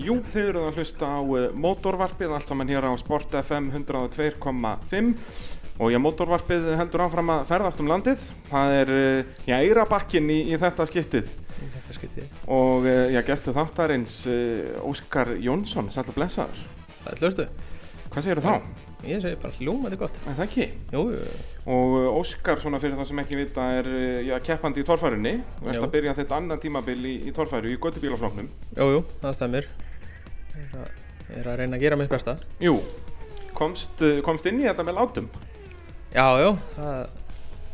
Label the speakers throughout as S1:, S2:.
S1: Jú, þið eruð að hlusta á eh, mótorvarpið, allt saman hér á Sport FM 102.5 og já, mótorvarpið heldur áfram að ferðast um landið. Það er, eh, já, eirabakkin í, í þetta skiptið
S2: Þetta skytið.
S1: og eh, já, gestu þáttarins eh, Óskar Jónsson, sætla blessaður.
S2: Það er hlustu.
S1: Hvað segirðu þá?
S2: Ég segi bara hljómaði gott.
S1: Er það ekki?
S2: Jú, jú,
S1: Og eh, Óskar, svona fyrir það sem ekki vita, er eh, já, keppandi í torfærunni og
S2: Já.
S1: eftir að byrja þetta annað tímabil í, í torfæru í göttubílaflóknum.
S2: jú, jú, það stæmir. Ég er, að, ég er að reyna að gera mitt besta.
S1: Jú, komst, eh, komst inn í þetta með látum.
S2: Já, jú, það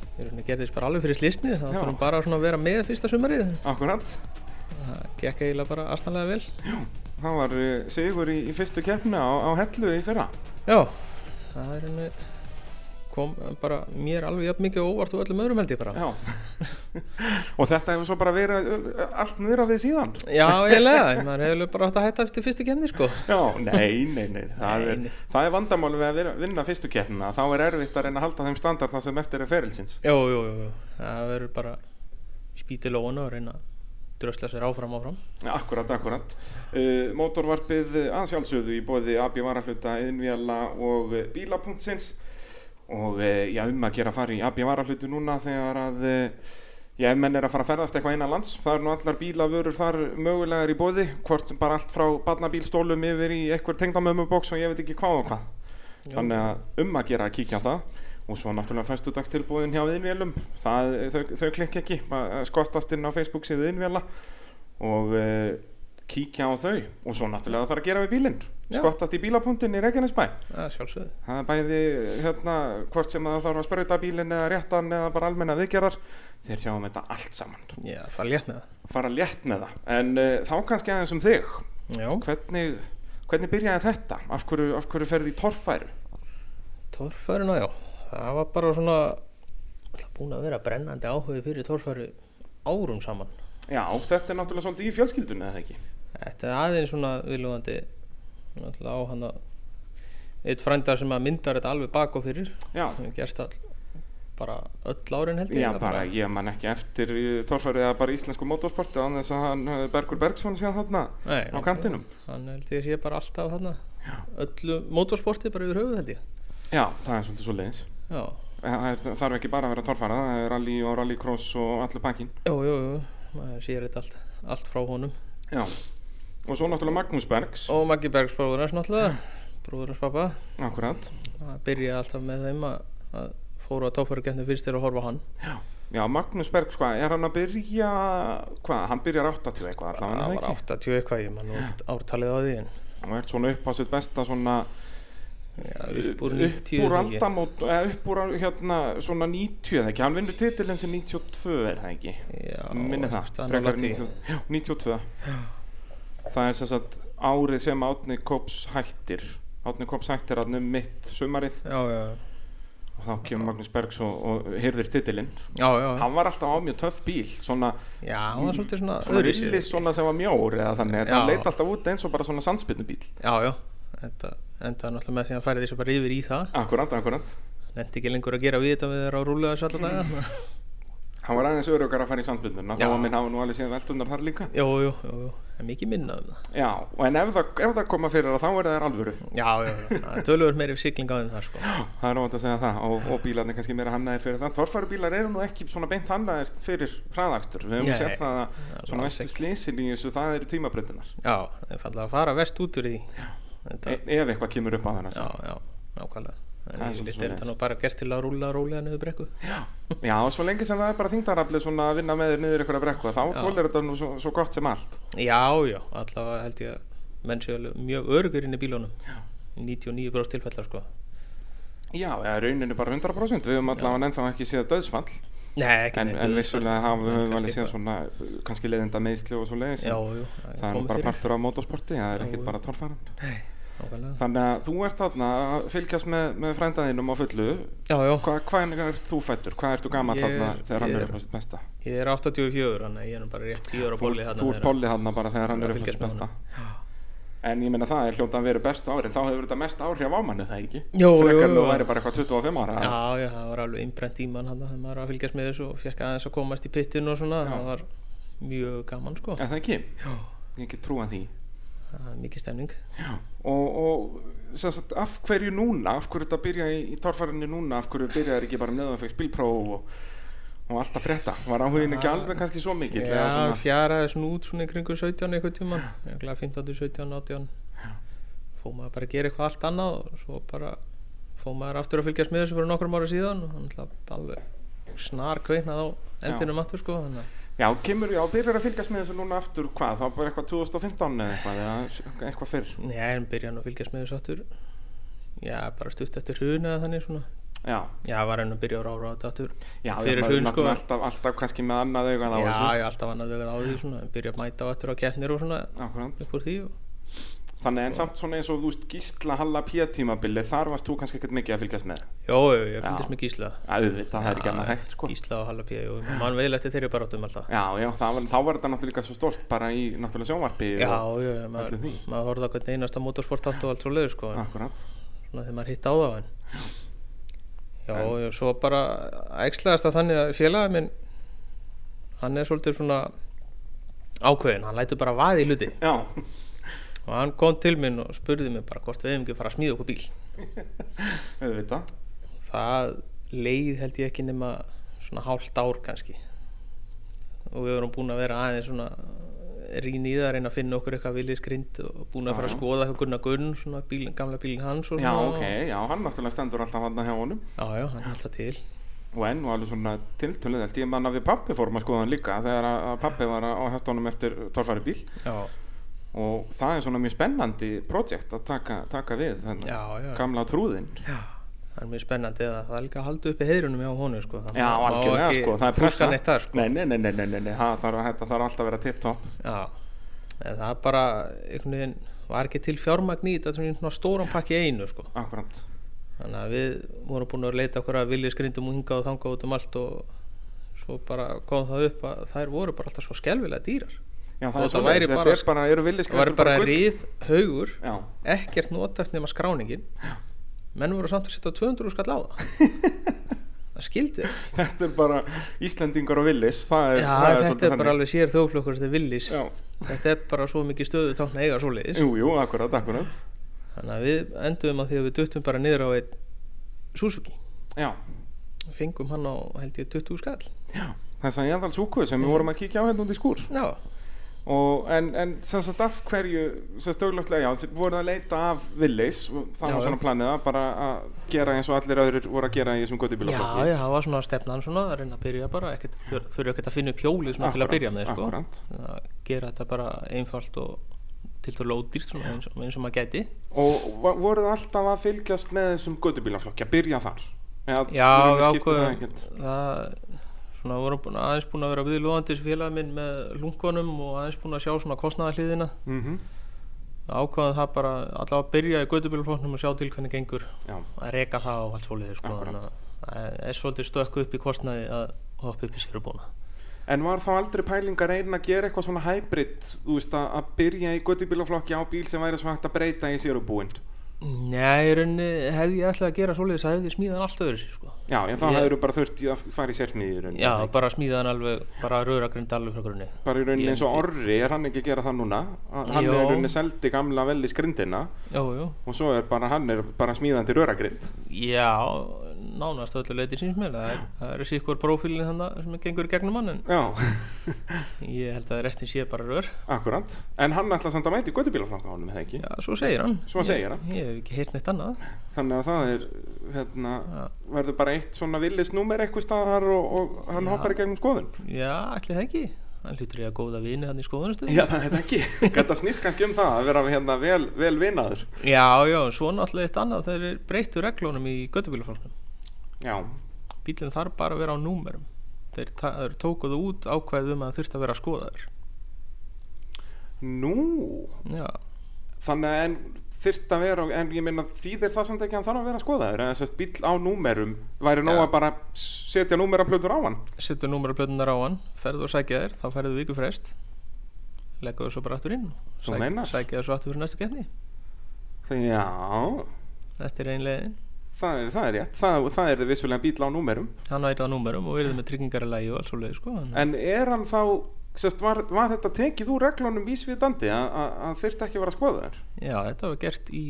S2: ég er að gera þess bara alveg fyrir slýsnið. Það
S1: Já.
S2: þarf bara svona að vera með fyrsta sumarið.
S1: Akkurat.
S2: Það gekk eiginlega bara astanlega vel.
S1: Það var eh, sigur í, í fyrstu keppni á, á Hellu í fyrra.
S2: Já, það er henni kom bara mér alveg jafn mikið á óvart og öllum öðrum held ég bara.
S1: Já. og þetta hefur svo bara verið eh, allt nýra við síðan.
S2: Já, eiginlega, maður hefur bara átt að hætta eftir fyrstu kemni, sko.
S1: Já, nei, nei, nei. Það,
S2: Nei, nei.
S1: Er, það er vandamáli við að vera, vinna fyrstu keppnina. Þá er erfitt að reyna að halda þeim standard þar sem eftir er ferilsins.
S2: Jú, jú, jú, jú. það verður bara spítið lóna og reyna að drösla sér áfram áfram.
S1: Akkurat, akkurat. Uh, mótorvarpið að sjálfsögðu í bóði AB Varahluta, Innvjala og eh, Bíla.sins og uh, já, um að gera að fara í AB Varahlutu núna þegar að uh, já, ef menn er að fara að ferðast eitthvað innan lands það eru nú allar bílavörur þar mögulegar í bóði hvort sem bara allt frá barnabílstólum yfir í eitthvað tengdamömmubóks og ég veit ekki hvað og hvað
S2: Já.
S1: þannig að um að gera að kíkja á það og svo náttúrulega fæstudagstilbúðin hjá Innvélum það, þau, þau klikk ekki bara skottast inn á Facebook síðu Innvéla og uh, kíkja á þau og svo náttúrulega þarf að gera við bílinn
S2: Já.
S1: skottast í bílapunktin í Reykjanesbæ
S2: Það er sjálfsögðu.
S1: það er bæði hérna hvort sem það þarf að sprauta bílinn eða réttan eða bara almenna viðgerðar þeir sjáum þetta allt saman
S2: Já, fara létt með
S1: fara létt með það en uh, þá kannski aðeins um þig
S2: það. Já,
S1: hvernig, hvernig byrjaði þetta af hverju, af hverju ferði í torfæru
S2: torfæruna, já. Það var bara svona, alltaf búin að vera brennandi áhugi fyrir torfæru árum saman.
S1: Já, þetta er náttúrulega svolítið í fjölskyldunni eða ekki?
S2: Þetta er aðeins svona viljúðandi, alltaf á hann að, eitt frænda sem að myndar þetta alveg bak og fyrir.
S1: Já,
S2: Það hefur gerst all, bara öll árin held ég.
S1: já
S2: það
S1: bara ég man ekki eftir torfærið að bara íslensku mótorsporti án þess að hann eh, Bergur Bergsson síðan þarna
S2: Nei,
S1: á kantinum.
S2: Hann held ég sé bara alltaf þarna, öllu motorsporti bara yfir höfuð held ég.
S1: Já, það er svolítið svo leiðis.
S2: Já,
S1: Það er- það þarf ekki bara að vera torfæra, það er rally og rallycross og allur pakkin.
S2: jú, jú, jú, maður sér þetta allt, allt frá honum.
S1: Já, og svo náttúrulega Magnús Bergs,
S2: Og Maggi Bergs bróðurins náttúrulega, bróðurins pappa.
S1: akkurat.
S2: Það byrjaði alltaf með þeim að, að fóru að táfæru getnum fyrst þér að horfa á hann.
S1: Já, Magnús Bergs, hvað, er hann að byrja, hvað, hann byrjar 80 eitthvað allavega,
S2: það
S1: er
S2: var 80 eitthvað, ég man nú ekkert ártalið á því en
S1: Og er svona upp á sitt besta svona
S2: já, upp úr 90
S1: upp úr
S2: eða ekki.
S1: aldamót eða upp úr hérna svona 90 eða ekki, hann vinnur titilinn sem 92 er það ekki,
S2: Já,
S1: minni það
S2: það er
S1: frekar
S2: nálægt því.
S1: 90 já, 92 það er sem sagt árið sem Átni Kops hættir Átni Kops hættir hann um mitt sumarið
S2: Já, já,
S1: og þá kemur Magnús Bergs og, og hyrðir titilinn
S2: já, já,
S1: hann var alltaf á mjög töff bíl svona,
S2: já, hann var svolítið svona
S1: svona
S2: öðruvísi.
S1: rillis svona sem var mjór eða þannig,
S2: Já.
S1: þetta hann leit alltaf út eins og bara svona sandspinnubíl
S2: Já, já, þetta endaði náttúrulega með því að hann færi þessu bara yfir í það.
S1: akkurat, akkurat
S2: Nendi ekki lengur að gera við þetta við þeirra á rúlega þessu alla daga.
S1: hann var aðeins örugar að fara í sandspinnuna þá
S2: Já.
S1: var minn hafa nú alveg síðan veldunar þar líka
S2: Jú, jú, jú, jú, það er mikið minna um það.
S1: Já, og en ef það, ef það koma fyrir það, þá er það alvöru.
S2: Já, já, já, það er tölvöld meiri sigling á þeim þar sko.
S1: Það er óvænt að segja það og, og bílarnir kannski meira hannaðir fyrir það. Torfærubílar eru nú ekki svona beint hannaðir fyrir hraðakstur. Við höfum
S2: Nei,
S1: séð það að
S2: er
S1: svona
S2: alls
S1: vestu
S2: ekki.
S1: slísin í þessu, það eru tímabröndunar.
S2: Já, þeir falla að fara vest út úr því. Þetta,
S1: E ef eitthvað kemur upp á þennan.
S2: já, já, nákvæmlega.
S1: Það
S2: En
S1: er
S2: yfirleitt
S1: svolítið
S2: er þetta nú bara gert til að rúla rólega niður brekku.
S1: Já, og svo lengi sem það er bara þingdaraflið svona að vinna með þér niður eitthvað brekku, þá fólir þetta nú svo, svo gott sem allt.
S2: Já, já, allavega held ég að menn séu alveg mjög örgur inn í bílunum. Já. 99% tilfellar sko.
S1: Já, eða rauninu bara 100%. Við höfum allavega ennþá ekki séð döðsfall,
S2: Nei, ekki
S1: en,
S2: neitt,
S1: en
S2: auðvitað.
S1: vissulega hafa- höfum við alveg
S2: kannski
S1: séð svona uh, kannski leiðinda meðsli og svo leiðis.
S2: Já, jú, það
S1: Það er nú
S2: komið
S1: bara
S2: fyrir.
S1: partur af motorsporti, það er
S2: Já,
S1: ekkert
S2: já.
S1: bara torfæran.
S2: Nei, nákvæmlega.
S1: Þannig að þú ert þarna að fylgjast með, með frændaðinum á fullu.
S2: Já, já.
S1: Hva, hvað er þú fættur? Hvað ert þú gammal
S2: Ég er-
S1: þarna þegar hann
S2: ég
S1: er
S2: er-
S1: upp á sitt besta?
S2: Ég er 84, þannig að ég er nú bara rétt 10 ára
S1: Þú,
S2: bóli þarna.
S1: þú
S2: þegar-
S1: ert bolli þarna bara þegar hann
S2: Ég er
S1: er
S2: að
S1: upp á sitt
S2: fylgjast með
S1: besta. En ég meina það er hljóta að vera bestu árin, þá hefur þetta mest áhrif á manni, það ekki?
S2: Jó, jó,
S1: Frekar en
S2: jó.
S1: þú væri bara eitthvað 25 ára.
S2: Já, já, það var alveg innbrent í mann hann þegar maður var að fylgjast með þessu og fekk aðeins að komast í pittinu og svona, það var mjög gaman sko.
S1: En það ekki,
S2: Já,
S1: ég get trúa því.
S2: það er mikið stemning
S1: Já, og, og sem sagt, af hverju núna, af hverju þetta byrja í, í torfærinu núna, af hverju byrja þeir ekki bara um leðan fekk spilpróf og, og allt að frétta, var áhugin ekki
S2: Já.
S1: alveg kannski svo mikill eða
S2: Já,
S1: svona,
S2: fjaraði svona út svona í kringu 17 eitthvað tíman, eiginlega 15, 17, 18 fóð maður bara að gera eitthvað allt annað og svo bara fóð maður aftur að fylgjast með þessu fyrir nokkrum ára síðan og hann alltaf alveg snar kveiknað á eldinum aftur sko þannig að
S1: já, kemur, já, byrjar að fylgjast með þessu núna aftur, hvað, þá bara eitthvað 2015 eða eitthvað, eða eitthvað fyrr
S2: Nei, en byrja hann að fylgjast með þessu aftur Já, bara stutt eftir hrun eða þannig svona
S1: já,
S2: Já, var hann að byrja að rára á þetta aftur
S1: já,
S2: Fyrir
S1: maður er
S2: hrun, sko.
S1: náttúrulega alltaf, alltaf kannski með annað augan á
S2: Já,
S1: þessu
S2: ég alltaf annað vegað á því svona en byrja að mæta á eftir á keppnir og svona
S1: Akkúrat.
S2: upp úr því og
S1: þannig en samt svona eins og þú veist gísla halla pía tímabili, þar varst þú kannski ekkert mikið að fylgjast með,
S2: Jó, jú, ég fylgist með Gísla
S1: að auðvitað, það er ekki annað hægt sko.
S2: Gísla og Hallapía, jú, mann vel eftir þeirri um barátum alltaf
S1: Já, já, það var, þá var þetta náttúrulega svo stort bara í náttúrulega sjónvarpi
S2: Já,
S1: og
S2: já, já, maður,
S1: öllu því. Ah.
S2: maður horfði á hvernig einasta motorsport átt og allt svo leiður sko, en
S1: Akkurat,
S2: svona þegar maður hitt á það en Já, já, svo bara ægslaðast að þannig að félagið minn hann er svolítið svona ákveðin, hann lætur bara vaði í hluti
S1: já,
S2: og hann kom til minn og spurði mig bara hvort við hefum ekki að fara að smíða okkur bíl
S1: auðvitað
S2: það leið held ég ekki nema svona hálft ár kannski og við vorum búin að vera aðeins svona rýn í það að reyna að finna okkur eitthvað viljið skrind og búin að fara að
S1: Já.
S2: skoða hjá Gunnar Gunn svona bíl, gamla bílinn hans og
S1: Já,
S2: svona
S1: ok, já, hann náttúrulega stendur alltaf hann hjá honum
S2: já, já, hann er alltaf til
S1: og enn og alveg svona tiltölið allt ég manna við pappi fórum að skoða hann líka þegar að að pappi var að hægt honum eftir torfæri bíl
S2: já,
S1: og það er svona mjög spennandi projekt að taka, taka við þannig
S2: já, já,
S1: gamla trúðinn
S2: já. það er mjög spennandi að það er líka að halda uppi heiðrunum hjá honum sko þannig
S1: Já,
S2: að má
S1: algjörlega
S2: ekki
S1: sko, það er
S2: fúska
S1: pressa
S2: neitt þar sko
S1: Nei, nei, nei, nei, nei, nei, nei. það þarf, að- þetta þarf alltaf að vera tipptopp
S2: já, en það er bara einhvern veginn var ekki til fjármagn í þetta svona stóran pakki í einu sko
S1: Akkurat,
S2: þannig að við vorum búin að leita okkur að vilja skrindum og hingað og þangað út um allt og svo bara kom það upp að þær voru bara alltaf svo skelvilega dýrar
S1: já, það er
S2: Og það
S1: svo
S2: væri
S1: þetta
S2: bara-
S1: er bara, eru
S2: það var
S1: villiskræntur
S2: bara ríð haugur
S1: Já,
S2: ekkert notæft nema skráningin menn voru samt að setja 200 skall á það það skildi
S1: Þetta er bara Íslendingar og Willis Það er,
S2: Já,
S1: það er
S2: þetta
S1: svolítið
S2: er bara alveg sér þjóflokkur þetta er villis
S1: Já,
S2: þetta er bara svo mikið stöðu tákn að eiga svoleiðis
S1: Jú, jú, akkurat, akkurat
S2: þannig að við endum að því að við duttum bara niður á einn Suzuki
S1: Já,
S2: fengum hann á held ég 20 skall
S1: já Þess að ég andal súku sem við vorum að kíkja á hérna út í skúr
S2: já,
S1: og, en, en sem sagt af hverju sem stöðlöftlega, já, þið voruð að leita af Willis og það
S2: Já,
S1: var svona
S2: já.
S1: planið að bara að gera eins og allir öðrir voru að gera í þessum
S2: Já,
S1: göttibílaflokki
S2: já, það var svona stefnan svona að reyna að byrja bara, ekkert, þur, þurfi ekkert að finna upp hjólið svona til að byrja með, sko
S1: akkurat.
S2: að gera þetta bara einfalt og til þú lótýrt svona eins, og- eins og maður gæti
S1: Og va- voruð alltaf að fylgjast með þessum göttubílaflokki að byrja þar Já,
S2: Já, við ákveðum
S1: ákveðum
S2: það, svona vorum búin, aðeins búin að vera viðlóðandi þessi félag minn með lungunum og aðeins búin að sjá svona kostnaðarhliðina
S1: mm
S2: ákvaðum það bara allavega að byrja í gödubílflóknum og sjá til hvernig gengur
S1: Já,
S2: að reka það og allt svoleiði, sko
S1: Akkúrat.
S2: þannig að það er svolítið stökku upp í kostnaði að hoppa upp í sérubúna
S1: En var þá aldrei pæling að reyna að gera eitthvað svona hybrid, þú veist, að, að byrja í göttibílaflokki á bíl sem væri svo hægt að breyta í sérubúinn?
S2: Nei, í rauninni hefði ég ætlaði að gera svoleiðis að hefði smíðan allt öðru sér sko.
S1: Já, en þá
S2: Ég-
S1: hefur bara þurft í að fara í sérsmíður.
S2: Já, bara smíðan alveg, bara röðragrind alveg frá grunni.
S1: Bara í rauninni
S2: Ég-
S1: eins og Orri, er hann ekki að gera það núna? Að- Hann
S2: Jó.
S1: er í rauninni seldi gamla vel í skrindina
S2: Jú, jú.
S1: og svo er bara, hann er bara smíðandi röragrind.
S2: Já, nánast öllu leiti síns meðlega. Það, er- það eru sikkur prófílinn þannig sem gengur í gegnum hann en
S1: Já,
S2: ég held að restin sé bara rör.
S1: akkurat. En hann ætla samt að mæti göttibílaflokki á honum, eða ekki?
S2: Já, svo segir hann.
S1: Svo segir hann.
S2: Ég, ég hef ekki heyrt neitt annað.
S1: Þannig að það er, hérna,
S2: Já.
S1: verður bara eitt svona villisnúmer eitthvað staðar og, og hann
S2: Já.
S1: hoppar í gegnum skoðun.
S2: Já, allir það ekki. Hann hlutur ég að góða vini hann í skoðunastu.
S1: Já, það er þetta ekki. Þetta snýst kannski um það að vera hérna vel, vel vinaður.
S2: já, já, svo náttúrulega eitt annað. Þeir breyttu reglunum í göttubílafólknum.
S1: Já,
S2: Bílinn þarf bara að vera á númerum. Þeir, ta- þeir tókuðu út ákvæðum að þurft að vera skoðaður.
S1: nú,
S2: Já,
S1: þannig að en þyrft að vera, en ég meina þýðir það samt ekki að hann þarf að vera skoðaður, en þess að bíl á númerum væri nóg
S2: Já.
S1: að bara setja númeraplötur á hann.
S2: setur númeraplötunar á hann, ferðu og sækja þér, þá ferðu viku frest, leggur þú svo bara aftur inn,
S1: Þú meinar?
S2: sækja þér svo aftur fyrir næstu keppni.
S1: Þegar, já,
S2: Þetta er einlegin.
S1: það er, það er rétt, það, það er vissulega bíl á númerum,
S2: Hann værið á númerum og verið með tryggingar í lagi og alls og leið, sko. En,
S1: en er hann þá sest, var, var þetta tekið úr reglunum vísviðdandi að- að að þyrfti ekki að vera að skoða þær
S2: Já, þetta var gert í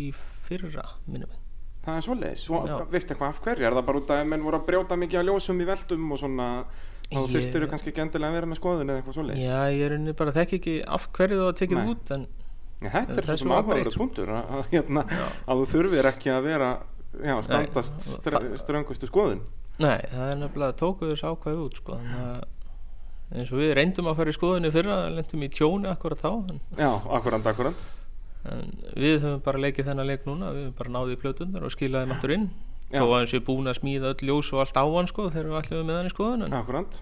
S2: fyrra minnum við.
S1: það er svoleiðis, svo,
S2: Já.
S1: veist eitthvað af hverju er það bara út að ef menn voru að brjóta mikið að ljósum í veltum og svona þá
S2: Ég-
S1: þurftir þau kannski ekki endilega að vera með skoðun eða eitthvað svoleiðis
S2: Já, ég er rauninni bara þekki ekki af hverju það var tekið
S1: Nei.
S2: út en
S1: Ég, þetta er
S2: Þessu
S1: þessum
S2: var
S1: áhugaverður
S2: breytt.
S1: punktur að, að, hérna, að þú þurfir ekki að vera já, standast
S2: og
S1: str
S2: það-
S1: ströngustu skoðun
S2: nei, það er nefnilega tókuð þessu ákvæði út sko, þannig að eins og við reyndum að fara í skoðinu fyrra en lendum í tjóni akkurat þá en,
S1: já, akkurant, akkurant
S2: en við höfum bara leikið þennan leik núna við höfum bara náðið í plötundar og skilaði matur inn
S1: Já.
S2: þó að hans ég búin að smíða öll ljós og allt á hann sko þegar við ætlum með hann í skoðinu en,
S1: akkurant,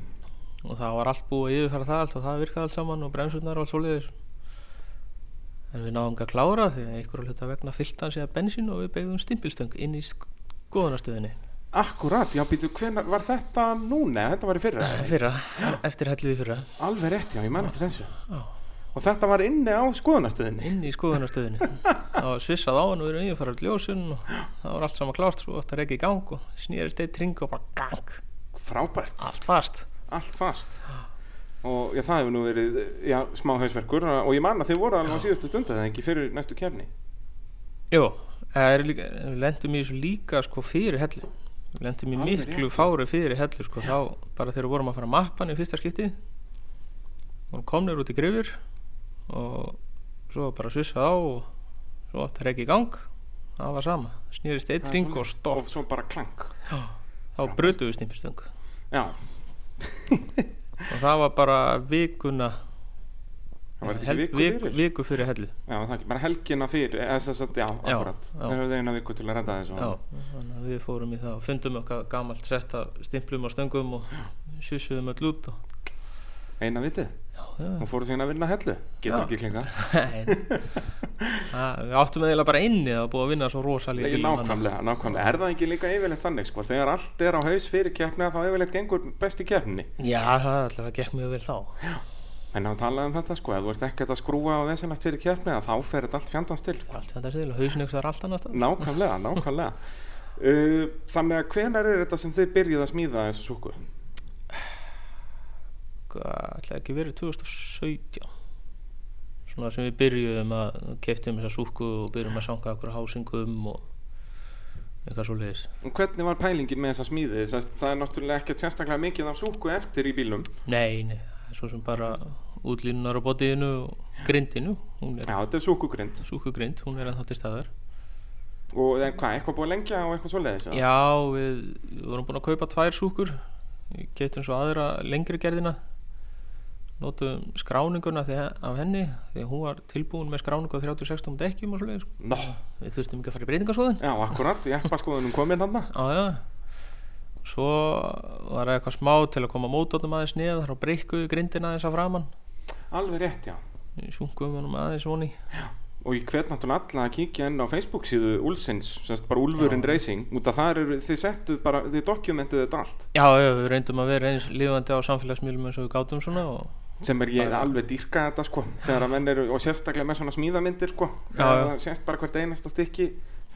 S2: og það var allt búið að yfirfara það allt og það virkaði allt saman og bremsurnar og allt svoleiðis en við náðum ekki að klára því að einhverju hluta vegna fyllt hann sig að bensín og við beigðum stimpilstöng inn í skoðunastöðinni
S1: akkurant já, býtu, hvenar var þetta núna Eða þetta var í fyrra,
S2: fyrra, eftir hellu í fyrra
S1: alveg rétt, já, ég man eftir þessu
S2: Já.
S1: og þetta var inni á skoðunastöðinni
S2: inn í skoðunastöðinni það var svissað á hann og við erum yfirfarað ljósun og það var allt saman klárt svo þetta er ekki í gang og snýrist eitt ring og bara gang,
S1: frábært,
S2: allt fast
S1: allt fast og já, það hefur nú verið já, smá hausverkur og ég man að þið voru alveg á síðustu stundu eða ekki fyrir næstu kefni
S2: Jó, það er líka, við lendum í þessu líka sko fyrir hellu við lendum í
S1: Alveg
S2: miklu fári fyrir hellu sko þá bara þegar við vorum að fara að mappa hann í fyrsta skipti og komnir út í grifur og svo bara svissað á og svo þetta er ekki í gang það var sama, snýrist eitt
S1: Það er
S2: ring og
S1: svoleiðis.
S2: stopp
S1: og svo bara klank
S2: þá brutum við stimpustöng
S1: já,
S2: og það var bara vikuna
S1: það var
S2: hel-
S1: þetta ekki viku
S2: vik-
S1: fyrir
S2: viku fyrir hellu
S1: Já, það er ekki, bara helgina fyrir, eða þess að, já,
S2: Já,
S1: akkurat,
S2: já.
S1: þeir höfðu eina viku til að redda þessu.
S2: já, þannig að við fórum í það og fundum okkar gamalt sett af stimplum og stöngum og sjussuðum öll út og
S1: Eina vitið,
S2: já, já,
S1: og fóru síðan að vinna hellu, getur
S2: Já.
S1: ekki klinga.
S2: nei. Að, við áttum eiginlega bara inni það var búið að vinna svo rosalíð
S1: Nei, nákvæmlega, nákvæmlega, er það ekki líka yfirleitt þannig, sko, þegar allt er á haus fyrir keppni þá yfirleitt gengur best í keppni.
S2: já, það allavega gekk mjög vel þá
S1: En að tala um þetta, sko, ef þú ert ekkert að skrúa og vesenlegt fyrir keppni þá fer þetta allt fjandans til, sko.
S2: allt þetta stil og hausin ykkur þar allt annars staðar.
S1: Nákvæmlega, nákvæmlega. Uh, þannig að hvenar er þetta sem þið byrjuð að smíða þessu súku?
S2: Hvað, Sko, ætlaði ekki verið 2017 svona sem við byrjuðum að keftum þessa súku og byrjuðum að sanga okkur hásingum og eitthvað svo leiðis
S1: Og Hvernig var pælingin með þessa smíði? Þess, það er náttúrulega ekkert sérstaklega mikið af súku eftir í bílum.
S2: Nei, nei, það er svo sem bara útlínunar á bótiðinu og grindinu, hún er
S1: Já, þetta er súkugrind.
S2: súkugrind, hún er ennþá til staðar.
S1: Og en hvað, eitthvað búið að lengja og eitthvað svoleiðis? eða?
S2: Já, við, við vorum búin að kaupa tvær súkur, getum svo aðra lengri gerðina, notum skráninguna þe- af henni, því að hún var tilbúin með skráningu á 36 dekkjum og svoleiðis.
S1: Nó,
S2: Við þurftum ekki að fara í breytingasóðin.
S1: já, akkurat, ég hef skoðunum komin hann
S2: Já, já. Svo var eitthvað smá til að koma mótóttum aðeins niður, þá breykkuðu grindina aðeins að framann,
S1: Alveg rétt, já
S2: sjungum honum aðeins voni.
S1: Og ég hvet náttúrulega alla að kíkja inn á Facebook síðu Úlsins, semst bara Úlfurinn Racing út af þar eru, þið settuð bara, þið dokumentuð þetta allt
S2: Já, já, við reyndum að vera eins lífandi á samfélagsmiðlum eins og við gátum svona og
S1: sem er ég alveg dýrka þetta sko þegar að menn eru, og sérstaklega með svona smíðamyndir sko þegar
S2: Já, já.
S1: það sést bara hvert einasta stykki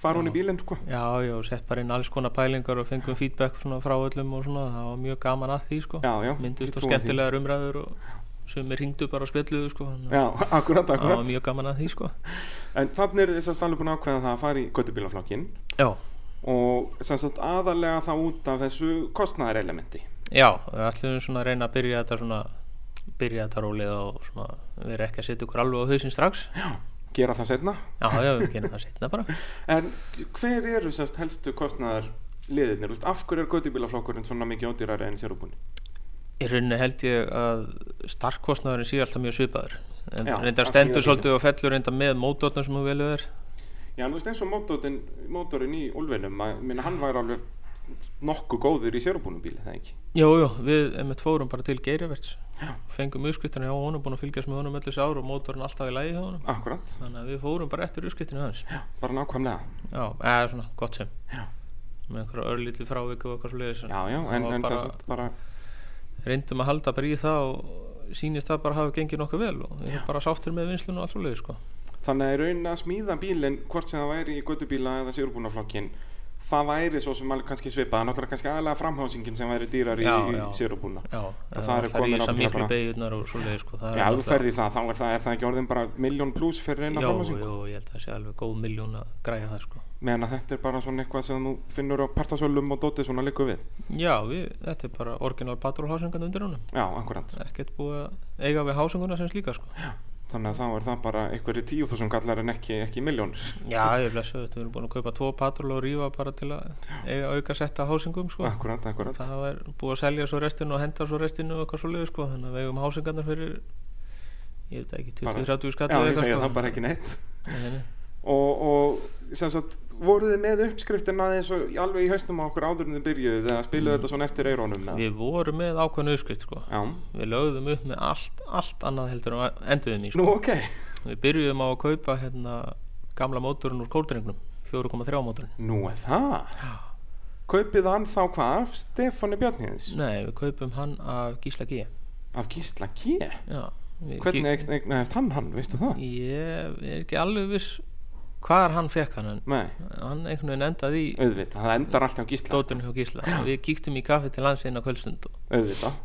S1: fara hún í bílinn sko
S2: já, já, sett bara inn alls konar pælingar og fengum feedback svona frá öllum og svona, það var mjög gaman að því, sko.
S1: Já, já, ég
S2: Myndust á
S1: trúi því.
S2: skemmtilegar umræður og sumir hringdu bara og spjalluðu, sko. þannig
S1: Já, akkurat,
S2: að Það var
S1: akkurat
S2: mjög gaman að því, sko.
S1: En þannig eru þess að alveg búin að ákveða það að fara í göttubílaflokkin
S2: Já,
S1: og sem sagt aðalega það út af þessu kostnæðarelementi
S2: já, við ætlum svona að reyna að byrja þetta svona, byrja þetta rólið og svona, við erum ekki að setja okkur alveg á hausinn strax. Já,
S1: gera það setna
S2: já, við genum það setna bara.
S1: En hver eru semst helstu kostnaðar liðirnir? Vist, af hverju er göttibílaflokkurinn svona mikið ódýrari en sérubunni?
S2: Í rauninni held ég að starkkostnaðurinn sé alltaf mjög svipaður en
S1: Já,
S2: reyndar
S1: að
S2: stendur
S1: smíða
S2: svolítið og fellur reyndar með mótornum sem þú velu er
S1: Já, en þú veist eins og mótorinn, mótorinn í Ulfinum, að minna, hann var alveg nokkuð góður í sérubunum bíli, það ekki?
S2: Jú, jú, við emitt fórum bara til Geiraverts fengum uppskriftinu hjá honum, búin að fylgjast með honum öllu þessi ár og mótorinn alltaf í lægi hjá honum
S1: Akkurat,
S2: þannig að við fórum bara eftir uppskriftinu hans Já,
S1: bara nákvæmlega.
S2: eða svona, gott sem Já. með einhverja örlítið fráviku og eitthvað svo leiðis
S1: Já, já, en, en
S2: bara,
S1: sem sagt bara,
S2: reyndum að halda bara í það og sýnist það bara hafa gengið nokkuð vel og við erum bara sáttir með vinslun og allt svo leiðis sko.
S1: þannig að í raun að smíða bílinn, hvort sem það væri í göttubíla eða sérubunaflokkin, það væri svo sem alveg kannski svipað, náttúrulega kannski aðalega framhásingin sem væri dýrar í,
S2: Já,
S1: í
S2: já.
S1: sérubúna
S2: já,
S1: Það
S2: ef
S1: þar er
S2: það fer í
S1: komin
S2: þessar
S1: ábyggilega
S2: miklu
S1: bara-
S2: beigurnar og svoleiði sko,
S1: Já,
S2: það
S1: ef
S2: er
S1: þú
S2: náttúrulega-
S1: ferði það, þá er það, er það ekki orðin bara miljón pluss fyrir eina
S2: Jó,
S1: framhásingu
S2: jú, ég held að það sé alveg góð miljón að græja það sko.
S1: meðan að þetta er bara svona eitthvað sem þú finnur á partasölum og dótið svona líku við
S2: Já, við, þetta er bara orginal patrólhásengan undir honum.
S1: Já, akkurat
S2: Ekkert búið að eiga við hásenguna sem slíka sko.
S1: Þannig að þá er það bara einhverju tíu þúsund kallar en ekki, ekki miljónir
S2: Já, ég blessu, þetta við erum búin að kaupa tvo patról og rífa bara til að eiga auka setta hásengum sko.
S1: Akkurat, akkurat
S2: Það er búið að selja svo restinu og henda svo restinu og eitthvað svoleiði sko. Þannig að við eigum hásengarnar fyrir, ég veit það ekki,
S1: Bara-
S2: 20-30
S1: Já,
S2: skallið
S1: ég segja það bara ekki neitt
S2: sko. Nei, nei, nei.
S1: og, og sem sagt voruð þið með uppskriftina eins og alveg í haustum á okkur áður en þið byrjuðu þegar spiluðu þetta svona eftir eirónum eða?
S2: Mm. Við vorum með ákveðnu uppskrift sko.
S1: Já,
S2: Við lögðum upp með allt, allt annað heldur en við enduðum í sko.
S1: nú ok
S2: Við byrjuðum á að kaupa hérna, gamla mótorun úr kóldrengnum, 4,3 mótorun.
S1: Nú er það Kaupið hann þá hvað af Stefáni Bjarniðins
S2: Nei, við kaupum hann af Gísla G.
S1: af Gísla G
S2: Já, við-
S1: Hvernig eign- eignaðist hann hann, veistu það?
S2: Ég er ekki alveg viss hvar hann fekk hann, en
S1: Nei,
S2: hann einhvern veginn endaði í
S1: auðvitað, það endar allt á Gísla
S2: dóturinn hjá Gísla. Við kíktum í kaffi til hans eina kvöldstund og
S1: auðvitað,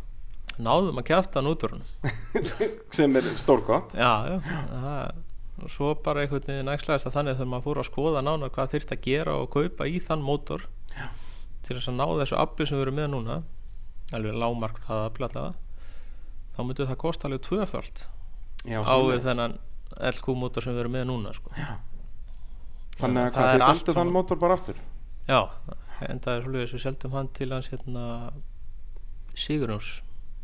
S2: náðum að kjæfta hann út úr hann.
S1: sem er stórgott
S2: Já, já, það og svo bara einhvern veginn ægslaðist að þannig þegar maður fór að skoða nánar hvað þyrfti að gera og kaupa í þann mótor
S1: Já.
S2: til þess að ná þessu afli sem við erum með núna alveg lágmark það afli allavega þá myndi það kosta alveg tvöfald
S1: Já,
S2: á
S1: svoleiðis.
S2: við þennan LQ mótor sem við erum með núna sko.
S1: Þannig að
S2: það
S1: hvað,
S2: er
S1: þið
S2: allt
S1: seldu
S2: saman.
S1: þann mótor bara aftur
S2: Já, endaði svolítið við seldum hann til hans hérna Sigurjóns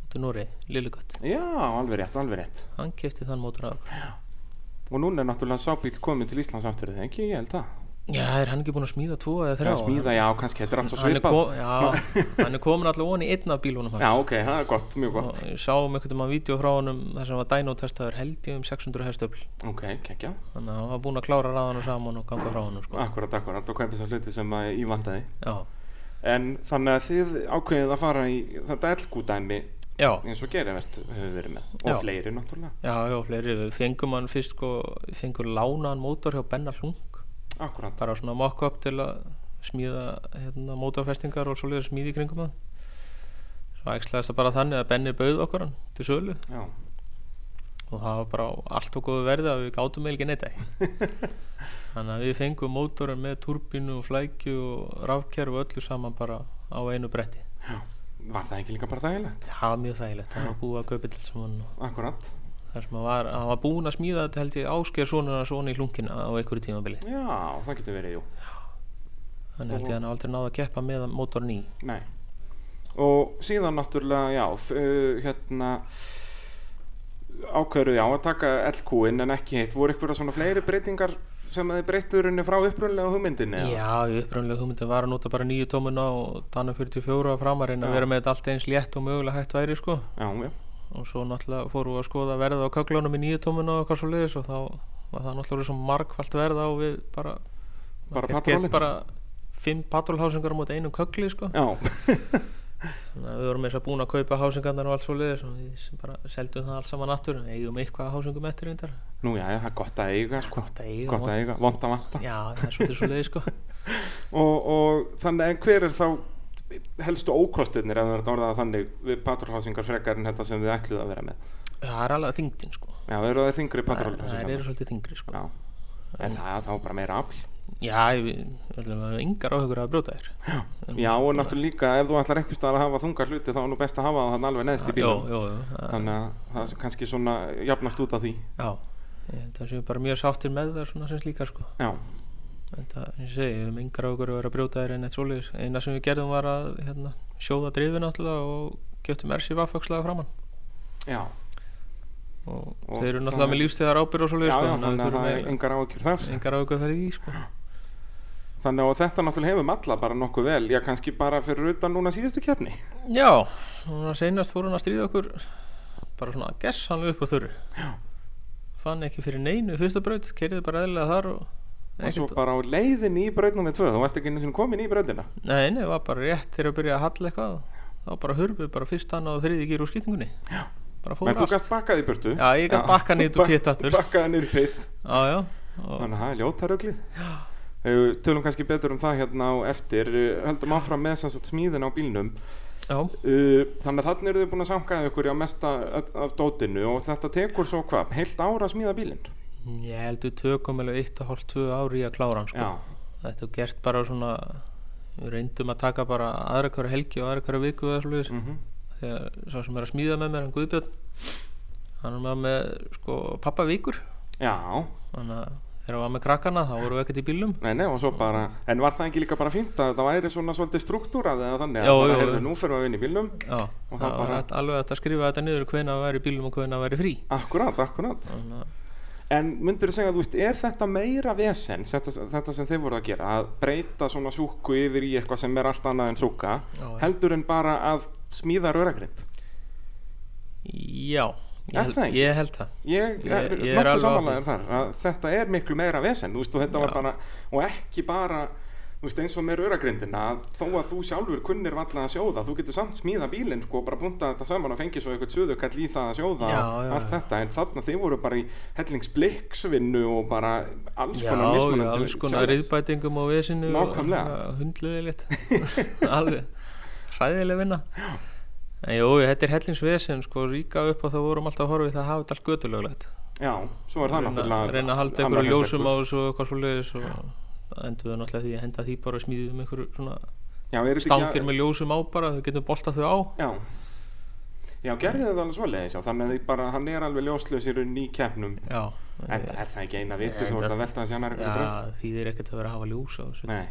S2: út í Nóri, Lilligött
S1: Já, alveg rétt, alveg rétt
S2: hann kefti þann mótor af okkur
S1: Og núna er náttúrulega sábíl komið til Íslands aftur, er það ekki, ég held að
S2: Já, er hann ekki búin að smíða tvo eða þrjá?
S1: Já, smíða, já, kannski, þetta er allt svo
S2: hann er,
S1: svipað
S2: kom, já, hann er komin allavega von í einn af bílunum
S1: Já,
S2: hans
S1: ok, það er gott, mjög gott
S2: og ég sá um einhvern veginn vídeo frá honum þar sem var dænótestaður held ég um 600 hestöfl
S1: Ok, kekja,
S2: þannig að hann var búinn að klára ráðan og saman og ganga frá honum sko.
S1: akkurat, akkurat og kaupið sem hluti sem að ég vantaði
S2: já,
S1: En þannig að þið ákveðið að fara í þetta elgúdæmi
S2: já,
S1: eins og gerivert höfum verið með og
S2: Já.
S1: fleiri náttúrulega
S2: já, já, fleiri við fengum hann fyrst sko, við fengum lánaðan mótor hjá Benna Hlung
S1: Akkurat,
S2: bara svona mock-up til að smíða hérna, mótorfestingar og svoleiðis smíði í kringum það svo æxlaðist það bara þannig að Benni bauð okkur hann til sölu
S1: já
S2: og það var bara á allt og góðu verði að við gátum eiginlega ekki neitt ekki þannig að við fengum mótorin með turbínu og flækju og rafkerf og öllu saman bara á einu bretti
S1: Var það ekki líka bara þægilegt?
S2: það var mjög þægilegt, það var búið að kaupa til saman og
S1: Akkurat
S2: þar sem hann var, hann var búin að smíða þetta held ég ásker svona svona í hlungina á einhverju tímabili
S1: Já, það getur verið, jú
S2: þannig held ég að hann hafi aldrei náða að keppa með mótorin í
S1: Nei Og síðan náttúrulega, já, f- uh, hérna ákveður já að taka LQ-in en ekki hitt voru eitthvað svona fleiri breytingar sem að þið breyttur henni frá upprunlega hugmyndinni eða?
S2: Já, upprænlega hugmyndin var að nota bara nýju tómuna og Dana 44 að framarinn að
S1: Já.
S2: vera með þetta allt eins létt og mögulega hægt væri sko
S1: já, já
S2: og svo náttúrulega fórum við að skoða verð á köglunum í nýju tómuna og eitthvað svo leiðis og þá var það náttúrulega svo margfalt verð á við bara
S1: Bara
S2: maður gæti
S1: patrólin?
S2: gert bara fimm patrólhásingar á móti einum kögli sko
S1: Já,
S2: þannig að við vorum eins og búin að kaupa hásingarnar og allt svo leiðis og við sem bara seldum það allt saman aftur en eigum eitthvað af hásingum eftir reyndar
S1: nú já, það er gott að eiga sko.
S2: gott að eiga
S1: Gott að eiga, vond að vanta
S2: já, það er svolítið svo leiðis sko
S1: og, og þannig, en hver er þá helstu ókostirnir ef það er að orða það þannig við patrólhásingar frekar en þetta sem þið ætluðu að vera með
S2: það er alveg þingdin sko
S1: Já, eru það þingri
S2: það
S1: patrólhásingar
S2: eru svolítið þingri sko
S1: Já, en það er þá bara meira afl
S2: Já, við höllum að engar áhugur að brjóta þér
S1: Já, og náttúrulega líka ef þú ætlar eitthvað staðar að hafa þungar hluti þá er nú best að hafa það alveg neðst í
S2: Jó,
S1: bílum
S2: jó, jó það-
S1: Þannig að það er kannski svona jafnast út af því
S2: Já, ég held að séu bara mjög sáttir með það svona sem slíkar sko
S1: Já,
S2: Þetta, ég segi, við höfum engar áhugur að vera að brjóta þér en eitt svoleiðis Eina sem við gerðum var að hérna, sjóða drifin náttúrulega og gjöftum ersi vafföxlaða framann
S1: já,
S2: og,
S1: Og
S2: þeir eru
S1: það-
S2: náttúrulega með lífstegar ábyrð og
S1: já,
S2: svoleiðis
S1: já
S2: sko,
S1: þannig að það er
S2: engar,
S1: engar ákjör þar
S2: engar áhugur þar í því sko
S1: Þannig að og þetta náttúrulega hefum alla bara nokkuð vel Já, kannski bara fyrir utan núna síðustu keppni
S2: Já, núna seinast fór hann að stríða okkur bara svona gessanlega upp á þurru Já Fann ekki fyrir neinu í fyrstu braut, keiriði bara eðlilega þar og
S1: Og svo
S2: ekkert-
S1: bara á leiðin í brautnum við tvö Þú varst ekki einu sinni komin í brautina
S2: Nei, nei, það var bara rétt þegar að byrja að halla eitthvað þá bara hurfið bara fyrst annað og þriði gýr úr skýtingunni Já Bara fór
S1: Men þú
S2: allt
S1: gast bakkað í burtu
S2: Já, ég gat bakkað niður út úr pit aftur.
S1: Bakkaði niður í pitt
S2: Já, já og,
S1: Þannig að það er ljótaröglið Eh, Tölum kannski betur um það hérna á eftir Eh, Höldum áfram með sem sagt smíðin á bílnum
S2: Já,
S1: Uh, þannig að þannig eru þið búin að samkaða ykkur á mesta öll- af dótinu og þetta tekur svo hvað, heilt ára að smíða bílinn
S2: ég held við tökum alveg 1,5-2 ári í að klára hann sko.
S1: já,
S2: Þetta er gert bara svona, við reyndum að taka bara aðra hverja helgi og aðra hverja viku eða slúðis.
S1: mhm,
S2: Þegar sá sem er að smíða með mér, hann Guðbjörn, hann er maður með sko pappa vikur.
S1: já
S2: Þannig að þegar hann var með krakkana þá vorum við ekkert í bílum.
S1: nei, nei, og svo bara, en var það ekki líka bara fínt að það væri svona svolítið struktúrað eða þannig að
S2: Jó,
S1: bara
S2: jó,
S1: heyrðu
S2: jó.
S1: nú fyrir við að vinna í bílnum
S2: Já,
S1: Og
S2: það,
S1: það
S2: var
S1: bara-
S2: hægt alveg hægt að skrifa þetta niður hvena að vera í bílum og hvena að vera frí.
S1: akkurat, akkurat
S2: Þannig að
S1: en myndur segja, þú veist, er þetta meira vesens, þetta, þetta sem þið voru að gera að breyta svona súku yfir í eitthvað sem er allt annað en súka
S2: Já, já.
S1: heldur en bara að smíða röragrind
S2: Já, ég,
S1: Er
S2: held-
S1: það ekki?
S2: ég held það
S1: ég eh, er,
S2: Ég- ég
S1: ég
S2: er
S1: er
S2: alveg á
S1: samanlegaður þar að þetta er miklu meira vesen þú veist, og þetta var
S2: Já.
S1: bara, og ekki bara þú veist, eins og með röragrindina að þó að þú sjálfur kunnir valla að sjóða þú getur samt smíða bílinn sko, og bara punta þetta saman og fengi svo eitthvað söðukall í það að sjóða
S2: Já,
S1: og
S2: já,
S1: allt
S2: já.
S1: þetta, en þarna þið voru bara í hellingsblikksvinnu og bara alls
S2: Já,
S1: konar
S2: já,
S1: mismunandi
S2: alls konar
S1: sjávarútvegs.
S2: riðbætingum og vesinu
S1: Nákvæmlega.
S2: Hundluðilegt Alveg Hræðileg vinna En jú, þetta er hellingsvesen sko Ríka upp og þá vorum alltaf að horfa í það að hafa þetta allt götulöglegt
S1: já, svo er það
S2: reyna,
S1: náttúrulega
S2: reyna að halda
S1: annar
S2: einhverju ljósum á
S1: heimsveikur.
S2: þessu og eitthvað svo leiðis og það endur við náttúrulega því að henda því bara og smíðum einhverju svona
S1: já, er þetta ekki
S2: stangir með ljósum á bara þau getum boltað þau á
S1: já Já, gerði þetta alveg svoleiðis, já, þannig að þið bara, hann er alveg ljóslaus í rauninni í keppnum
S2: Já,
S1: En er það ekki eina vitið
S2: Nei,
S1: þú ert
S2: það-
S1: að velta þessi annar eitthvað brönd?
S2: já því þeir ekkert að vera að hafa ljós á þessu
S1: Nei.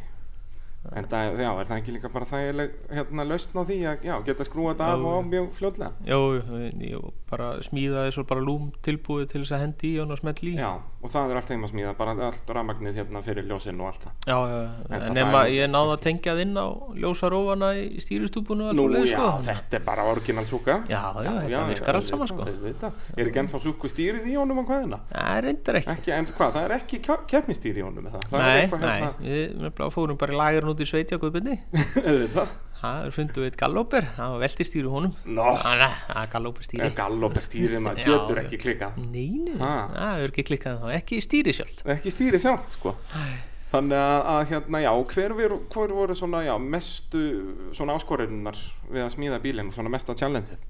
S1: En það, já, er það ekki líka bara þægileg hérna lausn á því að já, geta skrúa þetta af
S2: Já,
S1: og á
S2: já.
S1: mjög fljótlega?
S2: Jó, ég bara smíðaði svo bara lúm tilbúið til þess að hendi í hann og smetli í.
S1: Já, og það er allt heima smíða, bara allt rafmagnið hérna fyrir ljósinn og allt það.
S2: já, já.
S1: En það
S2: En nema
S1: er-
S2: ég náði að tengja það inn á ljósarófana í stýristúbunu og allt
S1: Nú,
S2: svoleiðis,
S1: já,
S2: sko.
S1: þetta er bara orginal súka.
S2: Já, já, þetta virkar allt saman, sko.
S1: Þetta, er ekki ennþá súku stýrið í honum á hvaðina?
S2: Nei, reyndar ekki.
S1: Ekki, en hvað, það er ekki keppnistýri í honum með það? það er
S2: nei,
S1: eitthvað hérna.
S2: nei, við nefnilega fórum bara í lagerinn út í sveiti á guðbindi.
S1: Auðvitað.
S2: Það fundum við eitt gallóper, það var veltistýri honum.
S1: Nó,
S2: Ah, Nei, það er gallóperstýri.
S1: gallop er stýrið,
S2: Já,
S1: maður getur
S2: já.
S1: ekki klikkað.
S2: Nei, nei, nei,
S1: Ha.
S2: það er ekki klikkað þá, ekki stýri sjálft.
S1: Ekki stýrið sjálft, sko.
S2: Nei.
S1: Þannig að, að hérna, já, hver, vir, hver voru svona, já, mestu svona áskorinnar við að smíða bílinn, svona mesta challengeið?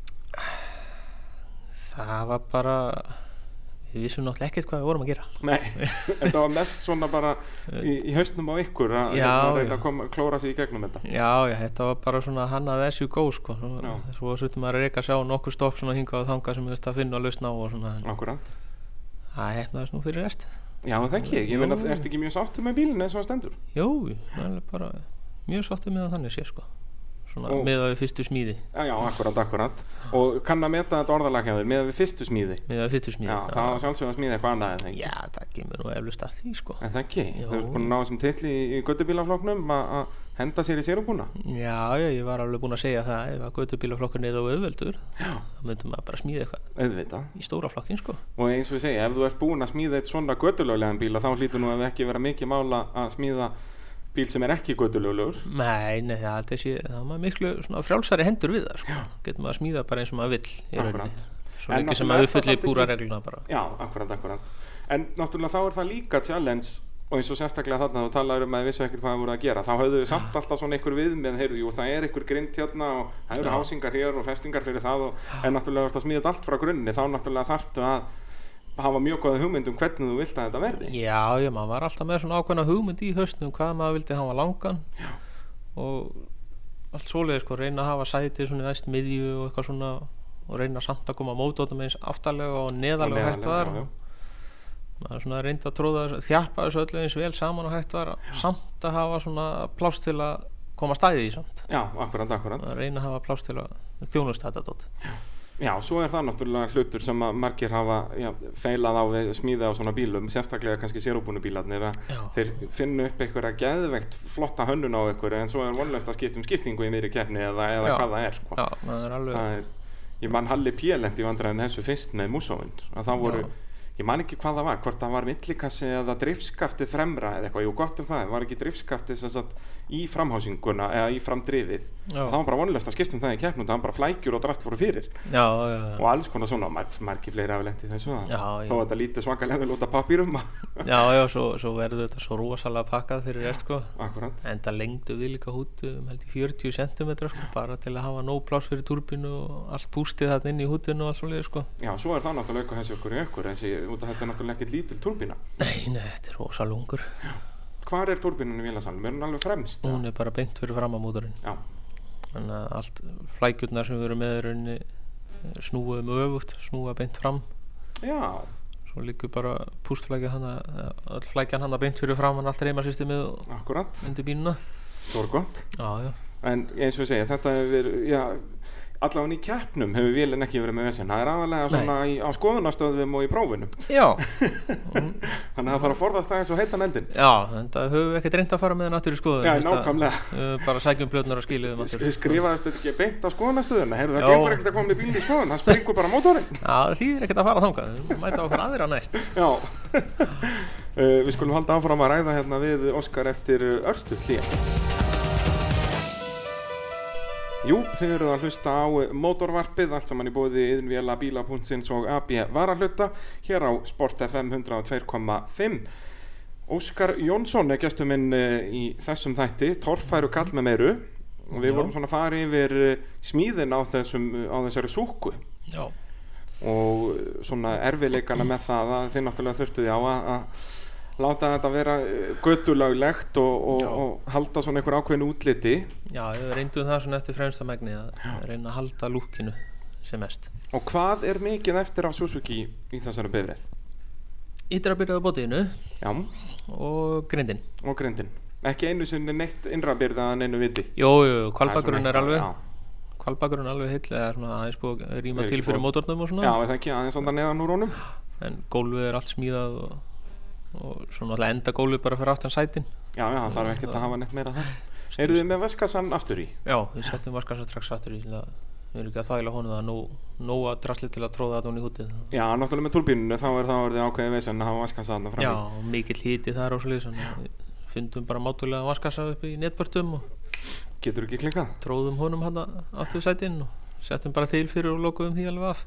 S2: Það var bara, við vissum náttúrulega ekkert hvað við vorum að gera.
S1: Nei, þetta var mest svona bara í, í hausnum á ykkur að
S2: Já,
S1: hérna, reyna
S2: já.
S1: að koma, klóra sig í gegnum þetta.
S2: Já, já, þetta var bara svona hann að þessu góð sko, Nú-
S1: Já.
S2: svo þurftum maður að reyka að sjá nokkuð stopp svona hingað og þangað sem við veist að finna og lausna á og svona, en
S1: Akkurát.
S2: það hefnaðist nú hérna fyrir rest.
S1: Já, það ekki, ég meina, ertu ekki mjög sáttur með bílinn eins og það stendur?
S2: Jú, það er bara mjög sáttu með að þannig sé sko, svona
S1: Ó.
S2: með að við fyrstu smíði,
S1: Já, já, akkurát, akkurát. Og kann að meta þetta orðalagjaður með við fyrstu smíði.
S2: með að við fyrstu smíði.
S1: Já, það var sjálfsög að smíða eitthvað annað, en það ekki.
S2: Já, það kemur nú eflust að því sko.
S1: En það ekki,
S2: Jú.
S1: þau eru búin að ná þessum tilli í, í göttubílafloknum að henda sér í sérubúna.
S2: Já, já, ég var alveg búinn að segja það, ef að götubílaflokkurinn er á auðveldur, þá myndum maður bara smíða eitthvað
S1: Auðvitað.
S2: í stóra flokkin sko.
S1: Og eins og ég segi, ef þú ert búinn að smíða eitt svona göttulöglegan bíl þá hlýtur nú að ekki vera mikið mála að smíða bíl sem er ekki göttulöglegur
S2: Nei, nei, það, það, sé, það er maður miklu svona frjálsari hendur við það, sko. Getur maður að smíða bara eins og maður vill í
S1: Akkurat.
S2: rauninni. Svo
S1: En
S2: lengi sem
S1: náttúrulega
S2: maður
S1: er það
S2: uppfyllir
S1: samt
S2: búra
S1: ekki-
S2: regluna bara.
S1: Já, akkurat, akkurat En náttúrulega þá er það líka challenge og eins og sérstaklega þarna þú talar um að þið vissu ekkert hvað það voru að gera þá höfðu við samt alltaf svona einhver viðmið heyrðu, jú, það er einhver grind hérna og það eru
S2: Já.
S1: hásingar hér og festingar fyrir það og, en náttúrulega þú að smíða þetta allt frá grunni þá náttúrulega þarftu að hafa mjög góða hugmynd um hvernig þú vilt að þetta verði
S2: Já, já, maður var alltaf með svona ákveðna hugmynd í höstnum hvað maður vildi hafa langan já. og allt svoleiði, sko, reyna að hafa sætið svona í næst miðju og eitthvað svona og reyna samt að koma mótótum eins aftarlega og neðarlega og hægt var.
S1: já, já.
S2: Maður svona reyndi að tróða þessu, þjappa þessu öllu eins vel saman og hægt var samt að hafa svona plást til að koma stæðið í samt.
S1: Já, akkurat, akkurat
S2: að reyna að hafa pláss til að þjónusta þetta dót
S1: Já, svo er það náttúrulega hlutur sem að margir hafa já, feilað á við smíða á svona bílum, sérstaklega kannski sérúbúnubílarnir að
S2: Já.
S1: þeir finna upp einhverja geðveikt flotta hönnun á einhverju en svo er vonlöst að skipta um skiptingu í miðri keppni eða, eða
S2: Já.
S1: hvað það er, sko.
S2: já, það er alveg
S1: Það er, ég man Halli Pélendi vandræðin þessu fyrst með Músóin, að það voru,
S2: Já.
S1: ég man ekki hvað það var, hvort það var millikassi eða driftskaftið fremra eða eitthvað, jú gott um það, var ekki driftskaftið sem sagt í framhásinguna eða í framdrifið
S2: Já.
S1: það var bara vonlöst að skipta um það í keppnum það var bara flækjur og drast fóru fyrir
S2: já, já, já.
S1: og alls konar svona, mar margir fleiri hafi lent í þessu að-
S2: Já, já.
S1: þó að þetta lítið svakalega vel út af papýrum
S2: já, já, svo, svo verður þetta svo rosalega pakkað fyrir rest sko.
S1: akkurat,
S2: en það lengdu við líka hútu um held í 40 cm sko, bara til að hafa nóg pláss fyrir turbinu og allt pústið þarna inn í hútinu og allt svolítið sko.
S1: já, svo er það náttúrulega auka þessi okkur í okkur, þessi, út af þetta er náttúrulega ekkert lítil turbína,
S2: Nei, nei, þetta er rosa lungur
S1: hvar er turbínan í vélasalum, er hún alveg fremst?
S2: hún er bara beint fyrir framamóturinn
S1: já,
S2: þannig að allt flækjurnar sem við erum með er unni snúa um öfugt, snúa beint fram
S1: já,
S2: svo liggur bara pústflækja hana eh, öll flækjan hana beint fyrir framann allt reymasystemið og
S1: akkurat
S2: undir bínuna
S1: stór gott,
S2: já, já,
S1: en eins og ég segja þetta hefur verið, já allavega í keppnum hefur vélinn ekki verið með vesen það er aðalega
S2: Nei.
S1: svona í, á skoðunastöðum og í prófinum
S2: já,
S1: þannig að það þarf að forðast aðeins og heitan eldin
S2: já en það höfum við ekkert reynd að fara með hann aftur í skoðun
S1: já,
S2: veist að-
S1: nákvæmlega
S2: Eh, bara sækjum blöðnar og um skiluðum
S1: Sk-
S2: aftur.
S1: skrifaðist þetta ekki beint á skoðunastöðuna heyrðu
S2: Já.
S1: það gengur ekkert að koma með bílinn í skoðun það springur bara mótorinn
S2: Já, það þýðir ekkert að fara þangað, við erum að mæta okkur aðra næst.
S1: já Uh, við skulum halda áfram að ræða hérna við Óskar eftir eh, örstu hlýja Jú, þið eruð að hlusta á eh, mótorvarpið, allt saman í bóði yðnvjela bíla.sins og AB varahluta hér á Sport FM 102.5 Óskar Jónsson er gestur minn eh, í þessum þætti, torfæru kall með meiru og við
S2: Já.
S1: vorum svona að fara yfir eh, smíðin á, þessum, eh, á þessari súku
S2: Já,
S1: og eh, svona erfileikana með það að þið náttúrulega þurftuði á að, að láta þetta vera göttulaglegt og, og,
S2: Já.
S1: og halda svona einhver ákveðin útliti
S2: já, við reyndum það svona eftir fremsta megni að reyna að halda lúkinu sem mest.
S1: og hvað er mikið eftir af Suzuki í þessari bifrið?
S2: Ítra byrjaði á bótiðinu
S1: Já,
S2: og grindin.
S1: og grindin ekki einu sinni neitt innra byrða en einu viti
S2: Jú, jú, kvalbakurinn
S1: Það
S2: er
S1: svona
S2: alveg,
S1: eitthvað,
S2: kvalbakurinn er alveg heill eða svona aðeins búið að
S1: Er
S2: rýma
S1: ekki
S2: til fyrir
S1: búið-
S2: mótornum og
S1: Já, já
S2: svona.
S1: er það ekki aðeins andan neðan úr honum
S2: En gólfið er allt smíðað og, og svona alltaf enda gólfið bara fyrir aftan sætin.
S1: Já, já, það þarf ekkert að hafa neitt meira það Eruð þið með veskassann aftur í?
S2: Já, við settum vaskasa strax sattur í til að við erum ekki að þæla honum það er nóg, nóg að drasli til að tróða þetta hún í hútið.
S1: Já, náttúrulega með turbínunni þá er það orðið ákveðið vesen að hafa veskassann fram
S2: Já,
S1: í
S2: og mikill híti þar og sliðis við fundum bara mátulega vaskassa upp í netbörtum og
S1: Getur ekki klikkað?
S2: tróðum honum hann aftur við sætin og settum bara þeil fyrir og lokuðum því alveg af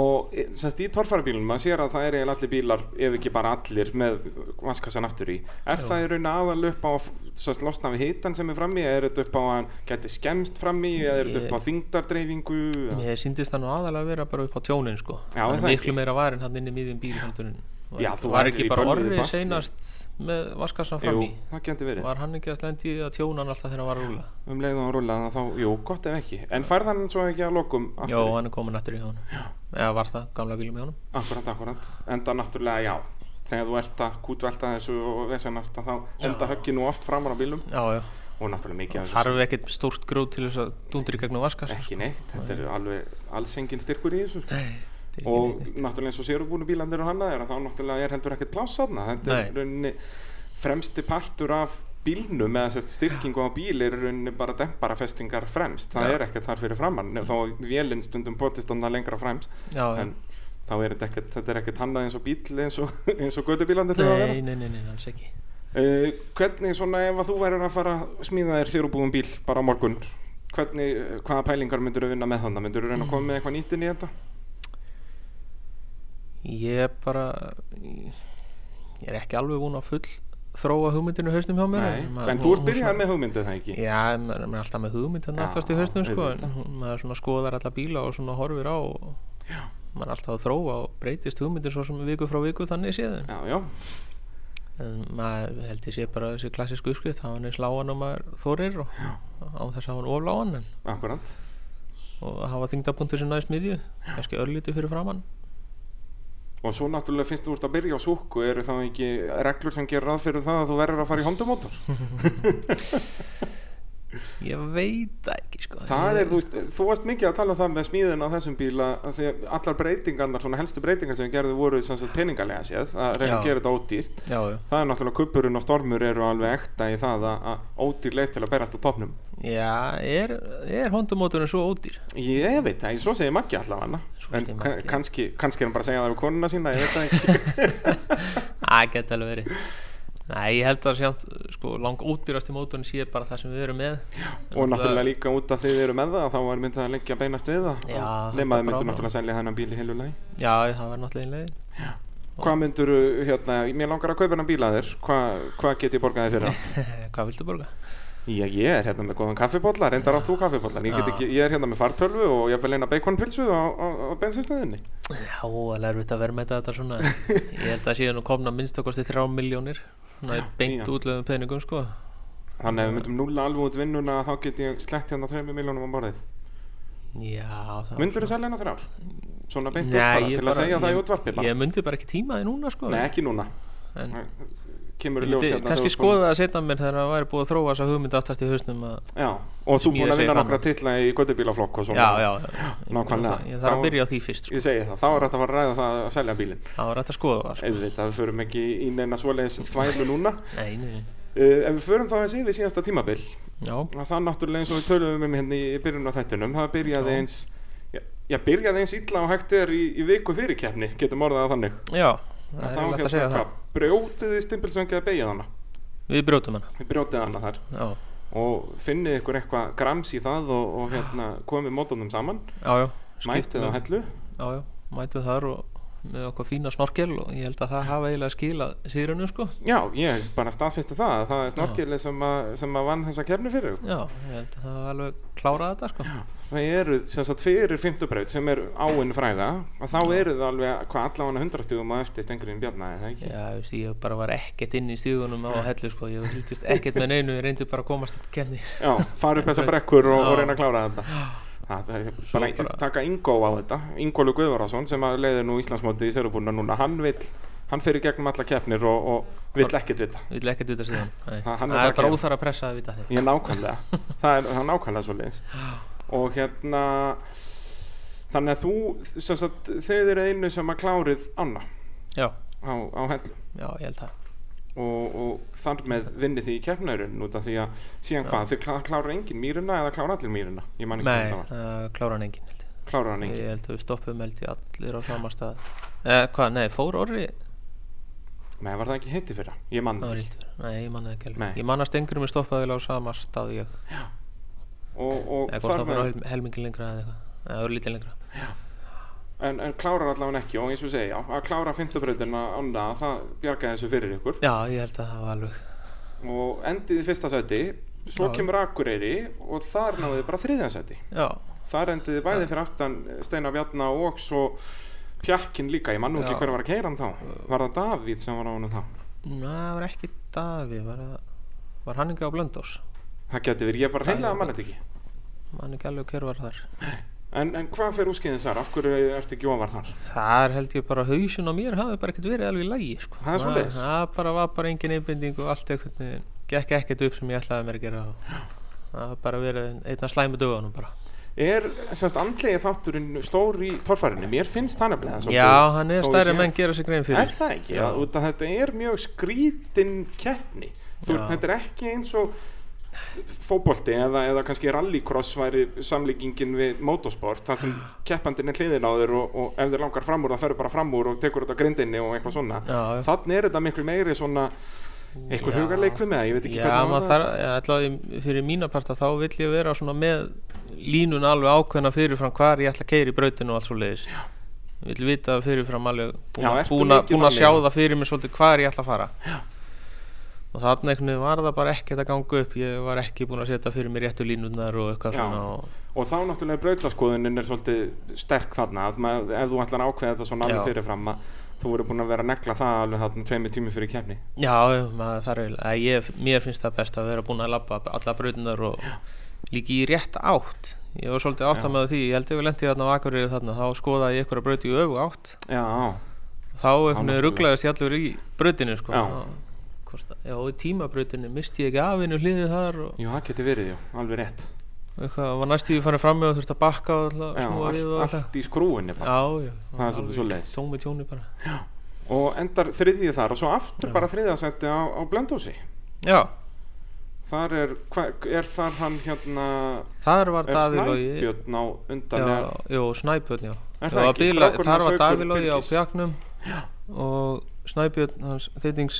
S1: Og e, semst í torfarabílum, maður sér að það er eiginlega allir bílar, ef ekki bara allir, með vaskassan aftur í. Er
S2: Jú.
S1: það í raun aðal upp á að f- semst, losna við hitan sem er frammi, eða er þetta upp á að hann geti skemst frammi, eða er þetta
S2: Ég-
S1: upp á þyngdardreifingu? eða-
S2: Mér síndist það nú aðalega að vera bara upp á tjónin sko
S1: Já, er
S2: Það er
S1: það
S2: miklu meira varin hann inn í miðjum bíl heldur en var,
S1: Já, þú
S2: var
S1: værir
S2: ekki
S1: í
S2: bara
S1: bölvuðu
S2: orðið
S1: basli.
S2: seinast með vaskassan fram
S1: Jú,
S2: í
S1: það geti verið.
S2: Var hann ekki að slendi að tjóna hann alltaf þegar hann var að rúla
S1: Um leið og hann rúlaði það þá, jú, gott ef ekki. En færð hann svo ekki að lokum aftur
S2: Jó,
S1: í?
S2: hann er komin aftur í hjá hann Eða var það gamla bílum hjá hann
S1: Akkurat, akkurat. Enda náttúrulega, já. Þegar þú ert að kútvelta þessu og vesenast að þá enda höggi nú oft framar á bílum
S2: Já, já,
S1: og náttúrulega mikið af þessu
S2: þarf ekkert stórt gróð til þess að dundri gegnum vaskassa
S1: ekki neitt, þetta er alveg alls engin styrkur í þessu sko.
S2: sko. Nei, þetta er ekki
S1: og
S2: neitt.
S1: náttúrulega eins og sérbúinu bílandir og hanna þeirra þá náttúrulega er hendur ekkert pláss þarna þetta er
S2: Nei.
S1: rauninni fremsti partur af bílnum eða sérst styrkingu á bíl er rauninni bara demparafestingar fremst það
S2: Já.
S1: er ekkert þar fyrir framann Nef, þá vélinn stundum potist annað lengra fremst
S2: Já, já.
S1: en þá er þetta ekkert, þetta er ekkert hannað eins og bíl eins og, eins og gödubílandir þurfa að vera
S2: Nei, nei, nei, nei, alls ekki
S1: Uh, hvernig svona ef að þú værir að fara að smíða þér sérubúum bíl bara á morgun hvernig, hvaða pælingar myndur vinna með þannig myndur reyna að koma með eitthvað nýtt inn í þetta
S2: Ég er bara Ég er ekki alveg búinn að full þróa hugmyndinu í hausnum hjá mér
S1: Nei,
S2: maður-
S1: en
S2: hún-
S1: þú ert
S2: hún
S1: byrjað
S2: svona-
S1: með hugmyndið það ekki
S2: Já, en maður maður er alltaf með hugmynd þannig
S1: Já,
S2: aftast í hausnum sko, en
S1: auðvitað.
S2: hún- maður svona skoðar alla bíla og svona horfir á og maður er alltaf að þróa og breytist hugmyndin svo sem viku frá viku þannig séð
S1: Já, já,
S2: en maður held ég sé bara þessi klassísku uppskrift hafa hann eins lágan og maður þorir og á þess að hafa hann oflágan en,
S1: akkurat
S2: og hafa þingdapunktur sem næst miðju kannski örlítið fyrir framann
S1: og svo náttúrulega finnst þú ert að byrja á súku eru þá ekki reglur sem gerir ráð fyrir það að þú verður að fara í hondumótor
S2: Ég veit það ekki sko
S1: það
S2: Ég-
S1: er, þú veist, þú varst mikið að tala um það með smíðin á þessum bíla af því að allar breytingarnar, svona helstu breytingar sem gerðu voru sem sagt, peningalega séð að reyna að
S2: Já.
S1: gera þetta ódýrt
S2: Já, já
S1: það er náttúrulega kuppurinn og stormur eru alveg ekta í það að, að ódýr leið til að berast á topnum
S2: Já, er, er hondumóturinn svo ódýr?
S1: ég veit það, svo segir Maggi allavega
S2: Svo
S1: en
S2: segir
S1: ka-
S2: Maggi.
S1: kannski, kannski er hann bara að segja það við konuna sína ég veit það ekki
S2: Það geta alveg verið Nei, ég held að sjánt, sko, lang ódýrasti mótorinn sé bara það sem við erum með
S1: og náttúrulega líka út af því þið eru með það þá var myndið að leggja beinast við það
S2: Já,
S1: Og nema
S2: þetta
S1: þið myndu
S2: bráðnar.
S1: náttúrulega að selja þennan bíl í heilu lagi
S2: Já, það var náttúrulega einlegin
S1: hvað myndur, hérna, mér langar að kaupa hennan bíla þér hvað hva get ég borgaði fyrir það?
S2: Hvað viltu borga?
S1: Já, ég er hérna með góðan kaffibólla, reyndar átt þú kaffibólla ég, get
S2: Já.
S1: ekki, ég er hérna með fartölvu og ég vil eina beikonpilsu á, á, á bensinstöðinni
S2: Já, það er erfitt að vera með þetta svona Ég held að síðan nú komna minnstakosti þrjá miljónir Svona í beint
S1: já.
S2: útlöðum peningum, sko
S1: þannig að við myndum núla alveg út vinnuna þá get ég slegt hérna 3 miljónum á borðið
S2: Já, það
S1: myndur þið selja hennar þrjár? svona beint út
S2: Nei,
S1: bara,
S2: ég
S1: til að segja það í
S2: ég-
S1: útvarpi bara
S2: Ég myndi bara ekki tíma því núna, sko
S1: Nei, ekki núna
S2: En
S1: kemur í
S2: ég
S1: ljós
S2: myndi
S1: hérna
S2: kannski
S1: þegar þú ert búin-
S2: skoða það setna mér þegar það væri búið að þróa þessa hugmynd aftast í hausnum að
S1: Já, og þú
S2: Smíða
S1: búin að
S2: sig
S1: vinna
S2: fram.
S1: nokkra titla í göttubílaflokk og svona
S2: Já, já, já, ég-
S1: nákvæmlega.
S2: Ég þarf
S1: Þá-
S2: að byrja á því fyrst, sko
S1: Ég segi það, þá er þetta að fara að ræða það að selja bílinn
S2: Það var rætt að skoða það, sko
S1: Auðvitað, við förum ekki í neina svoleiðis þvælu núna uh,
S2: Nei, nei, nei.
S1: Ef við förum þá eins yfir síðasta tímabil
S2: Já,
S1: að Það náttúrulega eins og við töluðum um hérna í byrjun á þættinum Það byrjaði
S2: Já.
S1: eins Já, já, byrjaði eins illa og hægt er í, í viku fyrir keppni Getum orðað það þannig
S2: já,
S1: Að
S2: það
S1: þá
S2: er rætt að
S1: hérna,
S2: segja það
S1: hvað, Brjótið þið stimpilsvöngi að beigja hana
S2: Við brjótum hana,
S1: Við brjótið hana þar
S2: já,
S1: og finnið ykkur eitthvað grams í það og, og hérna
S2: Ah.
S1: komið mótunum saman
S2: já, já skipt
S1: mætið á
S2: með-
S1: hellu
S2: Já, já, mætum þar og með okkur fína snorkel og ég held að það hafa eiginlega skilað síðrunum sko
S1: já, ég bara staðfinnstu það að það er snorkilið sem, að- sem að vann þessa kefni fyrir ykkur.
S2: Já, ég held að það hafa alveg klárað þetta sko
S1: það eru sem sagt fyrir fymtubraut sem er áinn fræga og þá eru það alveg hvað allavega 100 stugum að eftir stengurinn bjarna er það ekki?
S2: Já, veist, ég bara var ekkert inn í stíðunum á hellu sko, ég hildist ekkert með neinu ég reyndi bara að komast upp kemni
S1: já, fara upp þessa brekkur og, og reyna að klára þetta Það það er bara,
S2: bara-
S1: taka Ingó á þetta Ingólu Guðvarason sem að leiðir nú Íslandsmóti í Serubúna núna, hann vil hann fyrir gegnum alla keppnir og, og vill ekkert vita
S2: Við vil ekkert vita stíðan Nei.
S1: Ha, hann er
S2: Það
S1: bara
S2: er bara
S1: kem.
S2: óþar að pressa að vita þig
S1: Ég nákvæmlega, það er, það er nákvæmlega svo leiðis Og hérna, þannig að þú, sem sagt, þau eru einu sem að klárið Anna
S2: Já,
S1: á, á hellu
S2: já, ég held það
S1: og, og þar með vinnið því í keppnæðurinn út af því að síðan hvað, þau klá, klára engin mýruna eða klára allir mýruna, ég man ekki
S2: Nei,
S1: hvernig það var,
S2: uh, klára hann engin held ég.
S1: klára hann engin
S2: Ég held að við stoppum held ég allir á sama stað eh, Hvað, nei, fór orri?
S1: Nei, var það ekki hitti fyrra, ég man
S2: Nei,
S1: það ekki
S2: ég manna ekki
S1: Nei.
S2: alveg Ég manna stengur um að stoppa á sama stað og ég
S1: og, og
S2: eða hvort
S1: þar
S2: það
S1: með,
S2: var helmingin lengra eða eitthvað eða örlítið lengra
S1: en, en klárar allavega ekki og eins og segja, að klára fymtubröðina Anna, það bjargaði þessu fyrir ykkur
S2: já ég held að það var alveg
S1: og endið í fyrsta sæti svo
S2: Já.
S1: kemur Akureyri og þar náðu þið bara þriðja sæti
S2: já,
S1: þar endið þið bæði fyrir aftan Steinar Bjarna og svo Pjakkin líka, ég mann nú ekki
S2: Já.
S1: hver var að keira hann þá var það Davíð sem var á hann þá
S2: Næ, það var ekki Davíð var, það- var hann ekki á Blöndós
S1: það geti verið, ég bara hreinlega mann þetta ekki
S2: mann ekki alveg hver var þar
S1: en, en hvað fer úskeiðin þar, af hverju ertu ekki ofar þar
S2: þar held ég bara hausin á mér hafði bara ekkert verið alveg í lagi sko.
S1: Það er svoleiðis.
S2: það bara var bara engin einbinding og allt ekkert veginn gekk ekkert upp sem ég ætlaði mér að gera og það var bara verið einna slæmu dögunum bara
S1: er semst andlegi þátturinn stór í torfærinni, mér finnst það nefnilega svolítið-
S2: já, hann er
S1: þó ég
S2: stærri
S1: sé-
S2: menn gera sér grein fyrir
S1: Er það ekki?
S2: Já.
S1: Já. Út að þetta er mjög skrítin keppni. Þú ert,
S2: Já.
S1: þetta er ekki eins og fótbolti eða, eða kannski rallycross væri samlíkingin við motorsport þar sem keppandinn er hliðin á þér og, og ef þér langar fram úr það ferur bara fram úr og tekur þetta á grindinni og eitthvað svona
S2: Já, já.
S1: þannig er þetta miklu meiri svona eitthvað
S2: Já.
S1: hugarleik við með það, ég veit ekki
S2: Já, maður þarf, já, allavega í- fyrir mína parta þá vill ég vera svona með línun alveg ákveðna fyrirfram hvar ég ætla að keira í brautinu og allt svo leiðis Ég vill vita fyrirfram alveg búin,
S1: Já,
S2: já,
S1: ertu
S2: búin,
S1: mikið
S2: búin að
S1: þannig?
S2: sjá það fyrir mér svolítið hvar ég ætla að fara já. og þarna einhvern veginn var það bara ekkert að ganga upp ég var ekki búin að setja fyrir mér réttu línunar og eitthvað
S1: Já.
S2: svona og,
S1: og þá náttúrulega brautaskoðunin er svolítið sterk þarna að maður, ef þú ætlar að ákveða þetta svona alveg
S2: Já.
S1: fyrirfram að þú voru búin að vera að negla það alveg þarna tveimur tími fyrir kefni
S2: Já, já, maður þarf eiginlega að ég, mér finnst það best að vera búin að labba alla brautunar og líka í rétt átt ég var svolítið átt að með því, ég held ég við lendi þarna á Akureyri þarna, þá skoðaði ég ykkur að brauti í öfu átt
S1: Já,
S2: þá einhvern
S1: náttúrulega.
S2: veginn rugglaðist ég allur í brautinu sko.
S1: Já.
S2: Þá- hvort að- já, og í tímabrautinu misti ég ekki afinu hliðið þar og
S1: jú, það getur verið, jú, alveg rétt
S2: eitthvað, var næstu ég fannig fram með og þurfti að bakka og alltaf,
S1: Já,
S2: snúa
S1: allt,
S2: við og alltaf
S1: allt í skrúinni bara
S2: Já, já,
S1: Það er svolítið
S2: alveg
S1: svoleiðis.
S2: Tóm með tjóni bara
S1: Og endar þriðið þar og svo aftur bara þriðasetti á, á blöndósi
S2: Já,
S1: Þar er, hva, er þar hann hérna
S2: þar var
S1: Er
S2: Davíð Lógi
S1: Snæbjörn á undan
S2: Já,
S1: er,
S2: jú, Snæbjörn,
S1: Er
S2: já Það
S1: það
S2: var
S1: ekki?
S2: bíla,
S1: Strákurinn
S2: þar
S1: hans
S2: var
S1: Haukur
S2: Davíð Lógi á
S1: Birgis.
S2: bjaknum og Snæbjörn, hans þeytings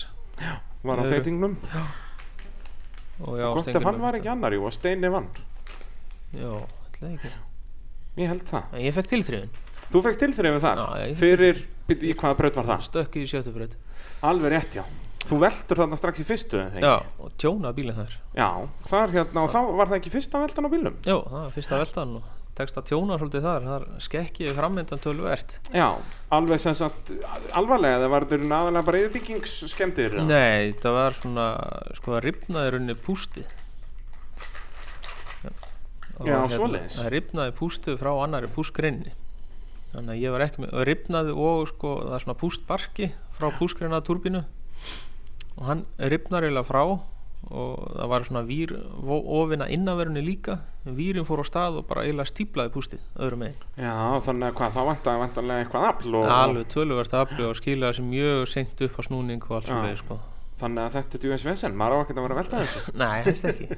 S1: var á
S2: Öðru.
S1: þeitingnum
S2: og já,
S1: gott ef
S2: Steingrímur
S1: hann var ekki annar jú, að Steini vann
S2: já, ætlaði ekki
S1: ég held það,
S2: en ég fekk tilþrifin,
S1: þú fegst tilþrifin þar
S2: Já, já, ég fékk
S1: fyrir, byrju, í hvaða braut var það
S2: stökki í sjötubröð
S1: alveg rétt já, þú veldur þarna strax í fyrstu eða ekki?
S2: já, og tjóna bílinn þar
S1: já, þar hérna og þá var það ekki fyrsta veldan á bílum
S2: já, það var fyrsta veltan og tekst að tjóna svolítið þar þar skekki ég framöndan tölvert
S1: já, alveg sem sagt alvarlega, það var þetta eru aðalega bara yfirbyggingskemdir
S2: nei, það var svona sko að ripnaði runni pústið Og hérna,
S1: Já, svoleiðis.
S2: það ripnaði pústið frá annari púskrinni þannig að ég var ekki með og ripnaði og sko það er svona pústbarki frá púskrinna turbinu og hann ripnar eiginlega frá og það var svona vír vo- ofin að innanverunni líka vírin fór á stað og bara eiginlega stíplaði pústið öðrum megin
S1: já, þannig að hvað, þá vantaði vantanlega eitthvað afl og
S2: alveg töluvert aflið og skilaði sér mjög seint upp á snúning og allt
S1: Já.
S2: svo leið sko.
S1: þannig að þetta er djúins vesen, maður á ekkert að vera að velta þessu
S2: nei, það er ekki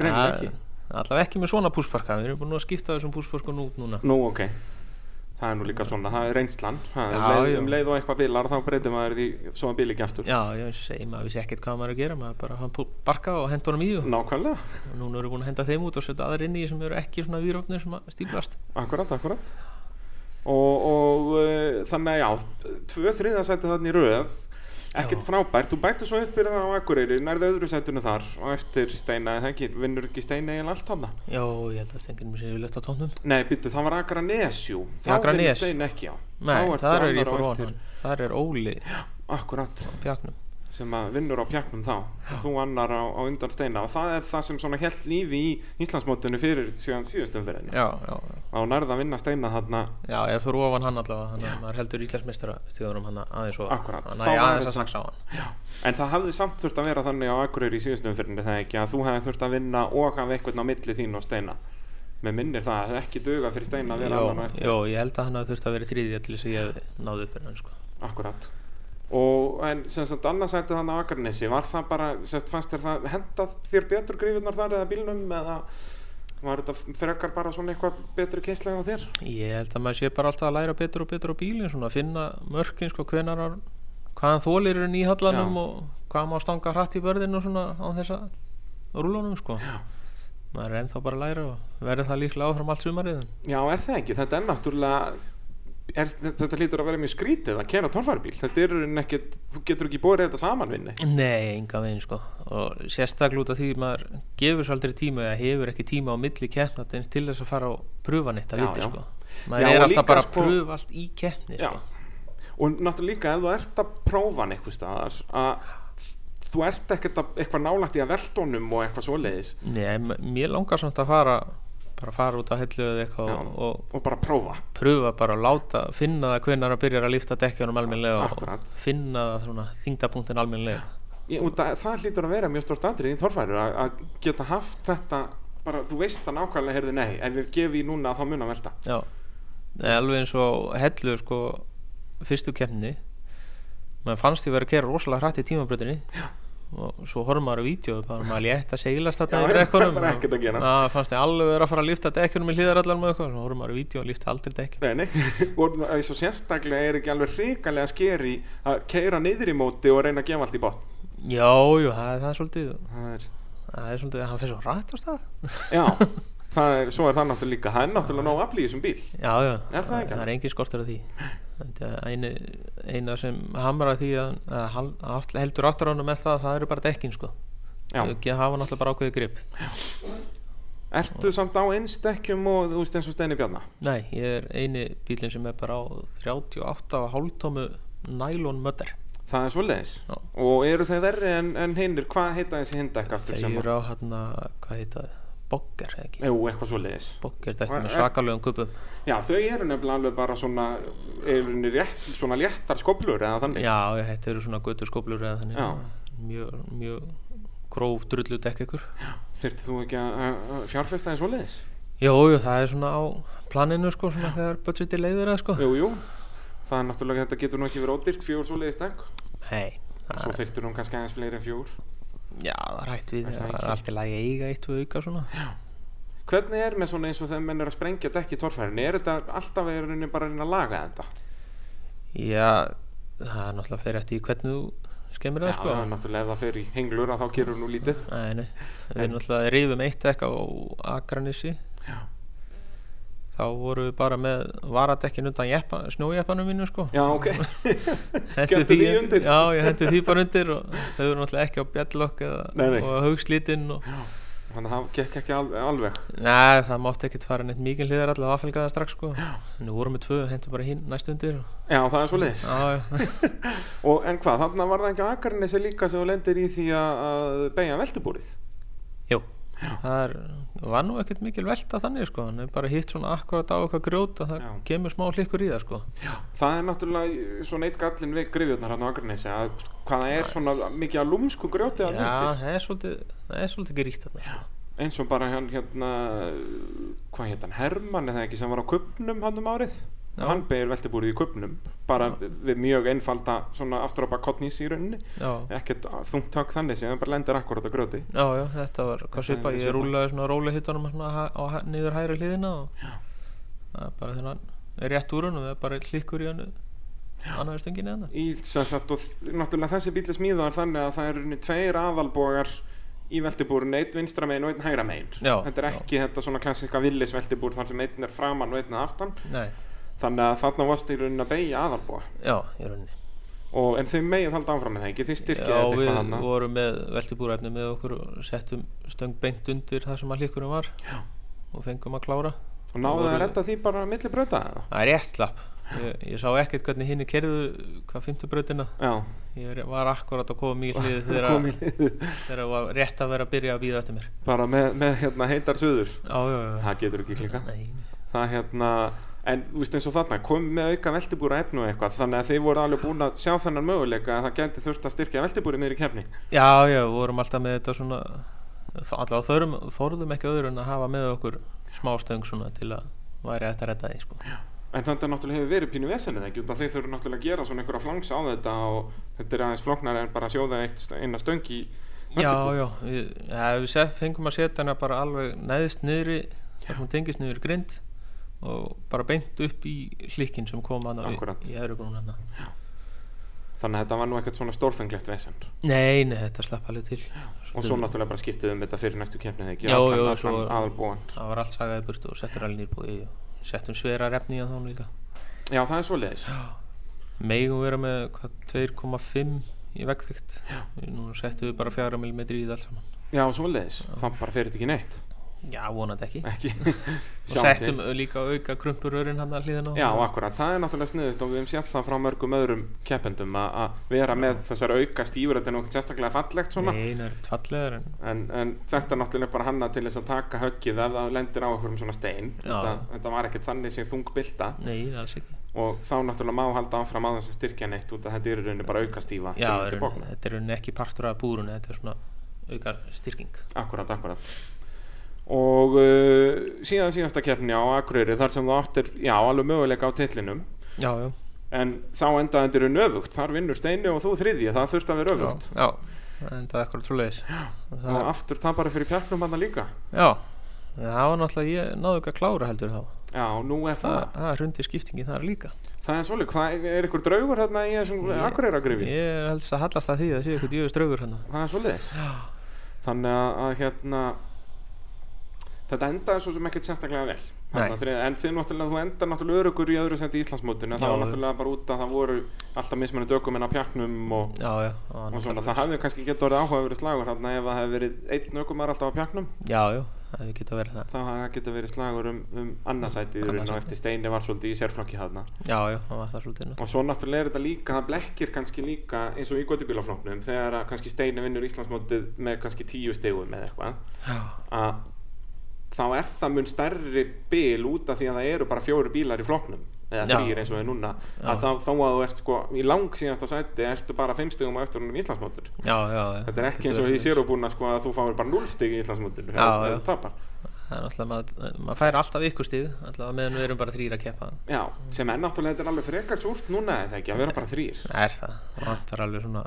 S1: greinilega
S2: Ja,
S1: ekki
S2: allavega ekki með svona púsparka við erum búin að skipta þessum púsparkun út núna
S1: Nú, ok. Það er nú líka svona, það er reynslan. Það er
S2: Já,
S1: leið,
S2: já.
S1: um leið og eitthvað bílar þá breytir maður því svona bíl ekki aftur.
S2: já, ég segi maður vissi ekkert hvað maður er að gera maður bara hann pú- barka og henda honum í og
S1: Nákvæmlega,
S2: og núna eru búin að henda þeim út og setja aðra inn í sem eru ekki svona výröfnir sem að stíplast
S1: akkurat, akkurat. Og, og uh, þannig að já, tvö þriðasæti þarna í röð, ekkert
S2: Já.
S1: frábært. Þú bætir svo upp fyrir það á Akureyri, nærðu öðru sætinu þar og eftir Steina eða ekki, vinnur ekki Steina eða allt hafna.
S2: já, ég held að stengir mér sér við lett á tónum
S1: Nei, býttu, það var Akranes, jú. Þá
S2: Akranes.
S1: vinnur Steina ekki, já.
S2: nei,
S1: ertu
S2: þar er
S1: annar á
S2: ég fór
S1: eftir.
S2: ofan hann þar er Óli
S1: Akkurat.
S2: á pjaknum
S1: sem að vinnur á pjaknum þá og þú annar á, á undan steina og það er það sem svona held lífi í Íslandsmótinu fyrir síðan síðustum fyrir
S2: já, já, já.
S1: á nærða að vinna steina þarna
S2: já, ég fór ofan hann allavega þannig að maður heldur íslensmestara stíðurum hann aðeins og
S1: Akkúrat. Þá
S2: hann næja
S1: var
S2: aðeins að
S1: þetta-
S2: saksa á hann
S1: en það hafði samt þurft að vera þannig á Akureyri í síðustum fyrir það ekki að þú hefði þurft að vinna og hafa einhvern á milli þín og steina með minnir það að það ekki duga fyrir steina að vera annan á eftir
S2: já, ég held að hann hafi þurft að vera þriðið til þess að ég náði upp en hann sko
S1: akkurat og en sem sagt annarsætti þannig á Akranesi var það bara, sem sagt fannst þér það hendað þér betur grífurnar þar eða bílnum eða var þetta frekar bara svona eitthvað betri kynslega á þér?
S2: Ég held að maður sé bara alltaf að læra betur og betur á bílinn, svona að finna mörkin sko hvenar hann, hvaðan þólir er í hallanum
S1: Já.
S2: og hvað má stanga hratt í börðinu svona á þessa rúlunum sko.
S1: Já.
S2: Maður er ennþá bara að læra og verður það líklega áfram allt sumarið.
S1: Já, er það ekki? Þetta er náttúrulega er, þetta lítur að vera mjög skrítið að kera torfarbíl þetta er nekkit, þú getur ekki borið þetta saman vinni
S2: Nei, enga veginn sko og sérstaklega út af því maður gefur svo aldrei tíma eða hefur ekki tíma á milli keppna til þess að fara á pröfan eitt að
S1: Já,
S2: viti
S1: já.
S2: sko.
S1: Já,
S2: Maður
S1: og
S2: er
S1: líka,
S2: alltaf bara
S1: sko-
S2: að pröfa allt í keppni
S1: Já,
S2: sko.
S1: og náttúrulega líka ef þú ert að prófa hann eitthvað staðar að þú ert ekkert að, eitthvað nálægt í að veltónum og eitthvað svoleiðis
S2: Nei, m- mér langar samt að fara bara fara út að hellu eða eitthvað og,
S1: Já.
S2: og
S1: og bara prófa
S2: pröfa bara að láta, finna það hvenar að byrjar að lifta dekkjunum almennilega
S1: Akkúrat.
S2: og finna það svona þingdapunktin almennilega
S1: Ég, og það, það lítur að vera mjög stort andrið í torfæru að, að geta haft þetta bara, þú veist það nákvæmlega, heyrðu nei ef við gefi í núna þá mun að velta
S2: já, Nei, alveg eins og hellu sko fyrstu keppni maður fannst því verið að kera rosalega hratt í tímabröðinni og svo horfum maður á vídeo bara maður létt að seglast þarna
S1: Já,
S2: í dekkunum
S1: bara ekkert að gerast.
S2: það fannst því alveg verið að fara að lifta dekkjunum í hlýðarallanum og eitthvað, svo horfum maður á vídeo og lifta aldrei dekkjunum
S1: Nei, nei, og þess að sérstaklega er ekki alveg hrikalega skeri að keira niður í móti og reyna að gefa allt í botn.
S2: já, jú, það, er- það er svolítið
S1: Það er,
S2: það er svolítið, hann fyrir svo rætt á stað
S1: já, það er, svo er það náttúrulega líka, það er náttúrulega nóg aflýð í þessum bíl.
S2: Já, já,
S1: Er það ekki?
S2: það er engin skortur af því Þetta er einu, eina sem hamrar því að, að hal- aft- heldur áttur ánum með það það eru bara dekkin sko
S1: Já,
S2: ekki að hafa náttúrulega bara ákveðið grip
S1: ertu samt á einstekkjum og þú veist eins og Steini Bjarnar?
S2: Nei, ég er eini bílinn sem er bara á 38 og hálftómu nælon mötter
S1: Það er svoleiðis.
S2: Já.
S1: Og eru þeir verri en, en hinnir, hvað heita þessi hindekk aftur sem
S2: þeir eru á hann hvað heita það, bogger eða ekki
S1: Jú, eitthvað svoleiðis.
S2: bogger dekkin
S1: Og
S2: með
S1: er-
S2: svakalegum gubbum
S1: Já, þau eru nefnilega alveg bara svona, eru henni rétt, svona léttar skoblur eða þannig.
S2: Já, já, þetta eru svona götu skóplur eða þannig
S1: Já.
S2: mjög, mjög gróf drullu dekk ykkur
S1: Þyrftir þú ekki að- að að fjárfesta eins svoleiðis?
S2: Jú, jú, það er svona á planinu sko, svona þegar budgeti leiður það sko
S1: Jú, jú, það er náttúrulega þetta getur nú ekki verið ódýrt fjór svo leiðist ekk
S2: Nei, það,
S1: Svo þyrftur hún kannski aðeins fleiri en fjór
S2: já, það er hægt við
S1: Er það
S2: það er
S1: ekki?
S2: allt í lagi að eiga eitt og auka svona
S1: Hvernig er með svona eins og þegar menn er að sprengja dekki í torfærinni? Er þetta alltaf er henni bara að reyna að laga þetta?
S2: Já, það er náttúrulega fyrir eftir því hvernig þú skemmir
S1: Já,
S2: það sko
S1: já, náttúrulega ef það fer í henglur að þá gerur nú lítið.
S2: Nei, nei. Við náttúrulega rýfum eitt dekka á Akranissi
S1: Já.
S2: þá vorum við bara með varadekkin undan jeppa, snjójeppanum mínu sko
S1: Já, ok.
S2: Hentu
S1: Skelltu því undir.
S2: Já, ég hentu því bara undir og þau voru náttúrulega ekki á bjallokk eða,
S1: Nei, nei.
S2: og hugslítinn og...
S1: Þannig að það gekk ekki al- alveg.
S2: Nei, það mátti ekkert fara neitt mikið um hliðar allavega aðfelgaða strax sko en við vorum með tvö, hentu bara hinn næst undir og...
S1: Já, það er svo leiðis.
S2: Já, já,
S1: Og en hvað, þannig að var það ekki á Akarnesi líka sem þú lendir í því að, að beigja veltubúrið?
S2: jú Það er, var nú ekkert mikil velta þannig sko, hann er bara hitt svona akkurat á eitthvað grjót að það
S1: Já.
S2: kemur smá hlikkur í það sko
S1: Það er náttúrulega svona eitt gallin við grifjurnar hann á Akarnesi að hvað það er svona mikið að lúmsku grjóti að
S2: Já, það er svolítið, það er svolítið gríkt þarna sko.
S1: eins og bara hann hérna hvað hétt hann, Hermann eða ekki sem var á Kupnum hann um árið
S2: Já.
S1: hann beigir veltibúrið í Kupnum bara við mjög einfalda svona aftur á bara kottnís í rauninni
S2: Já,
S1: ekkert þungt tök þannig sem hann bara lendir akkurat á grjóti
S2: já, já, þetta var hvað
S1: Þetta er
S2: svipa, ég
S1: svipað.
S2: rúlaði svona róli hittunum svona, ha- á, ha- niður hægri hliðina og
S1: Já.
S2: það er bara þennan rétt úr hann og það er bara hlikkur í hann annaður stöngin eða
S1: í sem sagt og þ- náttúrulega þessi bíl er smíðaðar þannig að það eru henni tveir aðalbógar í veltibúrun, einn vinstra megin og einn hægra megin
S2: Já,
S1: þetta er
S2: já.
S1: ekki þetta svona klassíska villis veltibúr þar sem einn er framann og einn er aftan
S2: Nei,
S1: þannig að þarna varst í rauninni að beigja aðalbóga
S2: já, í rauninni
S1: og, en þau megin þalda áfram með það ekki, þið styrkja
S2: Já,
S1: þetta
S2: við
S1: eitthvað hann
S2: vorum með veltibúræfni með okkur og settum stöng beint undir það sem að hlikkurum var
S1: Já.
S2: og fengum að klára
S1: og náðu
S2: voru-
S1: að redda því bara að milli bröta eða?
S2: Það er rétt slapp Ég, ég sá ekkert hvernig hinn er kerðu hvað fymtu brautina
S1: já,
S2: Ég er- var akkurat að koma í hlið þegar
S1: kom í liðið
S2: þegar það var rétt að vera að byrja að býða eftir mér
S1: bara með, með hérna, heitar suður
S2: já, já, já,
S1: það getur ekki klika
S2: Nei,
S1: það hérna en þú veist eins og þarna, komið með auka veltibúra efnu og eitthvað, þannig að þeir voru alveg búin að sjá þennan möguleika að það gæti þurft að styrkja veltibúri meður í kefni
S2: já, já, við vorum alltaf með þetta svona allavega þorum, þorðum ekki öðru en að hafa með okkur smástöng svona til að væri hægt að redda því sko.
S1: en þannig að náttúrulega hefur verið pínu vesenið ekki út af þeir þurfu náttúrulega að gera svona einhverja flangs á þetta og þetta er aðeins flóknar en bara að sjóða eitt, einna stöng í
S2: já,
S1: veltibúr.
S2: já, við, ja, við set, fengum að setja hana bara alveg neðist niðri þar sem hún tengist niður í grind og bara beint upp í hlikkin sem kom hann í,
S1: Akkúrat.
S2: í öðrugrún hann
S1: þannig að þetta var nú ekkert svona stórfenglegt vesend
S2: nei, nei, þetta slapp alveg til
S1: og svo náttúrulega bara skiptið um þetta fyrir næstu kefni ekki
S2: Mm. Já,
S1: Allan-
S2: já,
S1: allan
S2: svo-
S1: aðalbúann.
S2: það var allt sagaði burtu og settur alveg nýrbúi og settum um svera refni að þá líka
S1: já, það er svoleiðis
S2: megum vera með hvað, 2,5 í vegþygt nú settum við bara 4 mm í það allt saman
S1: já, svoleiðis, það bara fer þetta ekki neitt
S2: já, vonandi ekki
S1: ekki
S2: og
S1: Sjáum til.
S2: settum líka auka krumpurörinn hann að hliðina á.
S1: Já, akkurat, það er náttúrulega sniðut og við hefum séð það frá mörgum öðrum keppendum að- að vera með þessar auka stífur, þetta er nú ekkert sérstaklega fallegt svona
S2: Nei, það er ekkert fallegar en
S1: en, en þetta er náttúrulega bara hanna til þess að taka höggið ef það lendir á einhverjum svona stein
S2: Já.
S1: þetta, þetta var ekkert þannig sem þung bylta
S2: nei, það er alls ekki
S1: og þá náttúrulega má halda áfram að þess að styrkja neitt út að þetta er í rauninni bara auka stífa
S2: já,
S1: sem
S2: er,
S1: þetta bókna
S2: þetta er í rauninni ekki partur af búrunni þetta er svona auka styrking
S1: Akkurat, akkurat og uh, síðan síðasta keppni á Akureyri þar sem þú áttir, já, alveg möguleika á titlinum
S2: já, já,
S1: en þá endaði þetta eru nöfugt þar vinnur Steini og þú þriðji, það þurft að vera
S2: já,
S1: öfugt
S2: já en það er ekkert svo leiðis
S1: Það var aftur tapari fyrir pjarnum hann líka
S2: já, það var náttúrulega ég náðu ekki að klára heldur þá
S1: Já, nú er
S2: það,
S1: það
S2: það er hundi skiptingi þar líka
S1: Það er svolítið, hvað er ykkur draugur hérna í þessum akureyragrifin?
S2: ég er helst að hallast að því að það sé eitthvað djöfust draugur hérna. hann
S1: Það er svolítið
S2: já
S1: Þannig að, að hérna Þetta endaði svo sem ekkert sérstaklega vel Þarna
S2: Nei.
S1: þrið- En þið náttúrulega, þú endar náttúrulega örugur í öðru sendi í Íslandsmótinu Það
S2: Já,
S1: var
S2: já.
S1: náttúrulega bara út að það voru alltaf mismunandi ökumenn á pjarnum og,
S2: já, já, það
S1: og
S2: var
S1: svona,
S2: náttúrulega-
S1: það hafði kannski getur orðið áhuga verið slagur hérna ef það hefði verið einn ökumar alltaf á pjarnum
S2: já, já, það hefur getað verið það
S1: þá hafði það getur verið slagur um, um annarsætið og
S2: Annarsætið.
S1: eftir steini var svolítið í sérflokki þarna
S2: já, já, það var það svolítið hérna. náttúrulega.
S1: og svo náttúrulega er þetta líka, það blekkir kannski líka eins og í göttubílaflóknum þegar að kannski steini vinnur Íslandsmótið með kannski tíu stegum eða eitthvað
S2: já,
S1: að þá er það mun stærri bíl út af því að það eru bara fjóri bílar í flóknum eða
S2: Já.
S1: þrýr eins og er núna
S2: Já.
S1: að þá, þá að þú ert sko í lang síðasta sæti ertu bara fimm stegum á eftir honum í Íslandsmótur
S2: já, já, já
S1: þetta er ekki eins
S2: getur
S1: og
S2: verið
S1: í sérubúna sko að þú fáir bara 0 steg í Íslandsmótur
S2: Já, já.
S1: tapar
S2: svoleiðis. það er náttúrulega, maður mað fær alltaf ykkur stíð allavega meðan við erum bara þrýra að keppa
S1: Já, sem er náttúrulega þetta er alveg frekar súrt núna eða ekki að vera bara þrýr
S2: það er það, það vantar alveg svona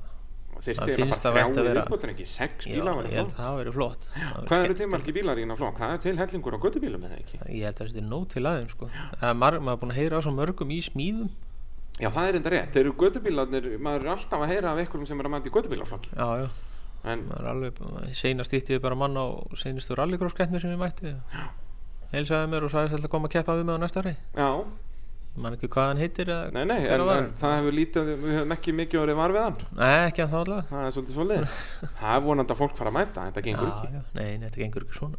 S2: Það
S1: þyrfti eiginlega
S2: finnst það
S1: bara
S2: vært að
S1: þrjá í
S2: vera-
S1: viðbútin ekki, sex
S2: já, ég
S1: bílar
S2: held
S1: væri
S2: að
S1: flott.
S2: það hafi verið flott Það væri
S1: Hvað eru
S2: skemmt-
S1: tímarki bílar í hérna flokk? Það er til hellingur á göttubílum eða ekki?
S2: ég held að þetta er nóg til aðeim sko. Það er marg, maður er búin að heyra á svo mörgum í smíðum
S1: Já, það er enda rétt. Þeir eru gödubílarnir, maður er alltaf að heyra af einhverjum sem er að mæta í gödubílaflokki.
S2: já, já,
S1: En
S2: maður er alveg seinast ítti við bara mann á seinastu rallycrosskeppni sem ég mætti heilsaði mér og sagðist alltaf að koma að keppa við mig á næsta ári
S1: já,
S2: mann ekki hvað hann heitir eða-
S1: nei, nei,
S2: hvenær
S1: en,
S2: var
S1: en
S2: hann?
S1: það hefur lítið, við höfum ekki mikið orðið var við hann.
S2: nei, ekki að þá allavega
S1: Það er svolítið svolítið. það er vonandi að fólk fara að mæta, þetta gengur
S2: já,
S1: ekki.
S2: já, nei, nei, þetta gengur ekki svona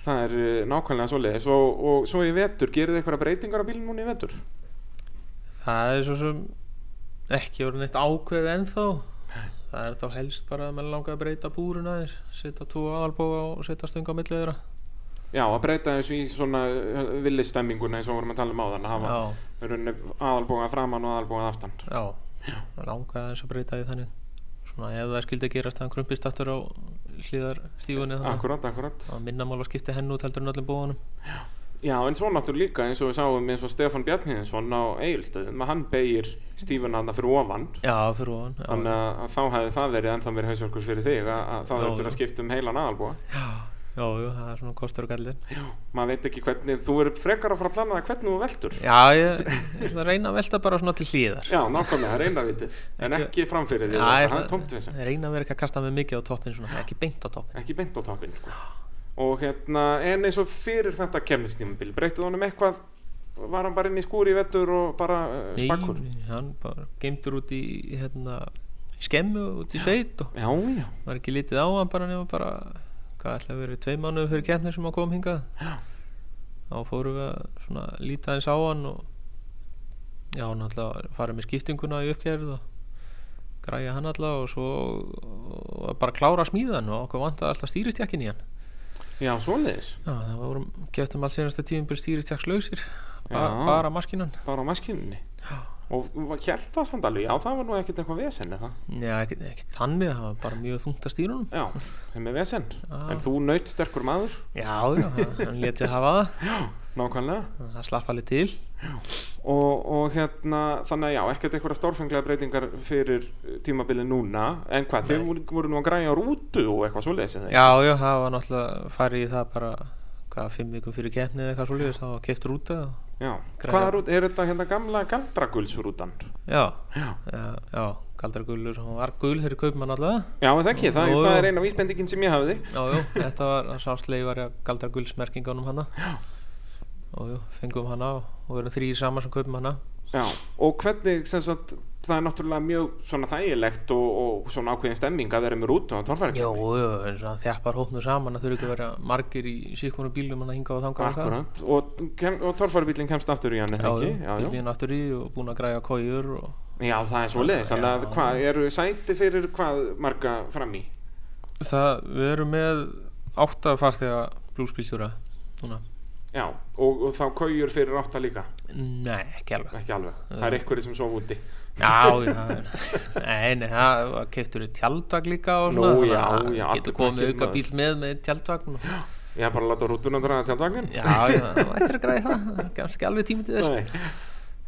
S1: Það er uh, nákvæmlega svolítið. Svo, og svo í vetur, gerir þið eitthvað breytingar á bílinn núna í vetur?
S2: það er svo sem ekki orðin eitt ákveð ennþá það er þá helst bara að mann langa að breyta búrun aðeins setja tvo aðalbóa og setja stöng á milli þeirra
S1: Já, að breyta þessu í svona eh, villistemminguna eins og vorum að tala um áðan að hafa
S2: já,
S1: aðalbóða framann og aðalbóða aftan.
S2: já, já. langa aðeins að breyta í þannig svona ef það skildi að gerast þannig krumpist aftur á hlýðar stífunni þannig
S1: Akkurat, akkurat.
S2: að minna mál að skipta henn út heldur en öllum bóðanum
S1: Já, en svo náttúrulega líka eins og við sáum eins og Stefán Bjarniðinsson á Egilstöðum að hann beigir stífuna hann fyrir ofan
S2: já, fyrir ofan já,
S1: þannig að- að þá hefði það verið ennþá verið hausverkus fyrir þig að, að þá
S2: Já,
S1: þurftur að
S2: já.
S1: skipta um heilan aðalbúa
S2: já, já, já, það er svona kostur og gallir
S1: maður veit ekki hvernig, þú eru frekar að fara að plana það hvernig þú veltur
S2: já, ég, ég ætla að reyna að velta bara svona til hlýðar
S1: Já, nákvæmlega, það er einravitið en ekki framfyrir því,
S2: Já,
S1: það er
S2: ég ætla-
S1: tómt við
S2: ég reyna að vera ekki að kasta mig mikið á toppin svona, ekki beint á toppin
S1: ekki beint á toppin sko. og hérna, en eins og fyrir þetta kemnistímabil, breytið honum eitthvað var hann bara inn í skúri í vettur og bara uh, spakkur
S2: Nei, hann bara geimtur út í hérna, í skemmu út í sveit og
S1: Já, já,
S2: var ekki litið á hann bara nema bara hvað ætla að vera tvei mánuðu fyrir keppni sem hann kom hingað
S1: Já.
S2: þá fórum við að svona líta eins á hann og já, hann alltaf farið með skiptinguna í uppgerð og græja hann alltaf og svo og bara klára smíðan og okkur vantaði alltaf stýristjakkin í hann
S1: já, svoleiðis
S2: Já, það vorum, keftum alls einasta tíðinbjörn stýri tjaks lausir, ba
S1: Já.
S2: bara maskinan.
S1: bara á maskininni
S2: Já.
S1: og hér það samt alveg, já það var nú ekkert eitthvað vesen eða?
S2: Já, ekki, ekki þannig, það var bara mjög þungt að stýra honum.
S1: já, sem er vesen
S2: Já.
S1: en þú naut sterkur maður
S2: Já, já, hann- hann letið hafa það,
S1: nákvæmlega
S2: það slapp alveg til.
S1: og, og hérna, þannig að já, ekkert eitthvað stórfenglega breytingar fyrir eh, tímabilið núna en hvað, þeir voru, voru nú að græja á rútu og eitthvað svoleiðis eða?
S2: Já, já, það var náttúrulega farið í það bara, hvað, fimm vikum fyrir keppni eða eitthvað svolítið, það var keipt rúta. og-
S1: já.
S2: Græja.
S1: hvaða rút, er þetta hérna gamla galdragulsrútan?
S2: Já, já, já, galdragulur, hann var gul þegar ég kaup mann allavega.
S1: já, en það ekki, það,
S2: Jú,
S1: það
S2: jú.
S1: er eina vísbendingin sem ég hafði
S2: Já, já, þetta var, það sást leifari að galdragulsmerkingunum hana. Já. Og jú, fengum hana og, og verðum þrýr saman sem kaupum hana.
S1: já, og hvernig, sem sagt það er náttúrulega mjög svona þægilegt og, og svona ákveðin stemming að vera með rútu á
S2: Já,
S1: torfæringar
S2: já, eins og hann þjappar hópnu saman það þurfi ekki að vera margir í síkvonu bílum hann að hinga og þanga
S1: Akkurat, og, kem, og torfærubílinn kemst aftur í hann, er
S2: Já,
S1: það ekki?
S2: já,
S1: Já, já.
S2: bílinn aftur í og búin að græja kójur og
S1: já, það er svo leiðis, þannig að
S2: Já.
S1: hvað, eru sæti fyrir hvað marga fram í?
S2: það, við erum með átta farþega blúsbílstjóra núna,
S1: Já, og, og þá kaujur fyrir átta líka,
S2: nei, ekki alveg
S1: ekki alveg, það er einhverju sem svo úti.
S2: Já, já, nei, nei, það keftur við tjaldvagn líka og svona
S1: Nú,
S2: þannig
S1: já,
S2: að
S1: já, allir
S2: getur komið
S1: krakkir,
S2: auka
S1: maður.
S2: bíl með með tjaldvagn og,
S1: Ég hef bara látað rútuna draga tjaldvagnin.
S2: Já, já, það ættir að græja það það er kannski alveg tími til þess
S1: Nei.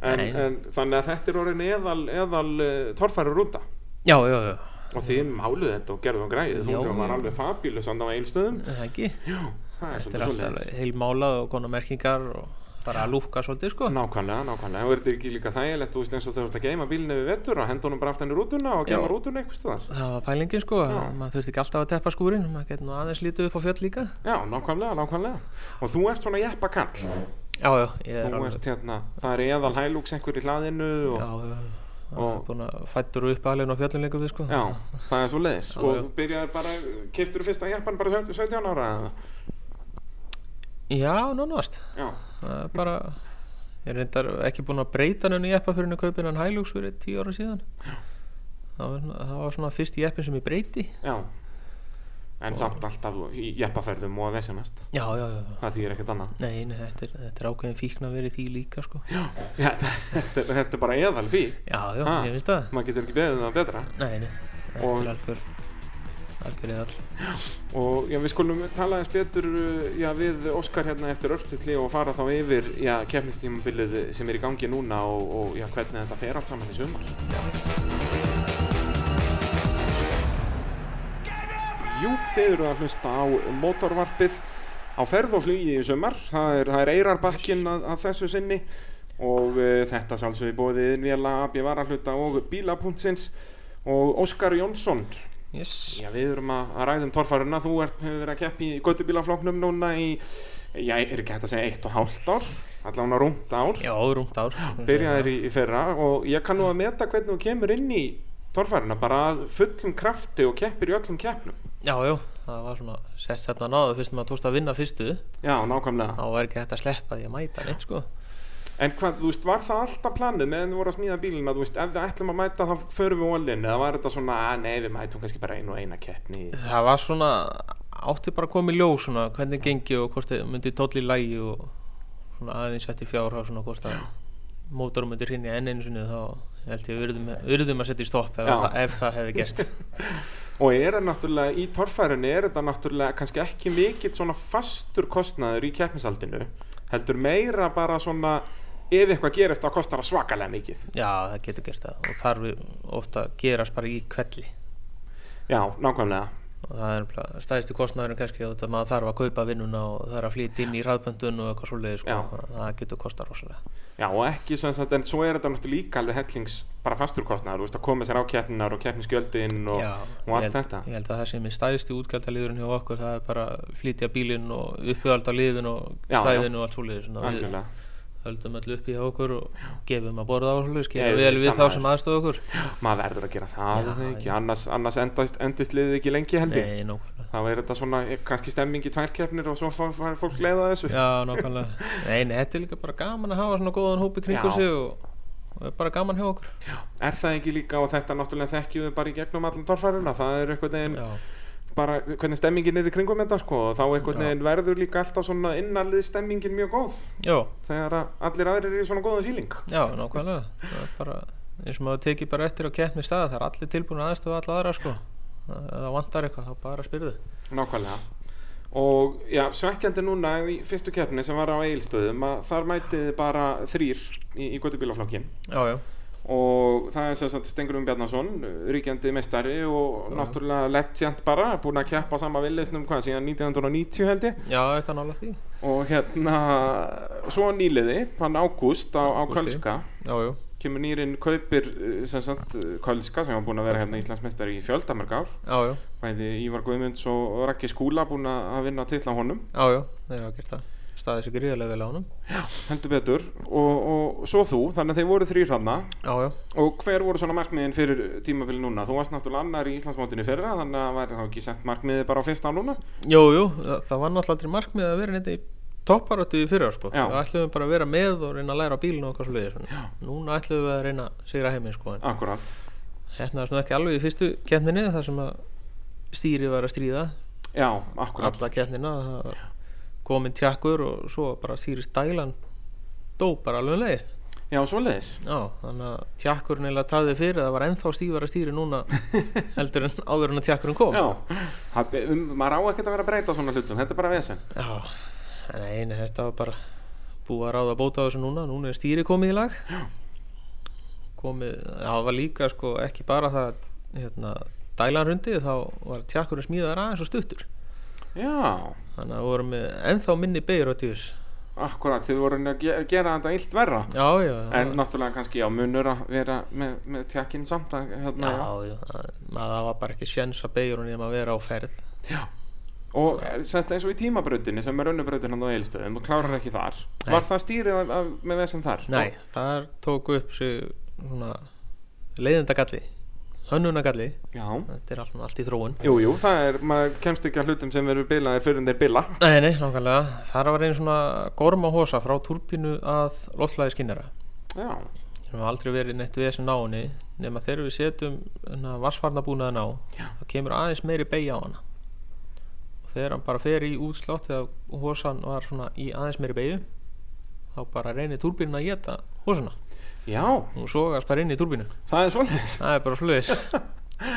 S1: En,
S2: Nei.
S1: en þannig að þetta er orðin eðal, eðal uh, torfæru rúta
S2: Já, já, já,
S1: og þið máluð þetta og gerðum græðið,
S2: Já.
S1: þú var alveg fabílus andan á eilstöðum.
S2: er það ekki
S1: Það er
S2: Þetta er
S1: svolítið
S2: alltaf
S1: svolítið.
S2: heilmálað og konar merkingar og bara að lúka svolítið sko
S1: Nákvæmlega, nákvæmlega, og er þetta ekki líka þægilegt, þú veist eins og þau ert að geima bílinu við vettur og henda honum bara aftan í rútuna og geima
S2: Já.
S1: rútuna eitthvað stöðar.
S2: Það var pælingin sko, að maður þurfti ekki alltaf að teppa skúrin maður getur nú aðeins lítið upp á fjöll líka
S1: Já, nákvæmlega, nákvæmlega. Og þú ert svona jeppa kall.
S2: Já, já, ég er
S1: Þú
S2: alveg
S1: ert hérna, það er eðal hælúks einhver í hlaðinu og...
S2: Já, já,
S1: Sko. Og-
S2: og búin að fættur upp aðlegin á fjöllum líka við sko
S1: Já, það er svo leiðis.
S2: Já,
S1: Og
S2: já.
S1: byrjaði bara, keftur þú fyrsta jeppan bara 17 17 ára? eða?
S2: Já, nánast
S1: Já,
S2: Það er bara Ég er reyndar ekki búin að breyta henni jeppa fyrir henni kaupin en hælúks fyrir tíu ára síðan Það var, svona- það var svona fyrst jeppin sem ég breyti
S1: já. En samt alltaf í jeppaferðum og að vesenast.
S2: Já, já, já, já
S1: Það þýr ekkert annað.
S2: Nei, nei, þetta er, þetta er ákveðin fíkn að vera í því líka sko Já,
S1: Já, þetta, er- þetta er bara eðal fín.
S2: já,
S1: Ha.
S2: ég finnst það
S1: Maður getur ekki beðið um það betra.
S2: Nei, nei, þetta
S1: Og-
S2: er algjör algjör eðal
S1: Og já, við skulum tala eins betur uh, já, við Óskar hérna eftir örftilli og fara þá yfir já, keppnistímabilið sem er í gangi núna og, og já, hvernig þetta fer allt saman í sumar. Jú, þeir eru að hlusta á mótorvarpið á ferð og flugi í sumar. Það er, það er eirarbakkinn að, að þessu sinni og uh, þetta sálsögði bóðið innvéla AB varahluta og bíla.sins og Óskar Jónsson
S2: yes.
S1: Já, við erum að, að ræðum torfaruna, þú ert hefur verið að keppi í göttubílafloknum núna í, já, er ekki hægt að segja eitt og hálft ár, allavega rúmt ár,
S2: Já, rúmt ár
S1: byrjaðir í, í fyrra og ég kann nú að meta hvernig þú kemur inn í torfaruna, bara að fullum krafti og keppir í öllum keppnum.
S2: Já, já, það var svona sest hérna náðu fyrst maður tókst að vinna fyrstu
S1: Já, nákvæmlega.
S2: þá var ekki hægt að sleppa því að mæta neitt sko
S1: En hvað, þú veist, var það alltaf planið meðan þú voru að smíða bílina, þú veist, ef við ætlum að mæta þá förum við ólinn, eða var þetta svona, að nei, við mætum kannski bara einu og eina keppni.
S2: Það var svona, átti bara að koma í ljó svona, hvernig gengi og hvort þið myndi tóll í lægi og svona aðeins sett í fjárhá svona hvort að mótorum myndi hrinja enn einu sinni þá held ég við urðum, urðum að setja í stopp ef,
S1: Já.
S2: það, ef það hefði gerst
S1: Og er það náttúrulega, í torfærunni er þetta náttúrulega kannski ekki mikill svona fastur kostnaður í keppnisaldinu, heldur meira bara svona, ef eitthvað gerist þá kostar það svakalega mikið.
S2: Já, það getur gerst það og þarf ofta að gerast bara í kvelli
S1: Já, nákvæmlega.
S2: og það er stæðistu kostnæðurinn kannski og þetta maður þarf að kaupa vinnuna og það er að flýta inn í ráðböndun og eitthvað svoleiði sko,
S1: Já.
S2: það getur kosta rosalega
S1: Já, og ekki sem sagt, en svo er þetta náttúrulega líka alveg hellings bara fastur kostnaður, þú veist, að koma sér á keppninar og keppnisgjöldin og,
S2: Já,
S1: og allt
S2: ég held,
S1: þetta.
S2: Ég held að það sem er stæðistu útgjaldaliðurinn hjá okkur það er bara að flytja bílinn og uppihald á liðin og
S1: Já,
S2: stæðin og allt svoleiði svona, við
S1: Algjörlega.
S2: höldum öll upp í hjá okkur og gefum að borða á og svoleiðis,
S1: Ég
S2: gerum
S1: veit
S2: vel við
S1: það,
S2: þá
S1: maður.
S2: sem aðstofa okkur
S1: maður verður að gera það
S2: Já,
S1: eða ekki,
S2: já.
S1: annars, annars endast, endist liðið ekki lengi held ég
S2: Nei, nákvæmlega
S1: þá er þetta svona eh, kannski stemming í tværkeppnir og svo fá- fær fólk leiða þessu
S2: Já, nákvæmlega Nei, nei, þetta er líka bara gaman að hafa svona góðan hóp í kringum
S1: Já.
S2: sig og, og er bara gaman hjá okkur
S1: er það ekki líka og þetta náttúrulega þekkjum við bara í gegnum allan torfæruna það er einhvern veginn
S2: Já,
S1: bara hvernig stemmingin er í kringum þetta sko og þá einhvern
S2: Já.
S1: veginn verður líka alltaf svona innanlið stemmingin mjög góð
S2: já,
S1: þegar að allir aðrir eru í svona góðan fíling
S2: já nákvæmlega Það er bara eins og maður tekið bara eftir á keppni stað það er allir tilbúin aðstofa alla aðra sko Það- ef það vantar eitthvað, þá bara spyrðu
S1: nákvæmlega og já, svekkjandi núna í fyrstu keppni sem var á Egilstöðum að þar mætið þið bara þrýr í, í göttubílaflokkin
S2: Já, já,
S1: og það er sem sagt Stengurum Bjarnason ríkjandi meistari og
S2: Já.
S1: náttúrulega legend bara, búin að keppa sama villisnum hvað síðan 1990 held ég
S2: já, eitthvað nála því
S1: og hérna svo nýliði, hann Ágúst á, á
S2: Ágústi.
S1: Kölska,
S2: Já, já,
S1: kemur nýrin kaupir eh, sem sagt eh, Kölska sem var búin að vera hérna Íslandsmeistari í fjöldamörg ár
S2: já, já,
S1: bæði Ívar Guðmunds og Raggi Skúla búin að vinna til á honum
S2: já, já, þeir hafa gert það staðið sér gríðarlega vel á honum
S1: heldur betur og, og svo þú, þannig að þeir voru þrýr hranna
S2: Já, já,
S1: Og hver voru svona markmiðin fyrir tímabili núna? Þú varst náttúrulega annar í Íslandsmótinu fyrra þannig að væri þá ekki sett markmiði bara á fyrsta núna?
S2: jú, jú, það, það var náttúrulega aldrei markmið að vera neitt í topparöttu í fyrra sko
S1: Já.
S2: Það ætlum við bara að vera með og reyna að læra á bílinu og eitthvað sliðis Núna ætlum við að reyna að sigra heiminn sko en
S1: Akkurat.
S2: hérna svona ekki alveg í fyrstu keppninni þar sem að stýrið var að stríða
S1: Já, akkurat.
S2: alla keppnina það var komin tjakkur og svo bara stýri stælan dó bara alveg um leið
S1: Já, svoleiðis.
S2: Já, þannig að tjakkurinn eiginlega taði fyrir það var ennþá stífara stýri núna heldur en áður en að tjakkurinn kom
S1: Já. Það, um, maður á ekkert að vera að breyta svona hlutum, þetta er bara vesen.
S2: Já, en einu þetta var bara búið að ráða að bóta á þessu núna núna er stýri komið í lag já. komið, það var líka sko ekki bara það hérna, dælanrundi þá var tjakkurinn smíðaður aðeins og stuttur
S1: Já,
S2: þannig að við vorum með ennþá minni beigur á djús
S1: akkurat. Þið voru að ge gera þetta illt verra.
S2: Já, já
S1: En náttúrulega kannski á munur að vera með, með tjakkinn samt að
S2: Já,
S1: hérna.
S2: já, það maður var bara ekki sjens að beigur hún að vera á ferð
S1: já. Og eh, semst eins og í tímabrautinni sem er önnubrautin hann á eilstöðum og klárar ekki þar.
S2: Nei.
S1: Var það stýrið af, af, með vesen þar?
S2: Nei, þar tóku upp sig svona leiðindagalli hönnunagalli
S1: Já.
S2: þetta er allt, allt í þróun
S1: Jú, jú, það er, maður kemst ekki að hlutum sem verður bilaðir fyrir en þeir bila
S2: Nei, nei, nákvæmlega þar var einu svona gorma hósa frá turbínu að loftlæði skinnara
S1: Já,
S2: sem hafa aldrei verið neitt við þessi náni nema þegar við setjum vassvarnabúnaðin á
S1: Já.
S2: þá kemur aðeins meiri beigja á hana og þegar hann bara fer í útslátt þegar hósan var svona í aðeins meiri beigju þá bara reynir turbínu að geta hósana
S1: já,
S2: hún sogast bara inn í turbínu
S1: það er svoleiðis
S2: það er bara sluðis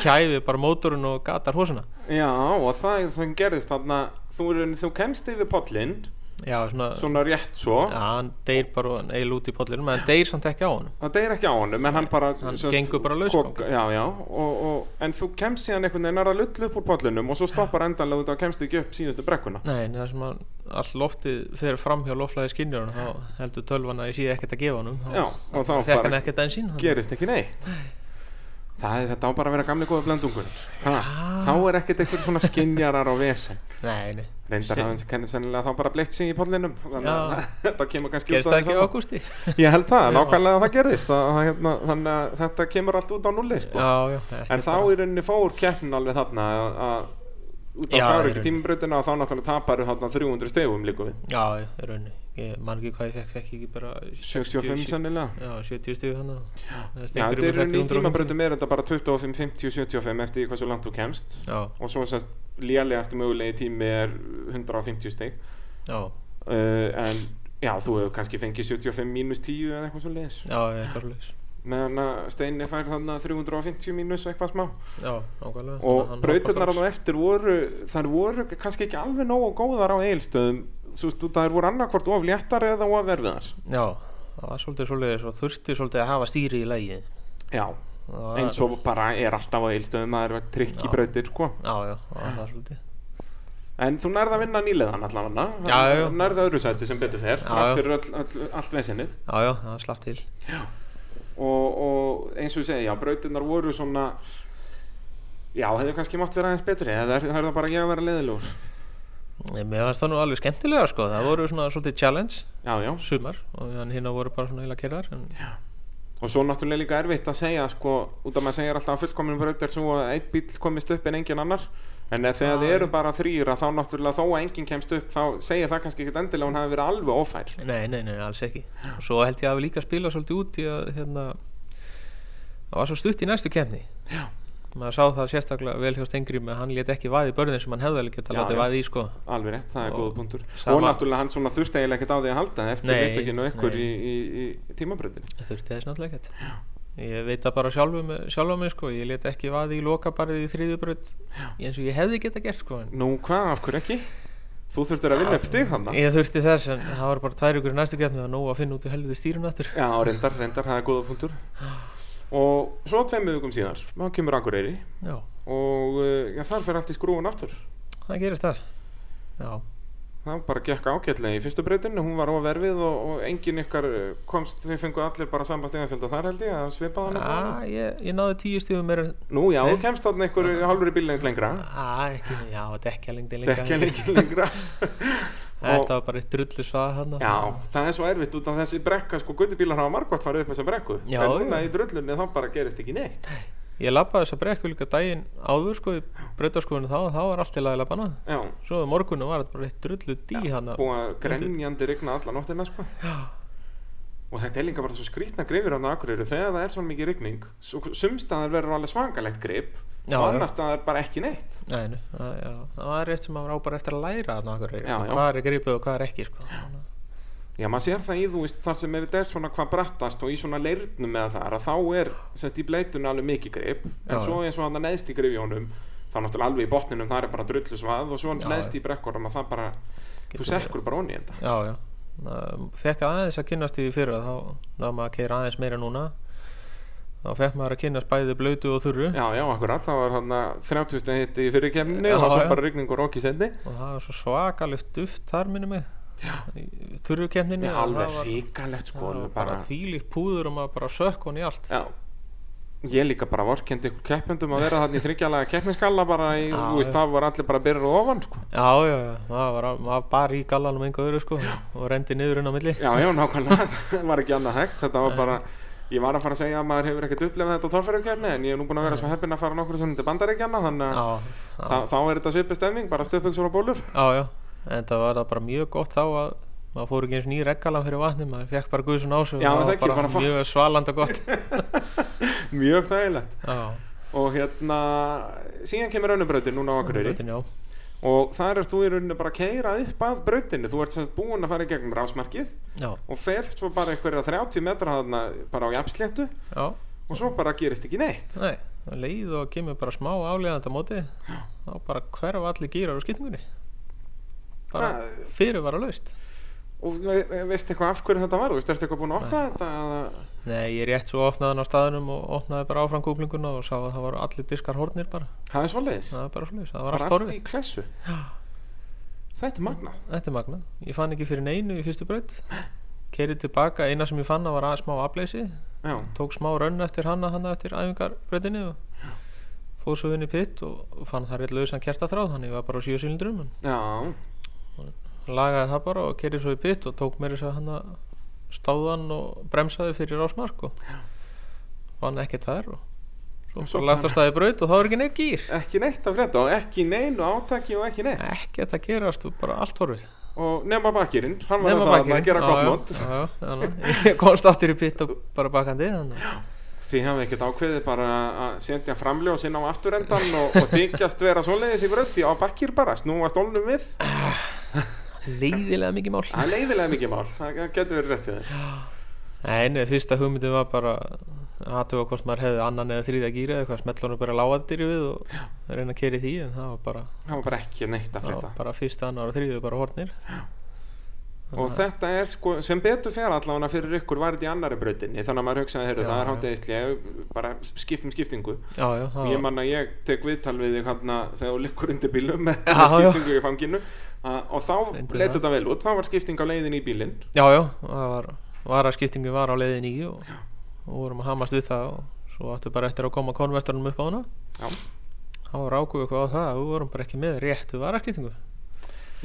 S2: kæfi bara mótorun og gatar hósana
S1: Já, og það er sem gerðist þarna þú, er- þú kemst yfir pollinn
S2: já, svona,
S1: svona rétt svo
S2: já, hann deyr bara eil út í pollinum en hann deyr samt ekki á honum
S1: það deyr ekki á honum en hann bara sem
S2: Hann
S1: sagt,
S2: gengur bara laus,
S1: kok- já, já, og, og, en þú kemst síðan einhvern veginn er að lullu upp úr pollunum og svo stoppar endanlega út og kemst ekki upp síðustu brekkuna
S2: Nei, en það sem að all loftið fer fram hjá loflæði skinnjörn þá heldur tölvan að ég sé ekkert að gefa honum
S1: já, og þá
S2: fekk hann
S1: bara
S2: ekkert ensín hann-
S1: gerist ekki neitt það er þetta á bara að vera gamli góða blendungur ha,
S2: Já.
S1: þá er ekkert einhver svona skinjarar á vesen
S2: Nei, nei,
S1: reyndar
S2: Shit.
S1: hafði hann kenni sennilega þá bara bleikt sig í pollinum þannig
S2: Já.
S1: að þetta kemur kannski af
S2: gerist
S1: því
S2: það ekki í
S1: sama.
S2: augusti
S1: ég held það,
S2: Já.
S1: nákvæmlega það gerðist að, að, hérna, þannig að þetta kemur allt út á nulli sko.
S2: Já, já þetta er
S1: en þá
S2: bara-
S1: í rauninni fór keppnin alveg þarna að- að út af
S2: Já, í
S1: kláru ekki
S2: rauninni.
S1: tímabrautina og þá náttúrulega tapar þarna 300 stegum líka við
S2: Já, já, í rauninni Ég man ekki hvað ég fekk, fekk ekki bara
S1: 75 sennilega
S2: Já, 70 stíðu hann Já,
S1: Já, þetta er í rauninni í tímabrautum er þetta bara 25, 50, 75 eftir því hversu langt þú kemst
S2: Já,
S1: og svo sérst lélegasti mögulegi tími er 150 steg
S2: já,
S1: uh, en já, þú hefur kannski fengið 75 mínus 10 eða eitthvað svo leiðis
S2: já, eitthvað leis
S1: meðan að Steini fær þarna 350 mínus eitthvað smá
S2: Já, ákvæmlega
S1: og brautirnar á eftir voru þar voru kannski ekki alveg nógu góðar á eilstöðum þú veist, þær voru annarkvort of léttar eða of erfiðar
S2: Já, það var svolítið svolítið og þurfti svolítið að hafa stýri í lægi
S1: já, eins og bara er alltaf á eilstöðum að það er trikk
S2: Já.
S1: í brautir sko.
S2: Já, já, það var það svolítið
S1: en þú nærða að vinna nýleðan allavega
S2: Já, já, já.
S1: nærða öðru sæti sem betur fer
S2: Já,
S1: þrátt
S2: já.
S1: fyrir öll, öll, allt vesinnið
S2: Já, já, það slapp til
S1: og, og eins og ég segi, já, brautirnar voru svona já, hefðu kannski mátt vera aðeins betri eða er, það er það bara ég að vera leiðilegur
S2: Nei, Mér fannst það nú alveg skemmtilega sko Það voru svona svolítið challenge
S1: já, já,
S2: sumar og hérna voru bara svona heila kerðar en,
S1: og svo náttúrulega líka erfitt að segja sko, út af maður segir alltaf að fullkomnum braut er svo að einn bíl komist upp en engin annar en ef þegar
S2: Já,
S1: þið eru
S2: já.
S1: bara þrýra þá náttúrulega þó að enginn kemst upp þá segir það kannski ekkert endilega að hún hafi verið alveg ofær
S2: Nei, nei, nei, alls ekki og Svo held ég að við líka að spila svolítið út í að hérna það var svo stutt í næstu kemni
S1: Já.
S2: maður sá það sérstaklega vel hjá Stengrím að hann let ekki vaði börðin sem hann hefði alveg geta
S1: Já,
S2: látið
S1: já.
S2: vaði í sko
S1: alveg rétt, það er
S2: Og
S1: góða punktur
S2: sama-
S1: og náttúrulega hann svona þurfti eiginlega ekkert á því að halda eftir
S2: Nei,
S1: mistökinu ykkur
S2: nei.
S1: í, í, í tímabröndinu
S2: Það þurfti þess náttúrulega ekkert Ég veit það bara sjálfum, sjálfum mig sko ég let ekki vaði í lokabarðið í þriðjubröð eins og ég hefði geta gert sko en
S1: nú hvað, af hverju ekki? þú þurftir að vinna upp stig hann
S2: ég þurfti þess en það var bara tvær ykkur í næstu kemni og nóg að finna út í helviti stýrun aftur
S1: já, reyndar, reyndar, það er góða punktur og svo tveimu vikum síðar þá kemur Akureyri
S2: Já,
S1: og uh, já, þar fer allt í skrúun aftur
S2: það gerist það Já,
S1: Það bara gekk ágætlega í fyrstu breytinu, hún var óverfið og, og engin ykkar eh, komst, þið fengu allir bara samband stegafjölda þar held ég að svipa þannig
S2: ah, ég, ég náði tíu stífum meira
S1: Nú já, þú
S2: Nei.
S1: kemst þarna ykkur hálfur í bílneitt lengra,
S2: ah, ekki, Já, dekja lengdi líka
S1: dekja lengi lengra. og,
S2: Þetta var bara eitt drullu svað hann
S1: já, það er svo erfitt út af þessi brekka, sko guttubílar hafa margótt farið upp þessa brekku,
S2: Já,
S1: en núna
S2: já.
S1: í drullunni þá bara gerist ekki neitt.
S2: Ég labbaði þessa brekku líka daginn áður sko í breytaskoðinu þá þá var allt í lagi labbana
S1: Já,
S2: Svo um morgunum var þetta bara eitt drullu dí hann
S1: búið að grenjandi rigna alla nóttina, sko. Og þetta er líka bara svo skrýtna greifir á Akureyri þegar það er svona mikið rigning, sumstaðar verður alveg svangalegt greip
S2: Já,
S1: og
S2: já.
S1: annar staðar bara ekki neitt.
S2: Nei, nei, það- já, það var rétt sem maður á bara eftir að læra þarna okkur
S1: Já, já.
S2: Hvað er gripið og hvað er ekki sko Þannig að-
S1: Já, maður sér það í, þú veist, þar sem er þetta er svona hvað brattast og í svona leirnum með þar að þá er, semst, í bleitunni alveg mikið grip en
S2: Já,
S1: svo eins og hann neðst í grifjónum þá náttúrulega alveg í botninum, það er bara drullu svað og svo
S2: Já,
S1: neðst
S2: já.
S1: í brekkorum að það bara þú
S2: Getur
S1: sekkur bara onni í þetta
S2: Já, já Fekk aðeins að kynnast því fyrir þá náðum maður að keira aðeins meira núna Þá fekk maður að kynnast bæði blötu og þurru
S1: Já, já, akkurat, það var hann 30 stund hitti í fyrirkemni
S2: Já,
S1: og svo
S2: já.
S1: bara rigning og rokk í sendi
S2: og það var svo svakalegt duft þar minni mig þurrukemninu
S1: Já, alveg ríkalegt sko
S2: bara,
S1: alveg
S2: bara þýlíkt púður og maður bara sökk hann í allt
S1: Já Ég líka bara vorkendi ykkur keppendum að vera þarna í þryggjalaga keppniskalla bara í,
S2: Já,
S1: þú veist,
S2: já.
S1: það voru allir bara byrjar ofan sko
S2: já, já, já, maður var, maður bara í gallanum enga öðru sko og rendi niður inn á milli
S1: Já, já, nákvæmlega, það var ekki annað hægt Þetta var bara, ég var að fara að segja að maður hefur ekkert upplefað þetta á torfærufkjörni En ég er nú búin að vera svo heppinn að fara nokkur svona til bandaríkjana Þannig að
S2: já,
S1: þá,
S2: já,
S1: þá er þetta svipið stemming, bara stöpugsur og bólur
S2: já, já. en það var það bara mjög gott þá að maður fór ekki eins og nýr reggalan fyrir vatni maður fekk bara guðsum á sig
S1: Já,
S2: og
S1: það
S2: það
S1: ekki,
S2: var
S1: bara
S2: bara
S1: fa-
S2: mjög svalanda gott
S1: Mjög þægilegt
S2: já,
S1: Og hérna, síðan kemur önnubrautin núna á Akureyri
S2: brautin, já.
S1: Og þar ert þú í rauninni bara að keira upp að brautinni Þú ert semst búin að fara í gegnum rásmarkið
S2: já,
S1: Og ferð svo bara einhverja 30 metra þarna bara á jafnsléttu
S2: já,
S1: Og svo bara gerist ekki neitt
S2: nei leið og kemur bara smá aflegaðanda móti þá bara hverfa allir gýrar og skipningunni bara
S1: Hvað-
S2: fyrir var að laust
S1: og þú ve- veist eitthvað af hverju þetta var þú veist, ertu eitthvað búin að opna þetta eða-
S2: Nei, ég rétt svo opnaði hann á staðinum og opnaði bara áfram kúplinguna og sá að það var allir diskar hornir bara.
S1: það er svoleiðis
S2: Það var bara slis, það var
S1: bara
S2: allt
S1: allt
S2: horfið.
S1: í klessu þetta er magna
S2: Þetta er magnað. Ég fann ekki fyrir neinu í fyrstu braut. Kerið tilbaka, eina sem ég fann að var að smá afleysi.
S1: já,
S2: Tók smá rönn eftir hanna hanna eftir æfingarbrautinni og fór svo inn í pitt og og fann það rétt lausan kertatráð, þannig ég var bara á sjö silindrum. En
S1: já,
S2: lagaði það bara og kerið svo í pitt og tók mér þess að hanna stáðan og bremsaði fyrir rásmark og vann ekkert þar og svo,
S1: Og svo
S2: bara lagt á staði braut og þá er ekki neitt gýr.
S1: ekki neitt að frétta og ekki neinu átaki og ekki neitt
S2: Ekkert að gerast og bara allt horfið.
S1: og nema bakirinn, hann var
S2: Nefna
S1: þarna
S2: bakið
S1: að gera gott mót
S2: mót Ég komst aftur í pitt og bara bakandi þannig. að-
S1: því hafa ekkert ákveðið bara að sendja framljós inn á afturendan og, og þykjast vera svoleiðis í bröndi á bakkir bara, snúa stólnum við
S2: Leiðilega mikið mál
S1: það er leiðilega mikið mál, það það getur verið rétt hjá þér
S2: Nei, nei, fyrsta hugmyndin var bara aðtöfa hvort maður hefði annan eða þrýða gýra eða eitthvað, smetlunum bara lágandir við og reyna að keri því en það var bara,
S1: það var bara ekki neitt að
S2: það
S1: frétta
S2: var bara fyrsta, annar og þrýðu bara hornir
S1: og þetta er sko, sem betur fer allavega fyrir ykkur var þetta í annari brautinni þannig að maður hugsaði, heyrðu,
S2: Já,
S1: það er
S2: já.
S1: hátegislega bara skiptum skiptingu
S2: Já, já, það
S1: og ég
S2: var
S1: manna, ég tek viðtal við þig hann þegar þú liggur undir bílum með
S2: Já,
S1: með
S2: já.
S1: skiptingu í fanginu að, og þá
S2: Reyndi
S1: leit
S2: það.
S1: þetta vel út, þá var skipting á leiðin í bílinn
S2: Já, já, það var varaskiptingi var á leiðin í og, og vorum að hamast við það og svo áttu bara eftir að koma konvertarnum upp á hana
S1: já,
S2: þá rákuðu eitthvað á það, að við vorum bara ekki með réttu varaskiptingu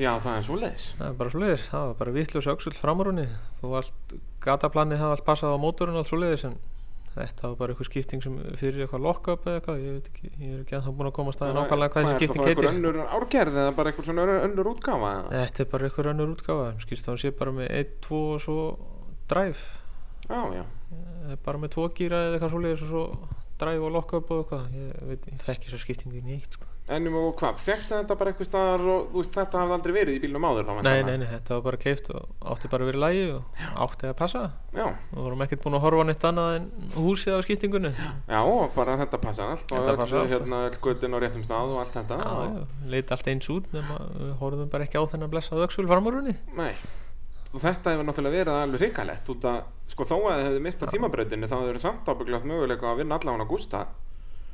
S1: já það er svo leiðis
S2: Það er bara svoleiðis, það var bara vittljós öxull framrúni þú allt, gataplanið það allt passað á mótorun og allt svoleiðis en þetta var bara eitthvað skipting sem fyrir eitthvað lock-up eða eitthvað, ég veit ekki, ég er ekki að það búin að koma að staði nákvæmlega hvað þessi skipting
S1: heitir?
S2: heitir
S1: Það er eitthvað árgerð eða bara eitthvað svona ör- önnur útgáfa eða?
S2: Þetta er bara eitthvað önnur útgáfa, þeim skýrst þá hún sé bara með 1, 2 og svo drive
S1: Já, já,
S2: Eh, bara með 2 gíra eða eitthvað svoleiðis og svo drive og lock-up og eitthvað ég veit, ég þekki þessu skiptingi nýtt sko.
S1: ennum um- og hvað, fegstu þetta bara eitthvað staðar og þú veist þetta hafði aldrei verið í bílnum áður þá
S2: Nei, nei, nei, þetta var bara keift og átti bara að vera í lægi og átti að passa
S1: Já,
S2: og vorum ekkert búin að horfa á neitt annað en húsið af skiptingunni Já,
S1: já, og bara þetta passa allt og
S2: Þetta passar
S1: öll,
S2: allt. sko.
S1: hérna, öll göttin á réttum stað og allt þetta og,
S2: já, leit allt eins út nema við horfðum bara ekki á þennan blessað öksul framúrunni
S1: Nei, og þetta hefur náttúrulega verið alveg hrikalegt út að sko þó að þið hefðu mistað tímabröðinni þá hefur samt ábyggljátt möguleika á að vinna allan á Gústa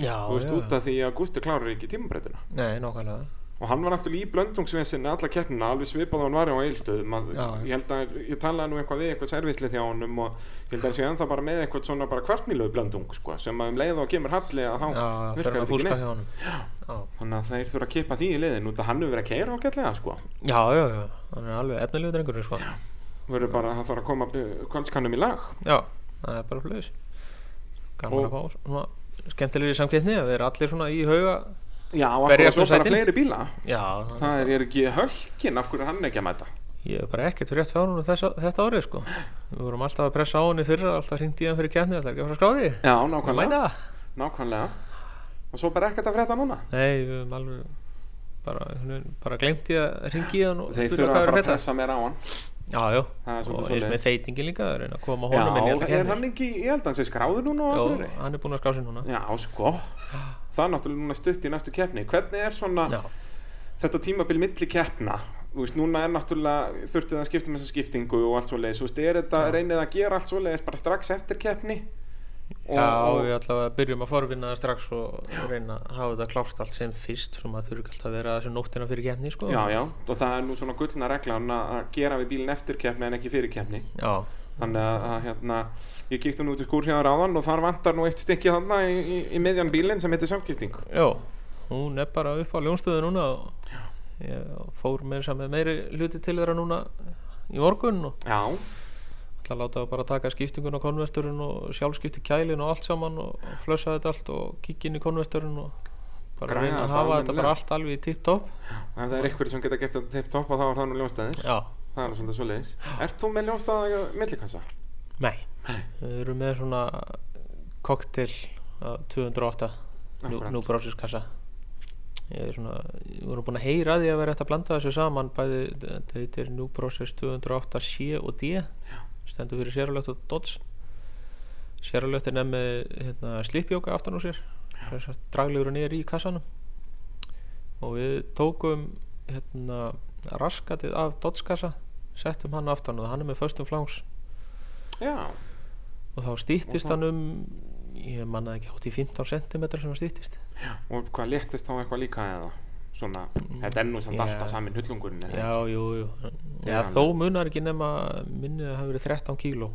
S2: Já,
S1: þú veist
S2: já,
S1: út að því að Gústi klárar ekki tímabröðina
S2: nei, nákvæmlega
S1: og hann var náttúrulega í blöndungsvesinni alla keppnina alveg svipað og hann var á eilstöðum að,
S2: Já, já.
S1: ég held að ég talaði nú eitthvað við eitthvað servisli þjá honum og ég held að það sé ennþá bara með eitthvað svona bara kvartmílu blöndung sko, sem að um leið og kemur halli að þá
S2: Já,
S1: virkar
S2: fyrir
S1: þetta
S2: að
S1: ekki
S2: fúska
S1: neitt
S2: hjá honum Já,
S1: þannig að þeir þurfa að kippa því í leiðin út að hann hefur verið að keira ágætlega sko
S2: já, já, já, hann er alveg efnilegu drengurinn sko. já.
S1: verður bara að það þarf að koma kvöldskannum í lag
S2: það er bara flöðis Gaman
S1: Og-
S2: að fá svona skemmtilegri samkettni að við erum allir svona í hauga
S1: Já, og akkur
S2: Berjast
S1: svo
S2: um
S1: bara
S2: sætin?
S1: fleiri bíla
S2: Já,
S1: Það er, er ekki hölkin, af hverju er hann ekki að mæta
S2: ég er bara ekkert rétt fjárhúnu þetta árið sko. Við vorum alltaf að pressa á henni fyrra, alltaf hringt í hann fyrir keppni, alltaf ekki að fara að skráði
S1: Já,
S2: Hvað
S1: nákvæmlega,
S2: mæta?
S1: nákvæmlega. Og svo bara ekkert að frétta núna
S2: Nei, við höfum alveg bara, einhvern veginn bara glemt ég að ringi hann og
S1: Þeir
S2: spurði
S1: þurfa
S2: hvað
S1: að fara
S2: er
S1: að
S2: frétta.
S1: pressa meira á hann
S2: Já, já,
S1: Það er svolítið
S2: og eins
S1: svoleiðis.
S2: með þeytingin líka að reyna að koma
S1: Já,
S2: honum en ég ætla ekki
S1: er hann ekki, ég held að hann sé skráður núna á
S2: Jó,
S1: Akureyri
S2: hann er búinn að skrá sér núna
S1: Já, sko Það er náttúrulega núna stutt í næstu keppni Hvernig er svona
S2: Já,
S1: þetta tímabil milli keppna? Þú veist, núna er náttúrulega þurftið að skipta með þessa skiptingu og allt svoleiðis Þú veist, er þetta,
S2: Já.
S1: reynið að gera allt svoleiðis bara strax eftir keppni? Og-
S2: já
S1: og-
S2: við allavega byrjum að forvinna það strax og reyna að hafa þetta klárt allt sem fyrst svo maður þurfi ekki alltaf að vera þessu nóttina fyrir keppni sko.
S1: Já, já, og það er nú svona gullna reglan að að gera við bílinn eftir keppni en ekki fyrir keppni
S2: já,
S1: þannig að, að hérna, ég kíkti nú út í skúrhjáður áðan og þar vantar nú eitt stykki þarna í, í, í miðjan bílinn sem heitir samskipting
S2: já, hún er bara upp á ljónstöðu núna og ég fór með þess að með meiri hluti til þeirra núna í morgun og
S1: Já,
S2: ætla að láta það bara taka skiptingun á konverturinn og sjálfskipti kælin og allt saman og og flössa þetta allt og kíkja inn í konverturinn og bara
S1: Græja
S2: reyna að
S1: þetta
S2: hafa þetta
S1: almennilega.
S2: bara allt alveg í tipptopp
S1: ef það er ykkur sem geta gert þetta tipp topp þá er það nú ljónstæðir
S2: Já,
S1: Það er svona svoleiðis Ert þú með ljónstæða millikassa?
S2: nei Við erum með svona koktel 208 nú,
S1: Akkurat.
S2: nú brásiskassa Ég er svona, við vorum búin að heyra því að vera eftir að blanda þessu saman bæði, þetta heitir New Process 208 C og D stendur fyrir sérulegt og Dodge sérulegt er nefnir hérna, slipjóka aftan úr sér þess að draglegur og niður í kassanum og við tókum hérna, raskatið af Dodge kassa settum hann aftan og hann er með föstum flangs
S1: Já,
S2: og þá stýttist
S1: Og þá-
S2: hann um ég mannaði ekki hátt í 15 cm sem hann stýttist
S1: og hvað léttist þá eitthvað líka eða? Svona, þetta er nú samt
S2: Já.
S1: alltaf samin hullungurinn eða?
S2: já, jú, jú já,
S1: Já,
S2: þó munar ekki nema minnið að hafa verið 13 kíló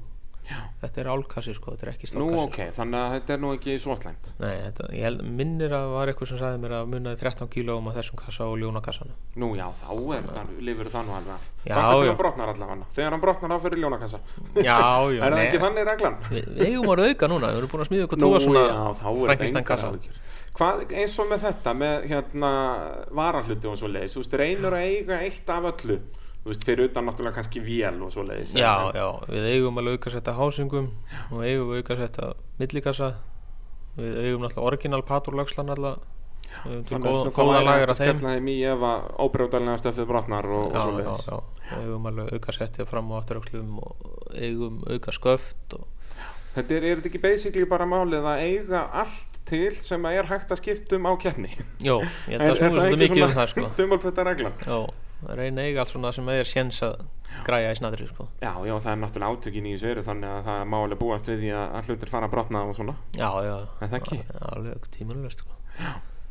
S1: Já.
S2: þetta er álkassi sko, þetta er ekki
S1: Nú
S2: stórkassi
S1: ok, þannig að þetta er nú ekki svo slæmt.
S2: Nei, þetta, ég held, minnir að var eitthvað sem sagði mér að munaði 13 kílóum á þessum kassa og ljónakassanum
S1: Nú já, þá er það, lifir það nú alveg af.
S2: Já,
S1: Þangað til
S2: já.
S1: hann brotnar allavega. Þegar hann brotnar af fyrir ljónakassa.
S2: Já,
S1: er
S2: já,
S1: það
S2: nei.
S1: ekki þannig reglan?
S2: Við, við eigum að rauka núna, við erum búin að smíða eitthvað
S1: Nú
S2: tóa svona
S1: já, þá er þetta
S2: Frankenstein
S1: engar
S2: kassa.
S1: áhyggjur. Hvað, eins og með þetta, með hérna varahluti og svo leiðis, þú veist, reynur að eiga eitt af öllu, þú veist, fyrir utan náttúrulega kannski vél og svo leiðis.
S2: Já, já, við eigum alveg aukasetta hásingum og eigum aukasetta millikassa við eigum náttúrulega orginal paturlagslan alltaf við eigum til
S1: Þannig
S2: góð,
S1: að
S2: góða
S1: það er
S2: lagar
S1: hægt að
S2: að þeim
S1: skella þeim í ef að óbrjóðalega stöfið brotnar og, og
S2: já,
S1: svo
S2: já,
S1: leiðis.
S2: já, við eigum alveg aukasettið fram og afturöxlum og eigum aukasköft og
S1: Þetta er, er þetta ekki basically bara málið að eiga allt til sem að er hægt að skipta um á keppni?
S2: Jó, ég held að snúið svolítið mikið um það sko
S1: þumalpötta reglan?
S2: Jó, að reyna að eiga allt svona sem er séns að græja í snadri sko
S1: Já, já, það er náttúrulega átökin í þessu eru þannig að það má alveg búast við því að að hlutir fara að brotna og svona.
S2: Já, já,
S1: Er það ekki?
S2: alveg tímunlust sko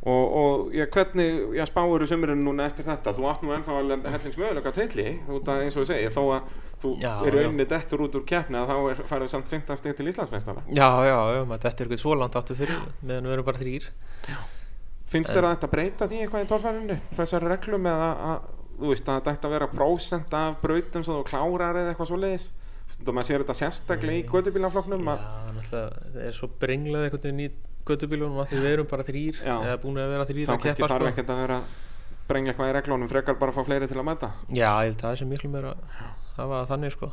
S1: Og, og já, hvernig, já, spáur þú sömurinn núna eftir þetta? Þú átt nú ennþá alveg hellingsmöðulega teitli, þú veit að eins og ég segi, þó að þú
S2: Já,
S1: eru
S2: já.
S1: einni dettur út úr keppni að þá er, færðu samt 15 steg til Íslandsmeistara.
S2: Já, já, já, maður þetta er eitthvað svo langt áttu fyrir meðan við erum bara þrýr
S1: Finnst þér að þetta breyta því eitthvað í torfærinu? Þessar reglum eða að, þú veist, að þetta vera prósent af brautum sem þú klárar eða eitthvað svoleiðis? Stundum að sér þetta sérstaklega í gödubílafloknum
S2: Mm. Já,
S1: að
S2: náttúrulega, það er svo brenglað einhvern veginn í göttubílunum að því við erum bara þrýr
S1: Já.
S2: eða búin að vera þrýr
S1: þá
S2: að
S1: kannski
S2: keppa
S1: þarf
S2: sko.
S1: ekkert að vera að brengla eitthvað í reglunum, frekar bara að fá fleiri til að mæta.
S2: Já, ég held að það sé miklu meira að hafa það þannig sko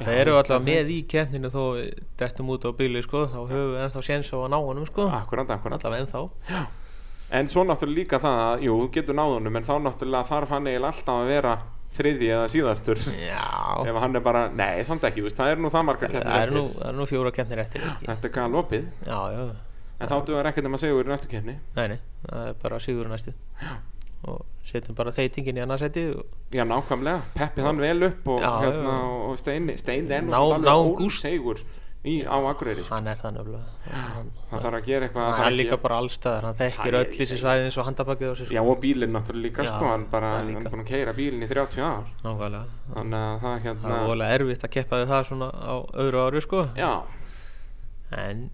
S2: Það eru alltaf með í keppninu þó við dettum út á bíli sko þá höfum við ennþá séns á að ná honum sko
S1: Akkurát, akkurát.
S2: allavega ennþá
S1: En svo náttúrulega líka það að, jú, þú getur náðunum, en þá náttúrulega þarf hann eiginlega alltaf að vera þriði eða síðastur.
S2: Já,
S1: Ef hann er bara, nei, samt ekki, þú veist, það er nú það margar
S2: það er nú,
S1: keppnir eftir.
S2: það er nú fjóra keppnir eftir ekki?
S1: Þetta er galopið,
S2: Já, já,
S1: en þá dugar ekkert um að segja úr næstu keppni.
S2: nei, nei, það er bara sigur næstu og setjum bara þeytingin í annarsæti og
S1: Já, nákvæmlega, peppi þann vel upp og,
S2: Já,
S1: hérna,
S2: já.
S1: og steini, steini er nú
S2: Ná-
S1: samt
S2: ná
S1: alveg
S2: gúst.
S1: ósegur í, á Akureyri sko.
S2: hann er það nefnilega hann,
S1: hann þarf að gera eitthvað
S2: hann
S1: þarf
S2: er
S1: að
S2: líka
S1: gera-
S2: bara allstaðar, hann þekkir
S1: Hann-
S2: öll þessi svæði eins og handabakið á sig
S1: Já,
S2: sko.
S1: og bílinn náttúrulega líka,
S2: Já,
S1: sko, hann bara
S2: það
S1: hann
S2: líka.
S1: er búin að keira bílinn í 30 ár
S2: nákvæmlega
S1: þannig að það
S2: það er
S1: hérna
S2: vola erfitt að keppa við það svona á öðru ári sko.
S1: Já,
S2: en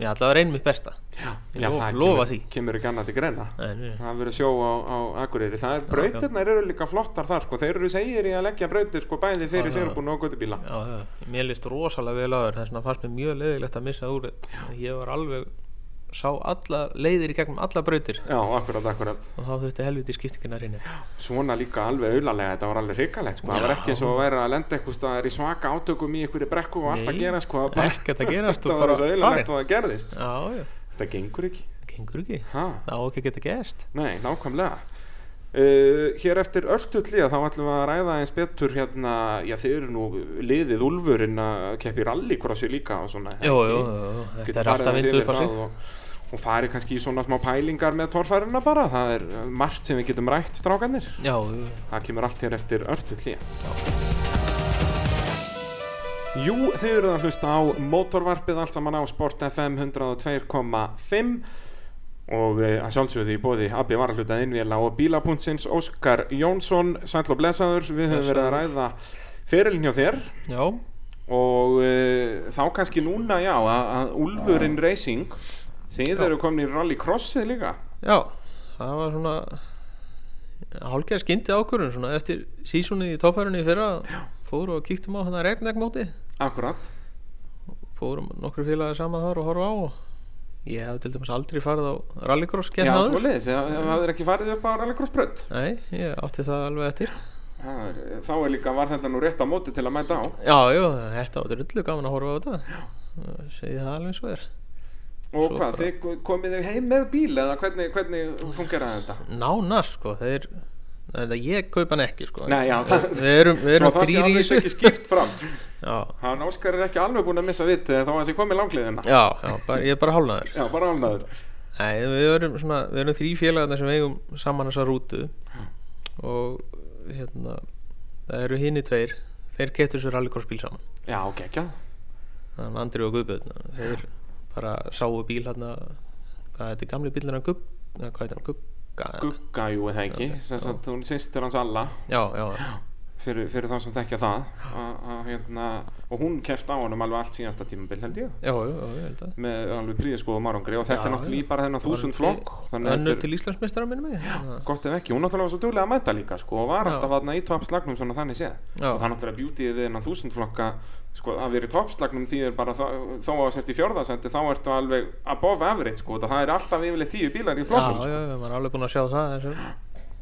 S2: ég ætla að reyna mitt besta
S1: já,
S2: Ég
S1: já
S2: lo-
S1: það
S2: lofa
S1: kemur,
S2: því.
S1: kemur ekki annað til greina
S2: en við
S1: Það verður sjó á, á Akureyri Það er, brautirnar eru líka flottar þar, sko Þeir eru segir í að leggja brautir, sko, bæði fyrir
S2: Já, já.
S1: sérbúna og gutubíla
S2: Já, já, mér list rosalega vel á þér þess vegna fannst mér mjög leiðilegt að missa úr þetta. ég var alveg sá alla leiðir í gegnum alla brautir
S1: Já, akkurat, akkurat
S2: og þá þurfti helviti skiptingina reyni
S1: svona líka alveg auðanlega, þetta var alveg hrikalegt sko. það var
S2: Já.
S1: ekki eins og að vera að lenda eitthvað staðar í svaka átökum í einhverju brekku og allt að
S2: Nei,
S1: gera sko, það bara,
S2: ekkert að gerast
S1: þetta
S2: og
S1: var
S2: bara
S1: eins og auðanlegt
S2: farin
S1: og það gerðist
S2: já, já,
S1: sko. þetta gengur ekki
S2: það gengur ekki
S1: ha,
S2: það á ekki að geta gerst
S1: nei, nákvæmlega uh, hér eftir örstutlíða þá ætlum við að ræða eins betur hérna, já þið eru nú liðið úlfurinn að keppi rallycrossi líka og svona
S2: jú, jú, jú, jú,
S1: Getur
S2: þetta er
S1: farið
S2: alltaf
S1: aðeins yfir
S2: vindu upp á
S1: það
S2: sig
S1: og, og farið kannski í svona smá pælingar með torfærina bara, það er uh, margt sem við getum rætt strákanir
S2: já, jú,
S1: Það kemur allt hér eftir örstu klíja. Jú, þið eruð að hlusta á mótorvarpið allt saman á Sport FM 102.5 og eh, að sjálfsögðu því bóði Abbi Varahluta innvila og bílapuntsins Óskar Jónsson, sæll og blessaður, við höfum verið að ræða ferilin hjá þér
S2: já,
S1: og uh, þá kannski núna, já, að, að Ulfurinn Racing, þið
S2: Já.
S1: eru komin í rallycrossið líka.
S2: já það var svona hálfgerð skyndi ákvörun svona eftir sísunni í toppærunni í fyrra fóru og kíktum á þetta regnækmóti
S1: Akkurat.
S2: fórum nokkru félagi saman þar og horfa á og ég hef til dæmis aldrei farið á rallycross
S1: Já,
S2: keppni Hérna áður. Mm.
S1: svoleiðis, það það er ekki farið upp á rallycrossbrönd.
S2: nei, ég átti það alveg eftir
S1: Það er- Þá er líka, var þetta nú rétt á móti til að mæta á
S2: já, jú, þetta var drullu gaman að horfa á þetta segi það alveg svo er
S1: Og
S2: Svo
S1: hvað,
S2: bara-
S1: þið komið þau heim með bíl eða hvernig, hvernig fungeraði þetta?
S2: nánast sko þeir Þetta ég kaupa hann ekki sko
S1: Nei, já,
S2: það,
S1: það-
S2: Við erum, við
S1: Svo
S2: erum
S1: það sé
S2: þrýr í
S1: alveg
S2: þessu
S1: ekki skýrt fram
S2: Já,
S1: Hann Óskar er ekki alveg búinn að missa vitt þá að þessi komið langliðina
S2: já, já bara, ég er bara hálnaður
S1: Já, bara ánæður
S2: Nei, við erum, svona, við erum þrý félagarnir sem eigum saman þessa rútu og hérna það eru hini tveir þeir kettur sér rallycrossbíl saman
S1: Já, gekkja
S2: þannig að Andri og Guðbjörn þeir bara sáu bíl hérna hvað þetta er gamli bíl hérna Gubb eða hvað heitir hann Gugga eða-
S1: Gugga, jú, eða ekki
S2: Ok,
S1: Sess
S2: já.
S1: að hún sýstir hans alla
S2: já, já, já,
S1: fyrir, fyrir þá sem þekkja það að, að, hérna, og hún keft á honum alveg allt síðasta tímabil held ég
S2: já, já, já, ég held að
S1: með alveg príðiskoðum árangri og þetta
S2: Já,
S1: er náttúrulega
S2: já.
S1: í bara þennan
S2: Það var
S1: þúsund
S2: til-
S1: flokk þannig að
S2: önnur
S1: þetta
S2: til Íslandsmeistara minni mig
S1: er gott ef ekki, hún náttúrulega var svo duglega að mæta líka sko, og var
S2: Já.
S1: alltaf aðna í toppslagnum svona þannig séð
S2: Já.
S1: og það er náttúrulega bjútið við þennan þúsund flokka sko, að vera í toppslagnum því er bara þó, þó að setja í fjórðasendi þá ertu alveg above average sko, það er alltaf yfirleitt tíu bílar í
S2: já,
S1: flokkum
S2: já,
S1: sko.
S2: já, maður er alveg búin að sjá það þessar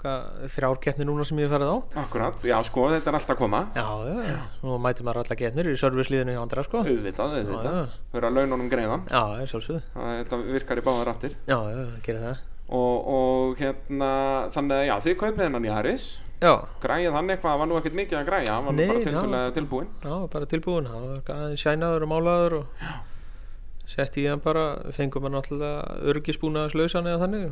S2: hvað, þrjár keppni núna sem ég hef farið á
S1: akkurat, já sko, þetta er alltaf að koma
S2: já, já, já, nú mæti maður alla keppnir í serviceliðinu hjá andra sko já,
S1: auðvitað, auðvitað,
S2: Já, já.
S1: vera laununum greiðan
S2: já, sjálfsögðu
S1: Það- þetta virkar í báðar aftur
S2: já, já, það gerir það
S1: og, og hérna þannig að já, þið kaupið hennan í Harris
S2: já,
S1: græðið hann eitthvað, það var nú ekkert mikið að græja hann var nú
S2: Nei,
S1: bara
S2: ná.
S1: tilfélag tilbúinn
S2: já, bara tilbúin hann var aðeins sænaður og málaður og setti ég hann bara fengum hann alltaf örgisbúnaðar slöysan eða þannig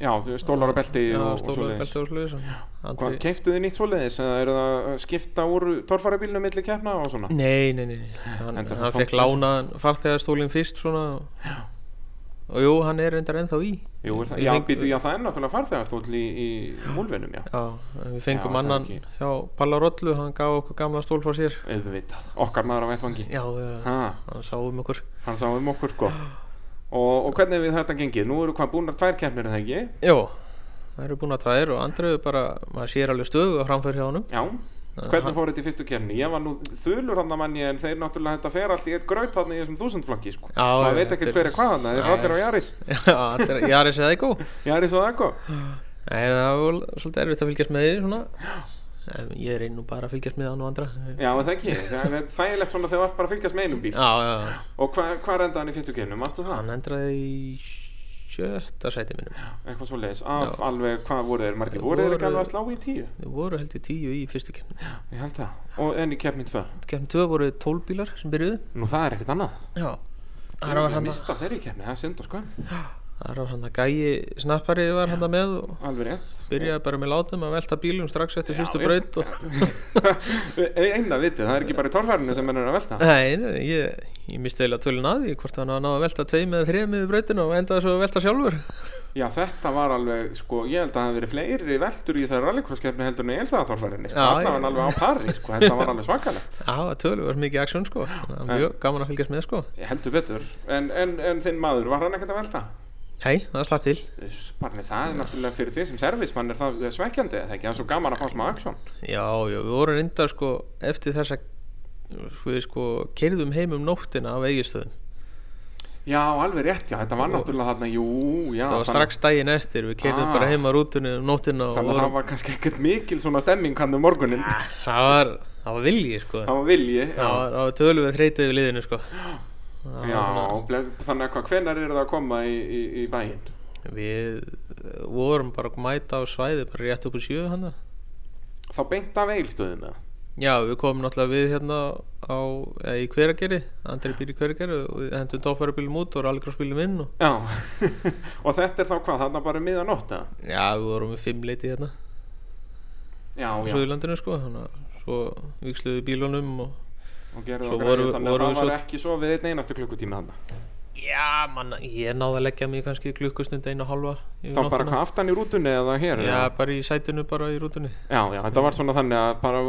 S1: já, stólar og belti
S2: já,
S1: og, og
S2: stólar
S1: svoleiðis
S2: belti og slöysan
S1: hvað, keiftuð þið nýtt svoleiðis eða eru það að skipta úr torfarabílnum milli keppna og svona
S2: Nei, nei, nei, nei. hann,
S1: Enda
S2: hann
S1: það
S2: fekk
S1: tómt
S2: lána farþegarstólinn fyrst svona og, og jú, hann er reyndar ennþá í
S1: Jú, er það,
S2: Við
S1: já,
S2: fengum-
S1: býtu, já, það er náttúrulega farþegastóll í, í múlvinum, já
S2: Já, en við fengum
S1: Já, það
S2: annan
S1: ekki.
S2: hjá Palla Rollu, hann gaf okkur gamla stól frá sér
S1: auðvitað, okkar maður á vettvangi
S2: Já, já,
S1: ha,
S2: hann sáum okkur
S1: hann sá um okkur sko og, og hvernig við þetta gengið, nú eru hvað búnar tvær keppnir er það ekki,
S2: Já, það eru búin að tvæðir og andriðu bara, maður sér alveg stöðu að framför hjá honum
S1: já
S2: Þannig að
S1: Hvernig fór þetta í fyrstu kefni? Ég var nú þulur hann að manni en þeir náttúrulega þetta fer allt í eitt graut þarna í þessum þúsundflokki sko.
S2: Já,
S1: maður
S2: já,
S1: veit ekkert
S2: þetta
S1: hver
S2: er-
S1: er hvað þarna, þeir
S2: Já,
S1: eru allir á Jaris
S2: Já, allir, ég er að segja eitthvað
S1: Jaris og Akko
S2: Nei, það var svolítið erfitt að fylgjast með því svona En ég reyni nú bara að fylgjast með hann og andra Já,
S1: Já, er það ekki, það er þægilegt svona þegar þú ert bara að fylgjast með einum bíl
S2: já, já
S1: Og hva, hvað rendaði hann í fyrstu kefni, mástu það?
S2: Hann endraði í sjötta sæti minnum
S1: Eitthvað svo leiðis, af alveg hvað voru þeir margir, voru þeir ekki
S2: Voru-
S1: alveg að slá í tíu?
S2: Við voru held ég tíu í fyrstu kemni
S1: Ég held það, og enn í kefni tvö
S2: Kemni 2 voru 12 bílar sem byrjuðu
S1: Nú það er ekkert annað
S2: Já
S1: Ég
S2: Þar var hann
S1: mista af þeirri kefni, það er synd og skömm
S2: Þar var hann að gæi snappari var hann með og
S1: Alveg rétt
S2: byrjaði bara með látum að velta bílum strax eftir fyrstu
S1: já.
S2: braut og...
S1: E- Einna vitið, það er ekki bara í torfærinu sem mennur að velta
S2: Nei, nei, ég, ég misti eiginlega tölun að því hvort hann að ná að velta tveim eða þreim yfir brautinu og endaði svo að velta sjálfur
S1: Já, þetta var alveg, sko, ég held að það hafi verið fleiri veldur í þessari rallycross-keppni heldur en í elþaðatorfærinni, sko,
S2: Já,
S1: allavega
S2: já.
S1: alveg á pari, sko, þetta var alveg svakalegt.
S2: Já, tölun var mikið aksjón sko Þannig að Mjög gaman að fylgjast með sko
S1: Heldur betur, en, en, en þinn maður, var hann ekkert að velta?
S2: Nei, það slapp til
S1: Sparni, það er náttúrulega fyrir því sem servismann er það svekkjandi, eða ekki, það er svo gaman að fá smá aksjón.
S2: Já, já, við vorum reyndar sko eftir þessa við sko keirðum heim um nóttina af eigistöðum
S1: Já, alveg rétt, já, þetta var náttúrulega þarna, jú, já.
S2: það var
S1: þannig-
S2: strax daginn eftir við keirðum
S1: Ah.
S2: bara heim á rútunni um nóttina og
S1: Þannig að það
S2: vorum,
S1: var kannski ekkert mikil svona stemming hann um morgunin,
S2: það var það var vilji sko
S1: það var vilji, já.
S2: Ah. það var, það var tölum við þreytið við liðinu sko Það var
S1: Já, ble- þannig að hvað, hvenar eru það að koma í, í, í bæinn?
S2: svona- við eh, vorum bara að mæta á svæði bara rétt upp úr sjö hann
S1: Þá beint af eilstöðum eða?
S2: já við komum náttúrulega við hérna á, eða, í hverageri andri býr í hverageri og við hendum tófærabílum út og rallycrossbílum inn og
S1: Já, og þetta er þá hvað, þarna bara miðanótt eða?
S2: já við vorum við fimm leiti hérna á
S1: Já, já,
S2: Suðurlandinu sko þannig að svo viksluðu bílunum og
S1: og gerðu
S2: Svo
S1: það
S2: voru-
S1: greið, þannig að
S2: voru
S1: það
S2: við
S1: var
S2: svo-
S1: ekki svo við einn einasta klukkutíma þarna.
S2: já man, ég náði að leggja mig kannski klukkustund einu og halva yfir
S1: Þá bara
S2: nóttina.
S1: hvað aftan í rútunni eða hér?
S2: Já,
S1: eða?
S2: bara í sætinu, bara í rútunni
S1: já, já, þetta var svona þannig að bara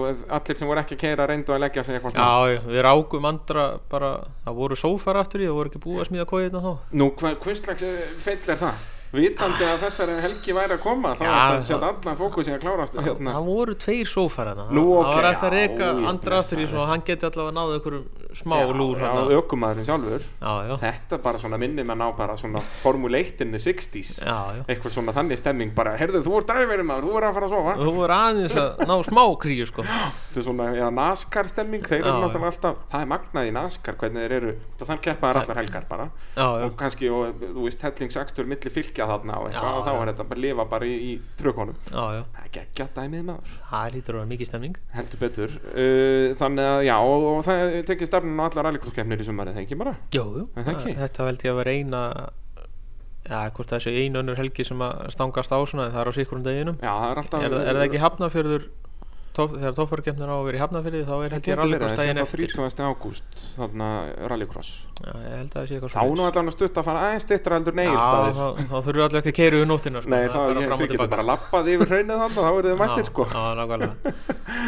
S1: allir sem voru ekki að keira reyndu að leggja sig eitthvað svona.
S2: Já, já, við rákum andra bara, það voru sófar aftur í, það voru ekki búið að smíða kóiðina þá
S1: Nú, hvað hva slags eh, feill er það? Vitandi að þessari helgi væri að koma, þá
S2: Já,
S1: var þetta að
S2: það-
S1: setja allan fókusin að klárast hérna.
S2: Það voru tveir sófar hana
S1: Nú, ok,
S2: Það var eftir að
S1: já,
S2: reka
S1: ég
S2: andra aftur í svo hann geti allavega náðu ykkur smá
S1: Já,
S2: lúr hana
S1: Já, ökumæðurinn sjálfur.
S2: já, já,
S1: Þetta bara svona minnir mann á bara svona formuleittinni 60s.
S2: já, já
S1: Eitthvað svona þannig stemming bara, herðu, þú ert dræfirinn maður, þú ert að fara að sofa.
S2: Þú voru aðeins að ná smá kríu sko
S1: Þetta er svona, já, NASCAR stemming, þeir eru
S2: Já,
S1: náttúrulega alltaf, það er magnað í NASCAR, hvernig þeir eru, þannig keppa þær allar helgar bara,
S2: Já, já,
S1: og kannski, og, þú veist, hellingsakstur milli fylgja þarna og
S2: Já,
S1: eitthvað, og þá
S2: já.
S1: er þetta bara lifa bara í, í trökkunum.
S2: já, já
S1: Það er geggja dæmið maður,
S2: Það lítur að vera mikið stemning
S1: heldur betur. Uh, þannig að, já, og, og það tekið stefnun á allar rallycrosskeppnir í sumarið, það ekki bara?
S2: Jú, jú,
S1: Er það ekki?
S2: þetta veldi ég að vera eina Já, hvort það sé einu önnur helgi sem að stangast á svona en það er á sikkurum um deginum
S1: Já, það er alltaf...
S2: Er, er það ekki hafnafjörður topp- þegar tóffarkjöfnir á að vera í hafnafyrði þá er held ég rallycross
S1: það
S2: daginn
S1: er
S2: eftir
S1: 30. ágúst þarna rallycross
S2: Já, ég held að það sé eitthvað
S1: þá er nú allan stutt að fara aðeins stittra heldur
S2: Já,
S1: neilstaðir
S2: þá, þá þurfum við allir ekki að keira við nóttina sko.
S1: Nei,
S2: er
S1: þá
S2: bara
S1: ég-
S2: fram og
S1: þið getur
S2: tilbaka.
S1: bara lappað yfir hraunið þannig þá eru þið mættir sko
S2: Já, já, nákvæmlega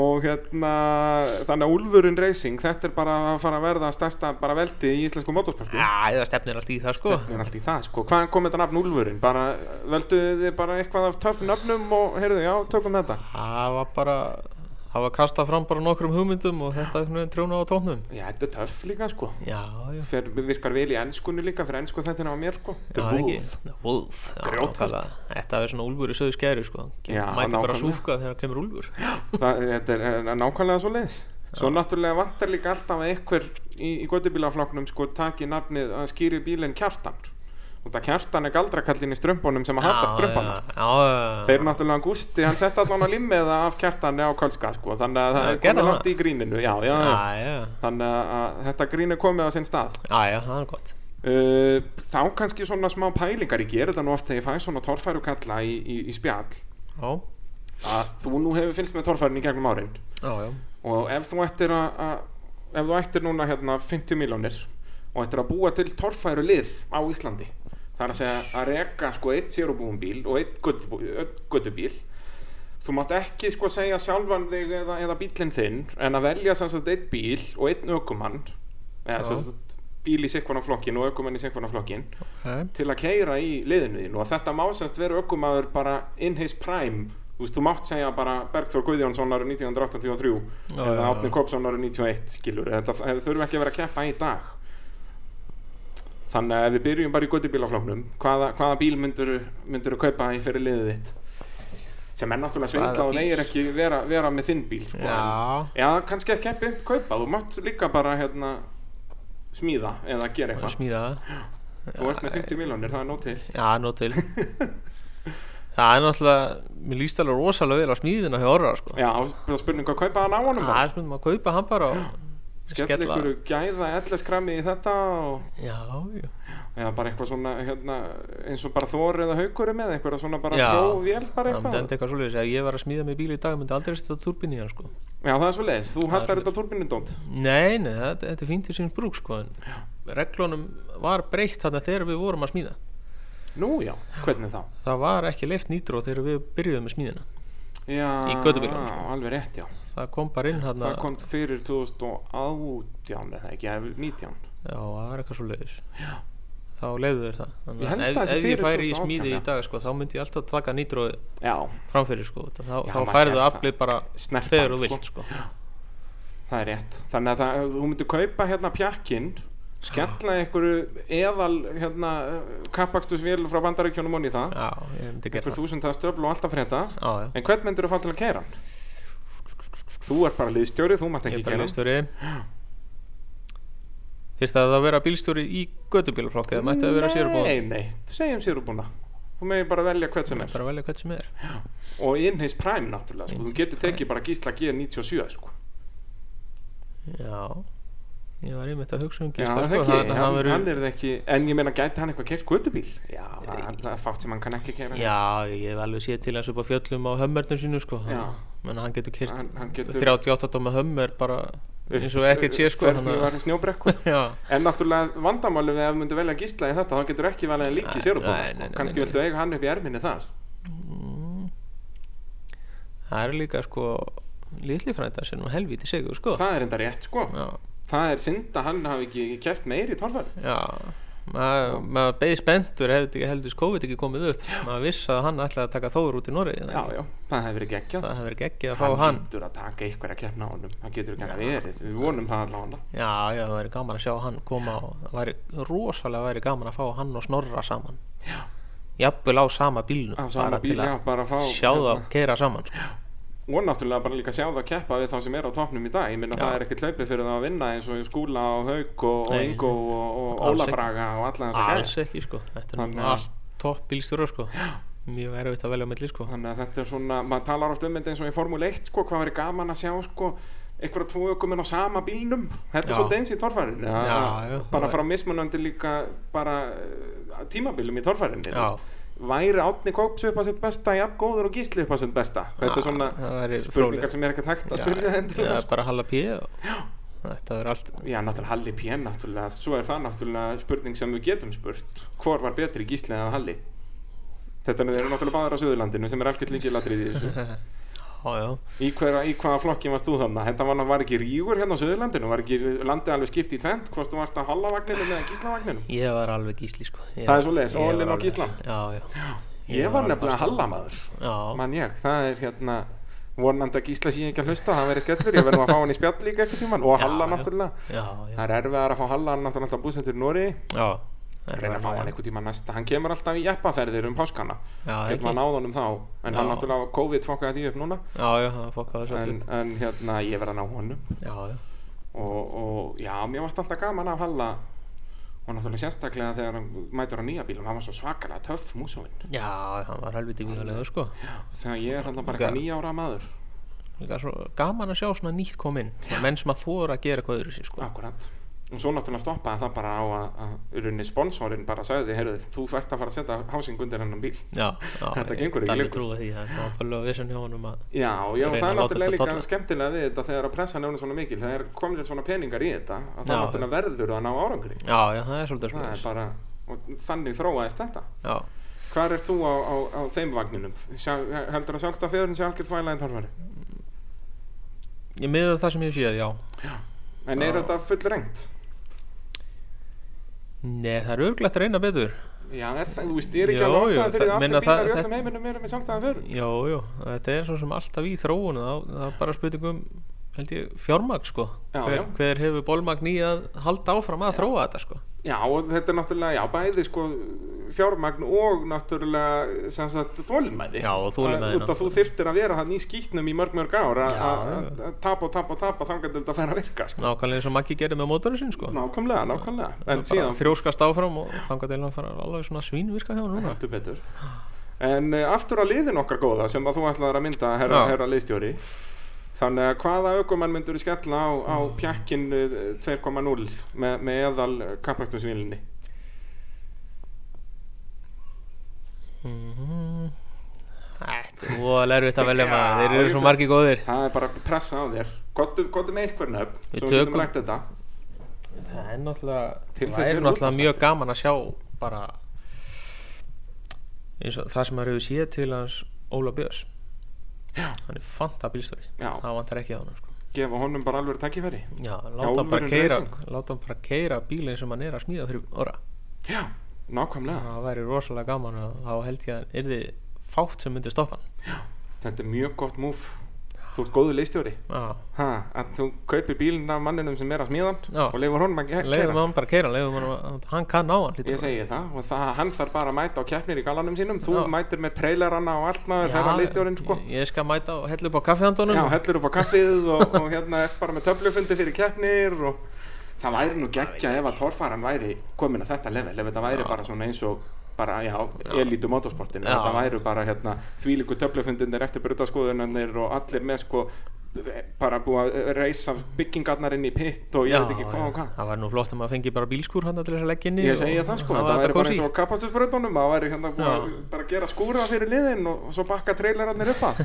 S1: og hérna þannig að Ulfurinn Racing þetta er bara að fara að verða stærsta bara veldi í íslensku motorsporti
S2: Já, eða stefnir allt í það sko
S1: það er allt í það sko, hvaðan kom þetta nafn Ulfurinn bara velduðu þið bara eitthvað af töff nöfnum og heyrðu, já, tökum þetta
S2: Það var bara Það var kastað fram bara nokkrum hugmyndum og þetta einhvern veginn trjóna á tóknum
S1: já, þetta er töff líka sko
S2: Já, já
S1: Fer, virkar vel í ennskunni líka fyrir ennsku þetta er á mér sko
S2: Já, ekki The Wolf já,
S1: Grjóthart.
S2: nákvæmlega. Þetta er svona úlfur í söðu skæri sko Kem,
S1: Já,
S2: Mæti bara
S1: nákvæmlega.
S2: súfka þegar kemur úlfur
S1: það, þetta er eh, nákvæmlega svo leiðis svo náttúrulega vantar líka alltaf að einhver í, í göttubílafloknum sko taki nafnið að skýri bílinn kjartan og það kjartan er galdrakallin í strömbunum sem að hattar strömbana
S2: Já, já, já
S1: Þeir náttúrulega Gústi, hann sett allan að limmiða af kjartani á Kölska sko, þannig að það
S2: Já,
S1: er
S2: gerði
S1: komið
S2: hann
S1: langt í gríninu, já, já, já.
S2: Já, já
S1: Þannig að- að þetta grín er komið á sinn stað.
S2: Já, já, það er gott
S1: Uh, þá kannski svona smá pælingar, ég ger þetta nú oft þegar ég fæ svona torfæru kalla í, í, í spjall,
S2: Já,
S1: að þú nú hefur fylgst með torfærun í gegnum árin
S2: já, já
S1: og ef þú ættir að, að ef þú ættir núna hérna 50 miljónir og ættir að búa til torfæru lið á Íslandi það er að segja að reka sko eitt sérubúum bíl og eitt guttubíl þú mátt ekki sko segja sjálfan þig eða, eða bílinn þinn en að velja sem sagt eitt bíl og einn ökumann eða
S2: Já.
S1: sem sagt bíl í sikvana flokkin og ökumann í sikvana flokkin
S2: Nei,
S1: til að keira í liðinu þín og þetta má semst vera ökumaður bara in his prime þú veist, þú mátt segja bara Bergþór Guðjónsson árið 1983
S2: Já, já,
S1: eða
S2: já.
S1: Átni Kopsson árið 91 skilur, þetta þetta þurfum ekki að vera að keppa í dag þannig að ef við byrjum bara í guttibílaflóknum hvaða, hvaða bíl myndur myndur að kaupa í fyrir liðið þitt sem er náttúrulega svindla
S2: Hvaða
S1: og
S2: bíl?
S1: negir ekki vera, vera með þinn bíl sko.
S2: Já.
S1: En- já, kannski ekki ekki beint kaupa þú mátt líka bara hérna, smíða eða gera
S2: bara
S1: eitthvað
S2: smíða það
S1: Þú ert með 50 miljónir, það er nóg til
S2: Já, nóg til Það er náttúrulega, mér líst alveg rosalega vel á smíðina hjá orra sko.
S1: Já, það er spurning hvað kaupa hann á honum
S2: Það
S1: bara.
S2: er svona að kaupa hann bara og
S1: Skell ykkur gæða ellis krammi í þetta og
S2: Já, já,
S1: eða bara eitthvað svona hérna, eins og bara þór eða haukurum eða eitthvað svona bara
S2: Já.
S1: hljóvél bara
S2: það myndi enda
S1: eitthvað
S2: eitthvað svoleiðis Ef ég var að smíða mig bíl í dag, myndi aldrei setja turbin í hann sko.
S1: Já, það er svo leiðis, þú
S2: er
S1: hattar
S2: svoleiðis.
S1: þetta turbinundótt
S2: Nei, nei, þetta, þetta er fínt í síns brúk sko, en Reglunum var breytt þarna þegar við vorum að smíða
S1: Nú já, hvernig þá?
S2: Það var ekki leift nýtró þegar við byrjuðum með smíðina
S1: Já,
S2: Í götubílunum, sko.
S1: alveg rétt já
S2: Það kom bara inn hann
S1: Það kom fyrir 2018 eða ekki, eða 19
S2: Já, það var eitthvað svo leiðis Þá leiðu þér það
S1: Ég held að
S2: Þannig að ef,
S1: þessi
S2: ef ég
S1: fyrir
S2: færi í
S1: 2018,
S2: smíði
S1: ja.
S2: í dag sko, þá myndi ég alltaf taka nýtróði
S1: Já,
S2: framfyrir sko. þá,
S1: Já,
S2: já,
S1: maður
S2: þá
S1: sér
S2: færðu
S1: það.
S2: aflið bara
S1: Snerpan,
S2: þegar þú
S1: sko.
S2: vilt sko.
S1: það er rétt Þannig að það, þú myndir kaupa hérna pjakkinn skella einhverju eðal hérna, kappakstusvél frá bandaríkjónum onni það
S2: já, ég myndi gera
S1: einhver
S2: það
S1: þúsund að stöflu og alltaf fyrir þetta
S2: já, já.
S1: en hvern myndir þú fá til að keira hann? Þú ert bara liðstjóri, þú mátt
S2: ég
S1: ekki
S2: er bara
S1: keira hann
S2: bílstjóri fyrst að það vera bílstjóri í gödubílaflokki það mætti að vera sérbóð
S1: Nei, nei, segjum sérubúna Þú megir bara velja hvern sem er
S2: bara velja hvert sem er
S1: Og in his prime náttúrulega, sko.
S2: In
S1: þú
S2: his
S1: getur tekið bara gísla G97 sko.
S2: já ég var einmitt að hugsa um
S1: Já, það
S2: gísla sko.
S1: ekki,
S2: hann, hann
S1: hann,
S2: veru,
S1: hann er það ekki En ég meina, gæti hann eitthvað keirt guttubíl? Já, það það er fátt sem hann kann ekki keira
S2: já, ég hef alveg séð til hans upp á fjöllum á hömmernum sínu sko.
S1: Já.
S2: menn hann getur kyrt
S1: Hann- hann getur-
S2: 38 dóma hömmer bara eins og ekkert sé sko
S1: Hvernig
S2: þannig
S1: var
S2: að-
S1: í snjóbrekku
S2: já
S1: En náttúrulega vandamálu við ef myndu velja gísla í þetta þá getur ekki velja hann líki
S2: Nei,
S1: sérubóna
S2: nei, nei,
S1: sko.
S2: nei,
S1: kannski
S2: nei,
S1: viltu eiga hann upp í erminni þar
S2: það er líka sko litli frænda sem nú helvíti segur sko
S1: Það er enda rétt sko
S2: já,
S1: Það er synd að hann hafi ekki kæft meiri í torfæri
S2: já maður maður beði spenntur hefði ekki heldist COVID ekki komið upp maður viss að hann ætlaði að taka þóður út í Noregi
S1: Já, já, það hefur verið geggjað
S2: það hefur geggið að fá hann,
S1: hlýtur að taka eitthvað að keppna á honum Það getur ekki að verið, við vonum það allavega
S2: já, já, það væri gaman að sjá hann koma og það væri rosalega væri gaman að fá hann og snorra saman já jafnvel á sama bílnum
S1: Á sama
S2: bara
S1: bíl,
S2: til að
S1: já, bara fá hérna.
S2: sjá það og keira saman sko.
S1: Og náttúrulega bara líka sjá það að keppa við þá sem er á topnum í dag Ég minna
S2: Já.
S1: það er ekkert hlaupið fyrir það að vinna eins og í skúla og haug og, og
S2: Nei.
S1: Ingo og, og
S2: Alls
S1: Óla
S2: ekki.
S1: Braga og alla þess að
S2: alls ekki sko þetta er
S1: Þannig
S2: nú
S1: að-
S2: allt topp bílstjóra sko mjög erfitt að velja á milli sko
S1: Þannig að þetta er svona, maður talar oft um þetta eins og í Formule 1 sko, hvað verið gaman að sjá sko einhverja tvo ökumenn á sama bílnum þetta er
S2: Já.
S1: svolítið eins í torfærinu að-
S2: Já,
S1: að
S2: já,
S1: bara
S2: það-
S1: frá mismunandi líka bara eh, tímabilum í torfærinu
S2: Já.
S1: væri Átni Kóps upp að sitt besta jafn góður og Gísli upp að sitt besta þetta er svona
S2: það væri
S1: spurningar
S2: fróðlegt.
S1: sem er ekkert hægt að spyrja
S2: Já,
S1: endilega sko.
S2: já, bara Halla P og þetta er allt
S1: já, náttúrulega Halli Pén náttúrulega svo er það náttúrulega spurning sem við getum spurt hvor var betri Gísli eða Halli þetta eru náttúrulega báðar á Suðurlandinu sem er algjört líkilatrið í þessu
S2: Já, já,
S1: Í, hver, í hvaða flokki varst þú þarna? Þetta var, var ekki rígur hérna á Suðurlandinu, var ekki landið alveg skipt í tvent, hvort þú varst á Hallavagninu eða Gíslavagninum?
S2: ég var alveg gísli sko ég,
S1: Það er svoleiðis,
S2: ég var
S1: Olin og
S2: alveg-
S1: Gísla.
S2: Já, já,
S1: Ég,
S2: Ég var
S1: var
S2: alveg
S1: nefnilega
S2: fast á-
S1: Hallamaður,
S2: já,
S1: mann ég, það er hérna, vonandi að Gísla sé ekki að hlusta, það verið skellur, ég verð nú að fá hann í spjall líka eitthvað tíman og
S2: Já,
S1: Halla
S2: já.
S1: náttúrulega.
S2: já,
S1: Það
S2: já,
S1: er erfiðar að fá Halla, hann er náttúrulega alltaf búsendur í Nóri,
S2: já
S1: reyna að fá hann einhvern tíma næsta, hann kemur alltaf í jeppaferðir um páskana,
S2: Já,
S1: getur
S2: ekki.
S1: maður náð honum þá, en hann
S2: Já.
S1: náttúrulega COVID fokkaði því upp núna,
S2: Já, já, það fokkaði svo
S1: en,
S2: allir
S1: en hérna, ég verð að ná honum.
S2: Já, já,
S1: og, og já, mér varst alltaf gaman af Halla og náttúrulega sérstaklega þegar hann mætur á nýja bílum, hann var svo svakalega töff músóin
S2: já, hann var helviti bíðalega sko
S1: þegar ég er hann bara eitthvað
S2: Já.
S1: nýja ára maður
S2: Líka svo gaman að sjá svona nýtt kom inn Svona Menn sem að þóra að gera eitthvað öðru sér sko
S1: akkurat og svo náttúrulega stoppaði það bara á að, að runni sponsorinn bara sagði, heyrðu, þú ert að fara að setja hásing undir hennan bíl
S2: Já, já,
S1: Þetta
S2: ég
S1: gengur ekki
S2: get alveg
S1: lengur.
S2: trúað því, það var bara að vissan hjá honum að
S1: já, já,
S2: Reyna
S1: það er
S2: að láta
S1: náttúrulega
S2: þetta
S1: líka
S2: tolla.
S1: skemmtilega við þetta þegar að pressa nefnir svona mikil þegar komir svona peningar í þetta að það
S2: Já.
S1: náttúrulega verður að ná árangri
S2: Já, já, það er svolítið
S1: það er
S2: svona
S1: bara, og þannig þróaðist þetta
S2: Já,
S1: Hvar er þú á, á, á þeim vagninum? Sjá, heldur að sjálfstað fjöðurinn sé algjör þvælæðin þarfari?
S2: ég miður það sem ég séð, já
S1: En er
S2: Já.
S1: þetta full rengt?
S2: Nei, það er örglætt að reyna betur
S1: Já, er það, þú veist, er ekki
S2: Jó,
S1: alveg
S2: jú,
S1: ástæða
S2: það-
S1: fyrir að
S2: meina
S1: allir bílar
S2: það-
S1: í öllum
S2: þetta-
S1: heiminum eru með sjálfstæðan fjöður?
S2: Jó, jó, þetta er svo sem alltaf í þróun það, það er bara spurningum, held ég, fjármagn sko
S1: Já,
S2: hver,
S1: já.
S2: hver hefur bolmagn í að halda áfram að þróa þetta sko
S1: Já, og þetta er náttúrulega, já, bæði sko fjármagn og náttúrulega sem sagt þólinmæði.
S2: Já, og þolinmæði,
S1: Út að þú þyrtir að vera hann í skýtnum í mörg, mörg ár að-
S2: Já,
S1: að
S2: já.
S1: að tapa og tapa og tapa þangar til þetta fær að virka, sko.
S2: Nákvæmlega eins og Maggi gerði með mótorinn sinn sko
S1: Nákvæmlega, nákvæmlega. En
S2: Bara
S1: síðan
S2: Þrjóskast áfram og þangar til hann fara alveg svona svínvirka hjá honum núna
S1: Heldur betur. En uh, aftur að liðin okkar góða sem að þú ætlaðir að mynda herra,
S2: Já.
S1: herra liðstjóri Þannig að hvaða aukumann myndur þú skella á, á pjakkin uh, 2.0 með, með eðal eh, kampakstumsvílinni?
S2: Mhm. Þetta er voðalega erfitt að velja
S1: Já,
S2: maður, þeir eru
S1: ég
S2: svo
S1: veit
S2: margir góðir
S1: Það er bara pressa á þér. Gottum með eitthvað nöfn,
S2: Við
S1: svo við getum
S2: tökum-
S1: lægt þetta.
S2: Það er náttúrulega,
S1: Til
S2: það
S1: þess
S2: er
S1: eru
S2: náttúrulega
S1: útvarpsþættir.
S2: mjög gaman að sjá bara eins og það sem maður hefur séð til hans Óla Björns
S1: Já.
S2: hann er fanta bílstöri
S1: Já.
S2: það vantar ekki á hann sko.
S1: Gefa honum bara alveg takkifæri.
S2: Já, láta hann sko. bara
S1: alvöru
S2: keira
S1: racing.
S2: láta hann bara keira bílinn sem hann er að smíða fyrir orra
S1: Já, nákvæmlega.
S2: það væri rosalega gaman og þá held ég að yrði fátt sem myndi stoppa hann
S1: Þetta er mjög gott múf. Þú ert góðu liðstjóri.
S2: Já,
S1: Ha, að þú kaupir bílinn af manninum sem er að smíðan
S2: Já.
S1: og leifur honum að ke-
S2: leiðum hann bara að keira leiðum hann, að- hann kann á hann hlýtur
S1: Ég
S2: bara.
S1: segi það og það, hann þarf bara að mæta á keppnir í galanum sínum Þú
S2: Já.
S1: mætir með trailerana og allt maður
S2: Já,
S1: herra leistjórinn sko
S2: ég, ég skal mæta og hella upp á kaffihandunum
S1: Já, hellur upp á kaffið og, og hérna er bara með töflufundi fyrir keppnir og það væri nú geggja ef að torfaran væri komin að þetta level ef þetta væri bara svona eins og bara, já, elítu motorsportin
S2: Já.
S1: þetta væri bara hérna þvílíku töflufundinir eftir brutaskoðunarnir og allir með sko bara búið að reysa byggingarnar inn í pitt og ég veit ekki hvað og hvað
S2: það var nú flott að maður fengi bara bílskúr hann til þess að leggja inn í
S1: Ég
S2: og
S1: segi það sko,
S2: hafa
S1: það væri
S2: þetta
S1: bara
S2: kósí.
S1: eins og kapastusbröðunum, það væri hérna búið að
S2: Já.
S1: bara gera skúra fyrir liðin og og svo bakka trailerarnir upp að.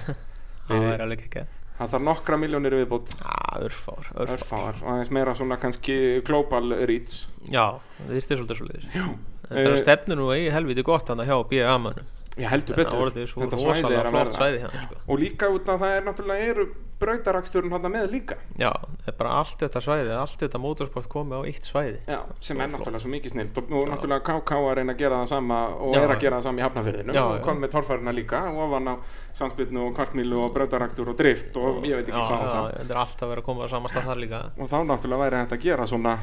S2: það væri alveg ekki
S1: Það þarf nokkra miljónir viðbútt,
S2: örfár, örfár
S1: örfáar, og aðeins meira svona kannski global reach.
S2: já, það þyrfti svolítið svolítið
S1: Jú.
S2: þetta
S1: Eh,
S2: er stefnu nú eigi helviti gott hann að hjá BA mönnum
S1: Ég heldur
S2: þetta
S1: betur,
S2: orðið svo rosalega flott svæði hérna sko.
S1: Og líka út að það er náttúrulega eru brautaraksturinn hann með líka.
S2: já, það er bara allt þetta svæði allt þetta motorsport komið á eitt svæði
S1: Já, sem er náttúrulega svo mikið snilt og, og náttúrulega KK að reyna að gera það sama og
S2: Já.
S1: er að gera það sama í hafnafyrðinu
S2: Já,
S1: og
S2: já.
S1: kom með torfæruna líka og ofan á samspilnu og kvartmílu og brautarakstur og drift og ég veit ekki
S2: já,
S1: hvað og
S2: já,
S1: hvað.
S2: þetta er alltaf verið að koma á samasta þar líka
S1: og þá náttúrulega væri hægt að gera svona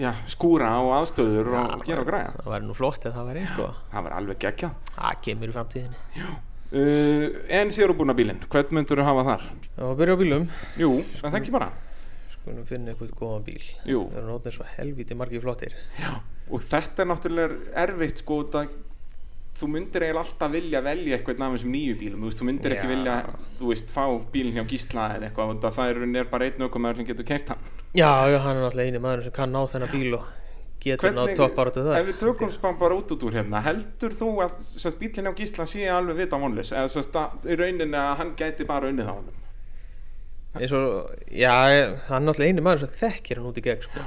S1: já, skúra á aðstöður og gera og græja
S2: það væri nú flott eða það væri eins sko.
S1: það væri alveg gekkja
S2: það kemur í framtíðinni
S1: uh, en sér búna bílinn, hvern myndur þú hafa þar?
S2: Já, byrja á bílum
S1: jú, en það ekki bara
S2: Skulum finna eitthvað góðan bíl
S1: Jú.
S2: Það eru nótnir svo helvítið margir flottir
S1: og þetta er náttúrulega erfitt sko út að þú myndir eiginlega alltaf vilja velja eitthvað af þessum nýju bílum, þú veist, þú myndir ekki
S2: Já.
S1: vilja þú veist, fá bílinn hjá gísla eða eitthvað út að það er, er bara einn aukumæður sem getur kert hann
S2: Já, já, hann er náttúrulega eini maður sem kann á þennan bíl og getur nátt toppáratu það
S1: ef við tökum spann bara út út úr hérna heldur þú að sérst, bílinni á Gísla sé alveg vita vonlis eða sérst, að- í rauninni að hann gæti bara unnið á honum
S2: eins og, já, hann er náttúrulega eini maður sem þekkir hann út í gegn sko.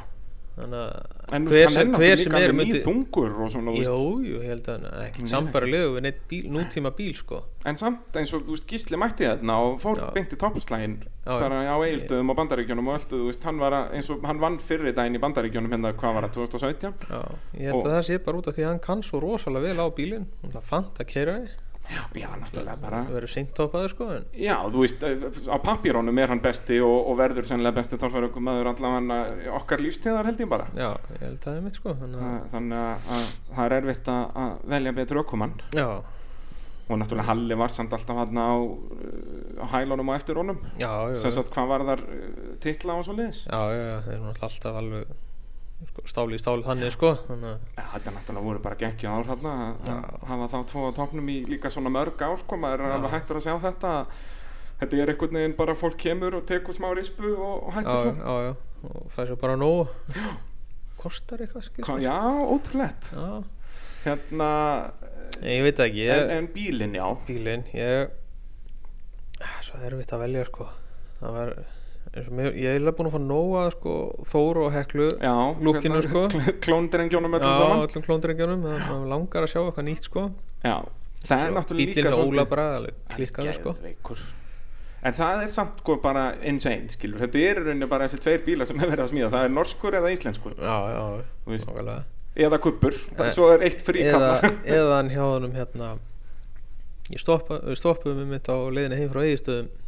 S2: þannig
S1: en hver,
S2: að
S1: hann
S2: hver
S1: er
S2: sem, hver
S1: náttúrulega
S2: sem
S1: líka
S2: er
S1: alveg
S2: myndi
S1: nýþungur og svona, þú veist.
S2: Jú, jú, ég held að hann er ekkert
S1: Nei.
S2: sambarlegu við neitt bíl, nútíma bíl sko
S1: en samt eins og þú veist, Gísli mætti þarna og fór
S2: Já.
S1: beint í toppslægin
S2: Já,
S1: bara á Egilstöðum og Bandaríkjónum og öllu þú veist, hann, var að, eins og, hann vann fyrri daginn í Bandaríkjónum hérna, hvað var það, 2017
S2: Já, ég held
S1: Og-
S2: að það sé bara út af því að hann kann svo rosalega vel á bílinn Hann það fant að keira því
S1: já, náttúrulega bara
S2: Það verður seint toppaður sko en
S1: Já, þú veist, eh, á pappírónum er hann besti og, og verður sennilega besti tólfæraugum maður allavega okkar lífstíðar held ég bara.
S2: Já, ég held að það er mitt sko þannig að,
S1: Þa- Þannig að, að það er erfitt að, að velja betri ökumann
S2: Já,
S1: og náttúrulega Halli var samt alltaf hann á, eh, á hælunum og eftir honum.
S2: já, já,
S1: Sem
S2: já,
S1: sagt, hvað var þar titla og svo liðis?
S2: já, já, já, þeir eru náttúrulega alltaf alveg sko, stáli í stáli þannig sko Þannig að,
S1: Ja, þetta náttúrulega voru bara geggju ár hérna að
S2: Já.
S1: að hafa þá tvo á topnum í líka svona mörg ár sko, maður er
S2: Já.
S1: alveg hættur að sjá þetta þetta er einhvern veginn bara fólk kemur og tekur smá rispu og, sko. og
S2: já,
S1: hættur svo
S2: já, já, já Og fæði svo bara nóg Kostar eitthvað skil
S1: Hva, Já, ótrúlegt
S2: já,
S1: Hérna,
S2: ég veit það ekki ég,
S1: en, en bílinn, já
S2: bílinn ég Ah, svo erfitt að velja sko það var eins og mér, ég er eiginlega búin að fá nóga sko Þóru og Heklu
S1: Já, hérna,
S2: Lúkinu, sko.
S1: Klóndrengjónum
S2: Já,
S1: öllum saman
S2: öllum klóndrengjunum það það langar að sjá eitthvað nýtt sko
S1: Já, það er náttúrulega líka
S2: bílinn og Óla bara alveg klikkaður sko
S1: Geðveikur. En það er samt sko bara insane, skilur Þetta er í rauninni bara þessi tveir bíla sem er verið að smíða Það er norskur eða íslenskur
S2: Já, já,
S1: Þú veist.
S2: nákvæmlega
S1: Eða kuppur,
S2: Eh,
S1: það, svo er eitt
S2: eða,
S1: fríkafla
S2: eða hann hjá honum hérna ég stoppa, við stoppuðum um mitt á leiðinu heim frá eigistöðum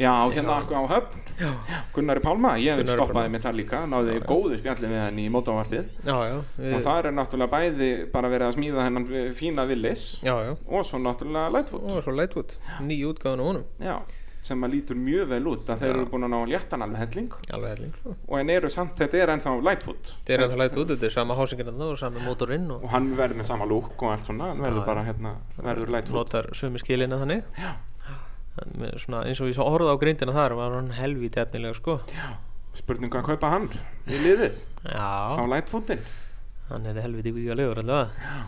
S1: Já, hérna
S2: Já.
S1: akkur á höfn
S2: Já,
S1: Gunnari Pálma, ég
S2: Gunnari Pálma.
S1: stoppaði mitt þar líka Náði
S2: Já, já.
S1: góðu spjalli við hann í mótavarpið
S2: já, já
S1: Og
S2: við,
S1: þar er náttúrulega bæði bara verið að smíða hennan fína villis
S2: Já, já
S1: og svo náttúrulega Lightfoot
S2: og svo Lightwood, ný útgáðan á honum
S1: Já, sem að lítur mjög vel út að þeir
S2: Já.
S1: eru búin að ná léttan alveg helling
S2: alveg helling sko
S1: og en eru samt, þetta er ennþá Lightfoot
S2: Þetta er að það læta út, þetta er sama hásingin en það og sami mótorinn og
S1: og hann verður með sama lúk og allt svona hann verður
S2: Já,
S1: bara hérna, verður Lightfoot
S2: notar sömu skilina þannig
S1: Já.
S2: En með svona, eins og ég svo horfði á grindina þar var hann helvítið efnilega sko
S1: spurningu að kaupa hann í liðið, fá
S2: Já,
S1: Lightfootin
S2: hann er helvítið vikalegur allavega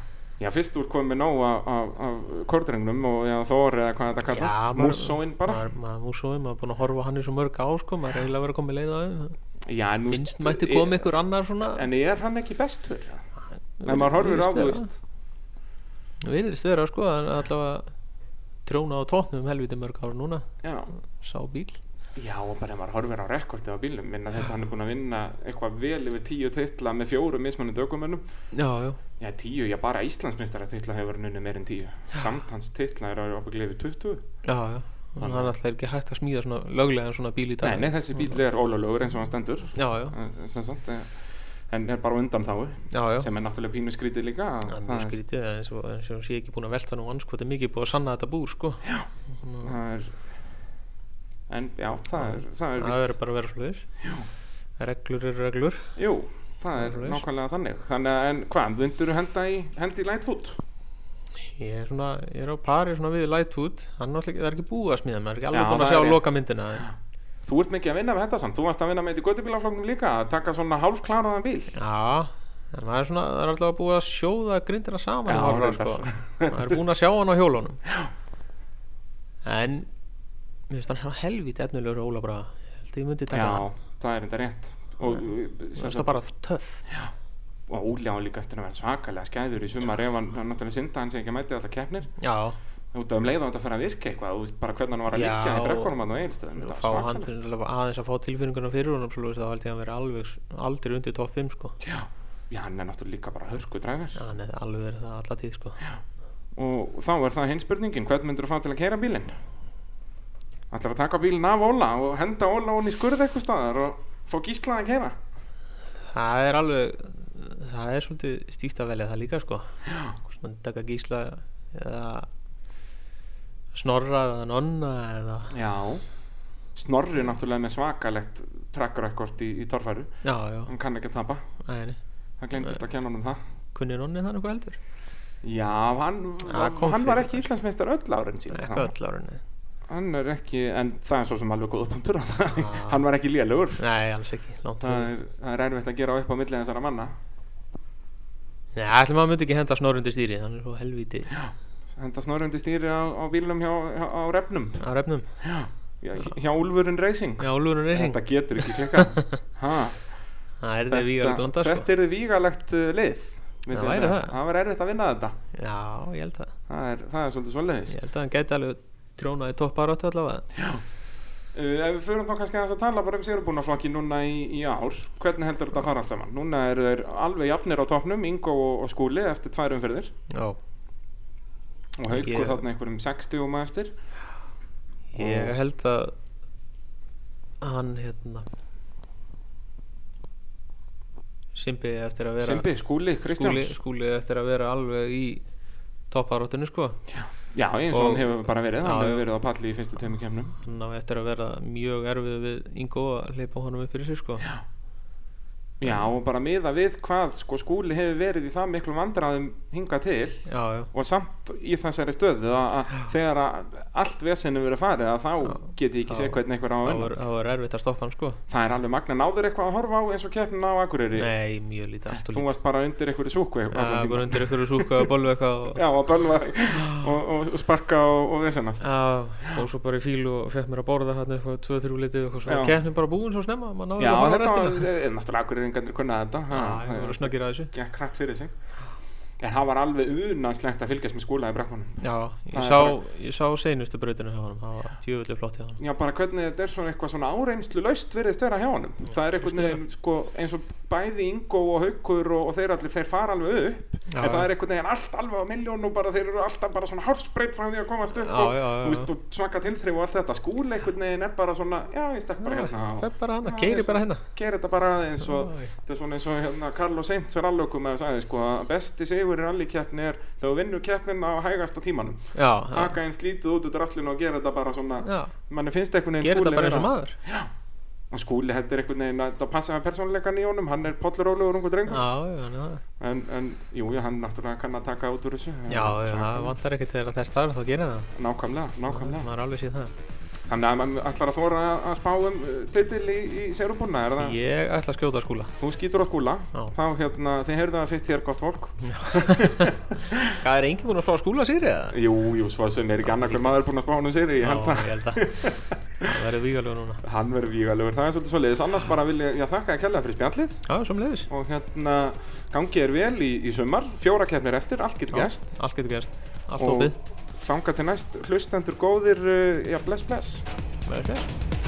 S1: Já, fyrst úr komið nóg af, af, af kordrengnum og já, Þór eða hvað þetta kallast, Mússóin bara
S2: maður, maður, Músóin, maður er búin að horfa á hann í svo mörg á sko, maður er eiginlega verið að koma í leið á þeim
S1: Já, en þú
S2: Finnst
S1: veist,
S2: mætti
S1: er-
S2: koma ykkur annar svona
S1: En er hann ekki bestur?
S2: Mér
S1: En maður horfir á,
S2: finnst
S1: þú
S2: vera.
S1: veist
S2: Virðist vera sko, hann er allavega tróna á tóknum helvítið mörg ára núna
S1: Já,
S2: Sá bíl
S1: Já, og bara ef maður horfir á rekordið á bílum minna þetta hann er búin að vinna eitthvað vel yfir tíu titla með fjórum mismunandi ökumennum
S2: Já, já,
S1: Já, tíu, já, bara Íslandsmeistara titla hefur hann unni meir en tíu samt hans titla er ábygglega yfir 20
S2: já, já Þannig að hann alltaf er ekki hægt að smíða svona löglega en svona bíl í dag
S1: Nei, nei, þessi bíl er ólöglegur eins og hann stendur
S2: Já, já,
S1: eh, sem sagt, eh, en er bara undan þáu
S2: já, já
S1: sem er náttúrulega pínu skrítið líka að
S2: Það er
S1: það
S2: mjög skrítið eins og, eins og sé ekki búin að velta nú anskotið mikið búið að sanna þetta búr sko Já,
S1: það er en já, það er, það er
S2: það
S1: víst
S2: verður bara að vera slúðis Reglur eru reglur
S1: Jú, það er
S2: Það er svoleiðis.
S1: nákvæmlega þannig Þannig að, en hvað, myndur þú henda í, hendi í Lightfoot?
S2: Ég er svona, ég er á pari svona við Lightwood Hann náttúrulega, það er ekki búið að smíða maður er ekki
S1: Já,
S2: alveg búin
S1: það
S2: að sjá
S1: er rétt.
S2: loka myndina en,
S1: Þú ert mikið að vinna með þetta samt, þú varst að vinna með þetta í göttubílafloknum líka, að taka svona hálfklaraðan bíl.
S2: Já, en maður er svona, það er alltaf búið að sjóða grindina saman
S1: Já,
S2: í horfra, sko.
S1: reyndar.
S2: Maður er búin að sjá hann á hjólunum En, mér finnst hann helvít efnilegur Óla bara Ég held að ég myndi taka
S1: Já,
S2: hann
S1: það er enda rétt. Og,
S2: Mér
S1: sem
S2: finnst það
S1: sagt,
S2: bara töff
S1: og Óli á líka eftir að vera svakalega skæður í sumar ef hann hann náttúrulega synda hann sem ekki mætið alltaf keppnir.
S2: Já,
S1: Út af um leið og þetta fer að virka eitthvað, þú veist bara hvernig hann var að
S2: Já,
S1: líka í brekkunum hann og eilstöðum.
S2: og fá hann til að aðeins að fá tilfinninguna fyrir honum svo þá held ég að hann verið alveg s- aldrei undir topp 5 sko
S1: Já, já, hann er náttúrulega líka bara hörkudræfir.
S2: hann er alveg verið það alla tíð sko
S1: Og þá er það hinn spurningin, hvern myndur þú fá til að keira bílinn? Ætlar að taka bílinn af Óla og henda Óla hún í skurð eitthvað staðar og fá gísla að keira?
S2: það er alveg það er svolítið stíkt að velja það líka sko hvort mann taka gísla eða snorra eða nonna eða
S1: Já Snorri náttúrulega með svakalegt track record í, í torfæru
S2: já já,
S1: hann kann ekki að tapa,
S2: aðeins
S1: hann glemtist að kenna honum það
S2: kunni nonni þannig hvað heldur
S1: Já, hann,
S2: Ja, kom
S1: hann var
S2: fyrir.
S1: ekki Íslandsmeistar öll árin sín
S2: eitthvað öll ára nei.
S1: Hann er ekki, en það er svo sem alveg góð punktur á það
S2: Ah.
S1: Hann var ekki lélugur
S2: nei, alls ekki, langt
S1: það
S2: frá.
S1: er, það er erfitt að gera upp á milli þessara manna
S2: Nei, allir maður myndi ekki henda snorundi stýri hann er svo helvítið
S1: Henda snorrundi stýri á, á bílum hjá, hjá, á refnum.
S2: á refnum
S1: Já, já, hjá Ulfurinn Racing.
S2: Já, Lúrun Racing
S1: Þetta getur ekki klikka. ha,
S2: Það er þetta vígar að blanda
S1: þetta
S2: sko
S1: er vígalegt uh, lið. myndi
S2: Það
S1: ég
S2: væri
S1: segja.
S2: það.
S1: Það verður erfitt að vinna þetta.
S2: Já, ég held að
S1: Það er, það er svolítið svolítið.
S2: Ég held að hann gæti alveg trónaði topparáttu allavega
S1: Uh, ef við förum þá kannski aðeins að tala bara um sérubúnaflokki núna í, í ár, hvernig heldur þetta að fara allt saman? Núna eru þeir alveg jafnir á topnum, Ingo og, og Skúli eftir tvær umferðir
S2: Já,
S1: og Haukur
S2: Ég-
S1: þarna einhverjum 60 um eftir.
S2: ég
S1: Og-
S2: held að hann hérna Simbi eftir að vera
S1: Sembi, Skúli,
S2: skúli,
S1: Kristjáns.
S2: skúli eftir að vera alveg í topparáttunni sko
S1: Já, eins og
S2: Og-
S1: hann hefur bara verið, hann
S2: Já,
S1: hefur
S2: já.
S1: verið á palli í fyrstu tveimu kemnum.
S2: hann á eftir að vera mjög erfið við Ingo að hleypa honum upp fyrir sér sko Já,
S1: Já, og bara miða við hvað sko, skúli hefur verið í það miklu vandræðum hingað til
S2: já,
S1: og samt í þessari stöðu að, að þegar að allt vesinu verið farið að þá
S2: Já.
S1: get ég ekki
S2: Já.
S1: séð hvernig einhver á að
S2: það
S1: vinna.
S2: var, það var erfitt að stoppa hann sko
S1: Það er alveg magna náður eitthvað að horfa á eins og keppnina á Akureyri.
S2: Nei, mjög lítið, allt og
S1: Þú
S2: lítið
S1: varst bara undir einhverju súku
S2: Já, bara undir ykkur súka og bollu eitthvað og,
S1: Já, og bölva og, og, og sparka og, og vesenast.
S2: Já, og svo bara í fílu og fekk mér að borða hérna eitthvað 2-3 litið og svo
S1: Já.
S2: var keppnin bara búin svo snemma maður náður
S1: Já,
S2: að horfa á
S1: þetta var,
S2: restina.
S1: eh, náttúrulega Akureyringarnir kunnaði þetta.
S2: Já,
S1: ha,
S2: það voru snöggir að þessu
S1: gekk hrætt fyrir sig en það var alveg unaslegt að fylgjast með skúla í brekkunum
S2: Já, ég
S1: Það er
S2: sá, ég sá seinustu brautinu hjá hann það var djöfulli flott hjá hann
S1: já bara hvernig þetta er svona eitthvað svona áreinslu laust verið vera hjá honum það er einhvern veginn sko, eins og bæði Ingo og Haukur og, og þeir allir þeir fara alveg upp
S2: Já,
S1: en það
S2: já.
S1: er einhvern veginn allt alveg á milljón og bara þeir eru alltaf bara svona hársbreytt frá því að komast upp
S2: Já,
S1: og,
S2: já, já,
S1: þú veist,
S2: já.
S1: og svaka tilþrif og allt þetta skúla einhvern veginn er bara svona já ég stekk bara hérna og-
S2: Fef bara hann,
S1: Já,
S2: keiri
S1: ég-
S2: bara hérna
S1: gera þetta bara aðeins og
S2: Æ.
S1: þetta er svona eins og hérna Carlos Sainz er allökum að sagði sko að besti sigur í rallikeppni er þegar þú vinnur keppnin á hægasta tímanum
S2: Já, já,
S1: taka eins lítið út út rallinu og gera þetta bara svona
S2: já,
S1: manni finnst einhvern veginn
S2: gera þetta bara eins og
S1: vera-
S2: maður
S1: og skúli þetta er einhvern veginn að það passa með persónuleikan í honum hann er pollrólegur ungu drengur
S2: Já, já, já,
S1: en, en jú, já, hann náttúrulega kann að taka út úr þessu
S2: já, já,
S1: Svona-
S2: það vantar ekkert þegar þess þar þá gera það
S1: nákvæmlega, nákvæmlega
S2: maður er alveg séð það
S1: þannig að maður ætlar að þóra að spá um uh, titil í, í serubúna er það
S2: Ég ætla að skjóta að skúla
S1: Þú skýtur á skúla,
S2: Já.
S1: þá hérna, þið heyrðu það fyrst hér gott fólk
S2: Hvað er enginn búin að slá skúla sér eða?
S1: Jú, jú, svo sem er ekki annað hver maður búinn að spá hann um sigri, ég held
S2: Já,
S1: það.
S2: ég held að Það verður vígalega núna
S1: Hann verður vígalegur, það er svolítið svolítið, annars bara vil ég, ég þakka að kella fyrir spjallið
S2: Já, sem leiðis
S1: og hérna gangi er vel í, í sumar, fjóra keppnir eftir, allt getur gæst.
S2: Allt getur gerst Allt
S1: Og
S2: opið
S1: Þanga til næst, hlustendur góðir, uh, já, eh, bless, bless.
S2: Verður sér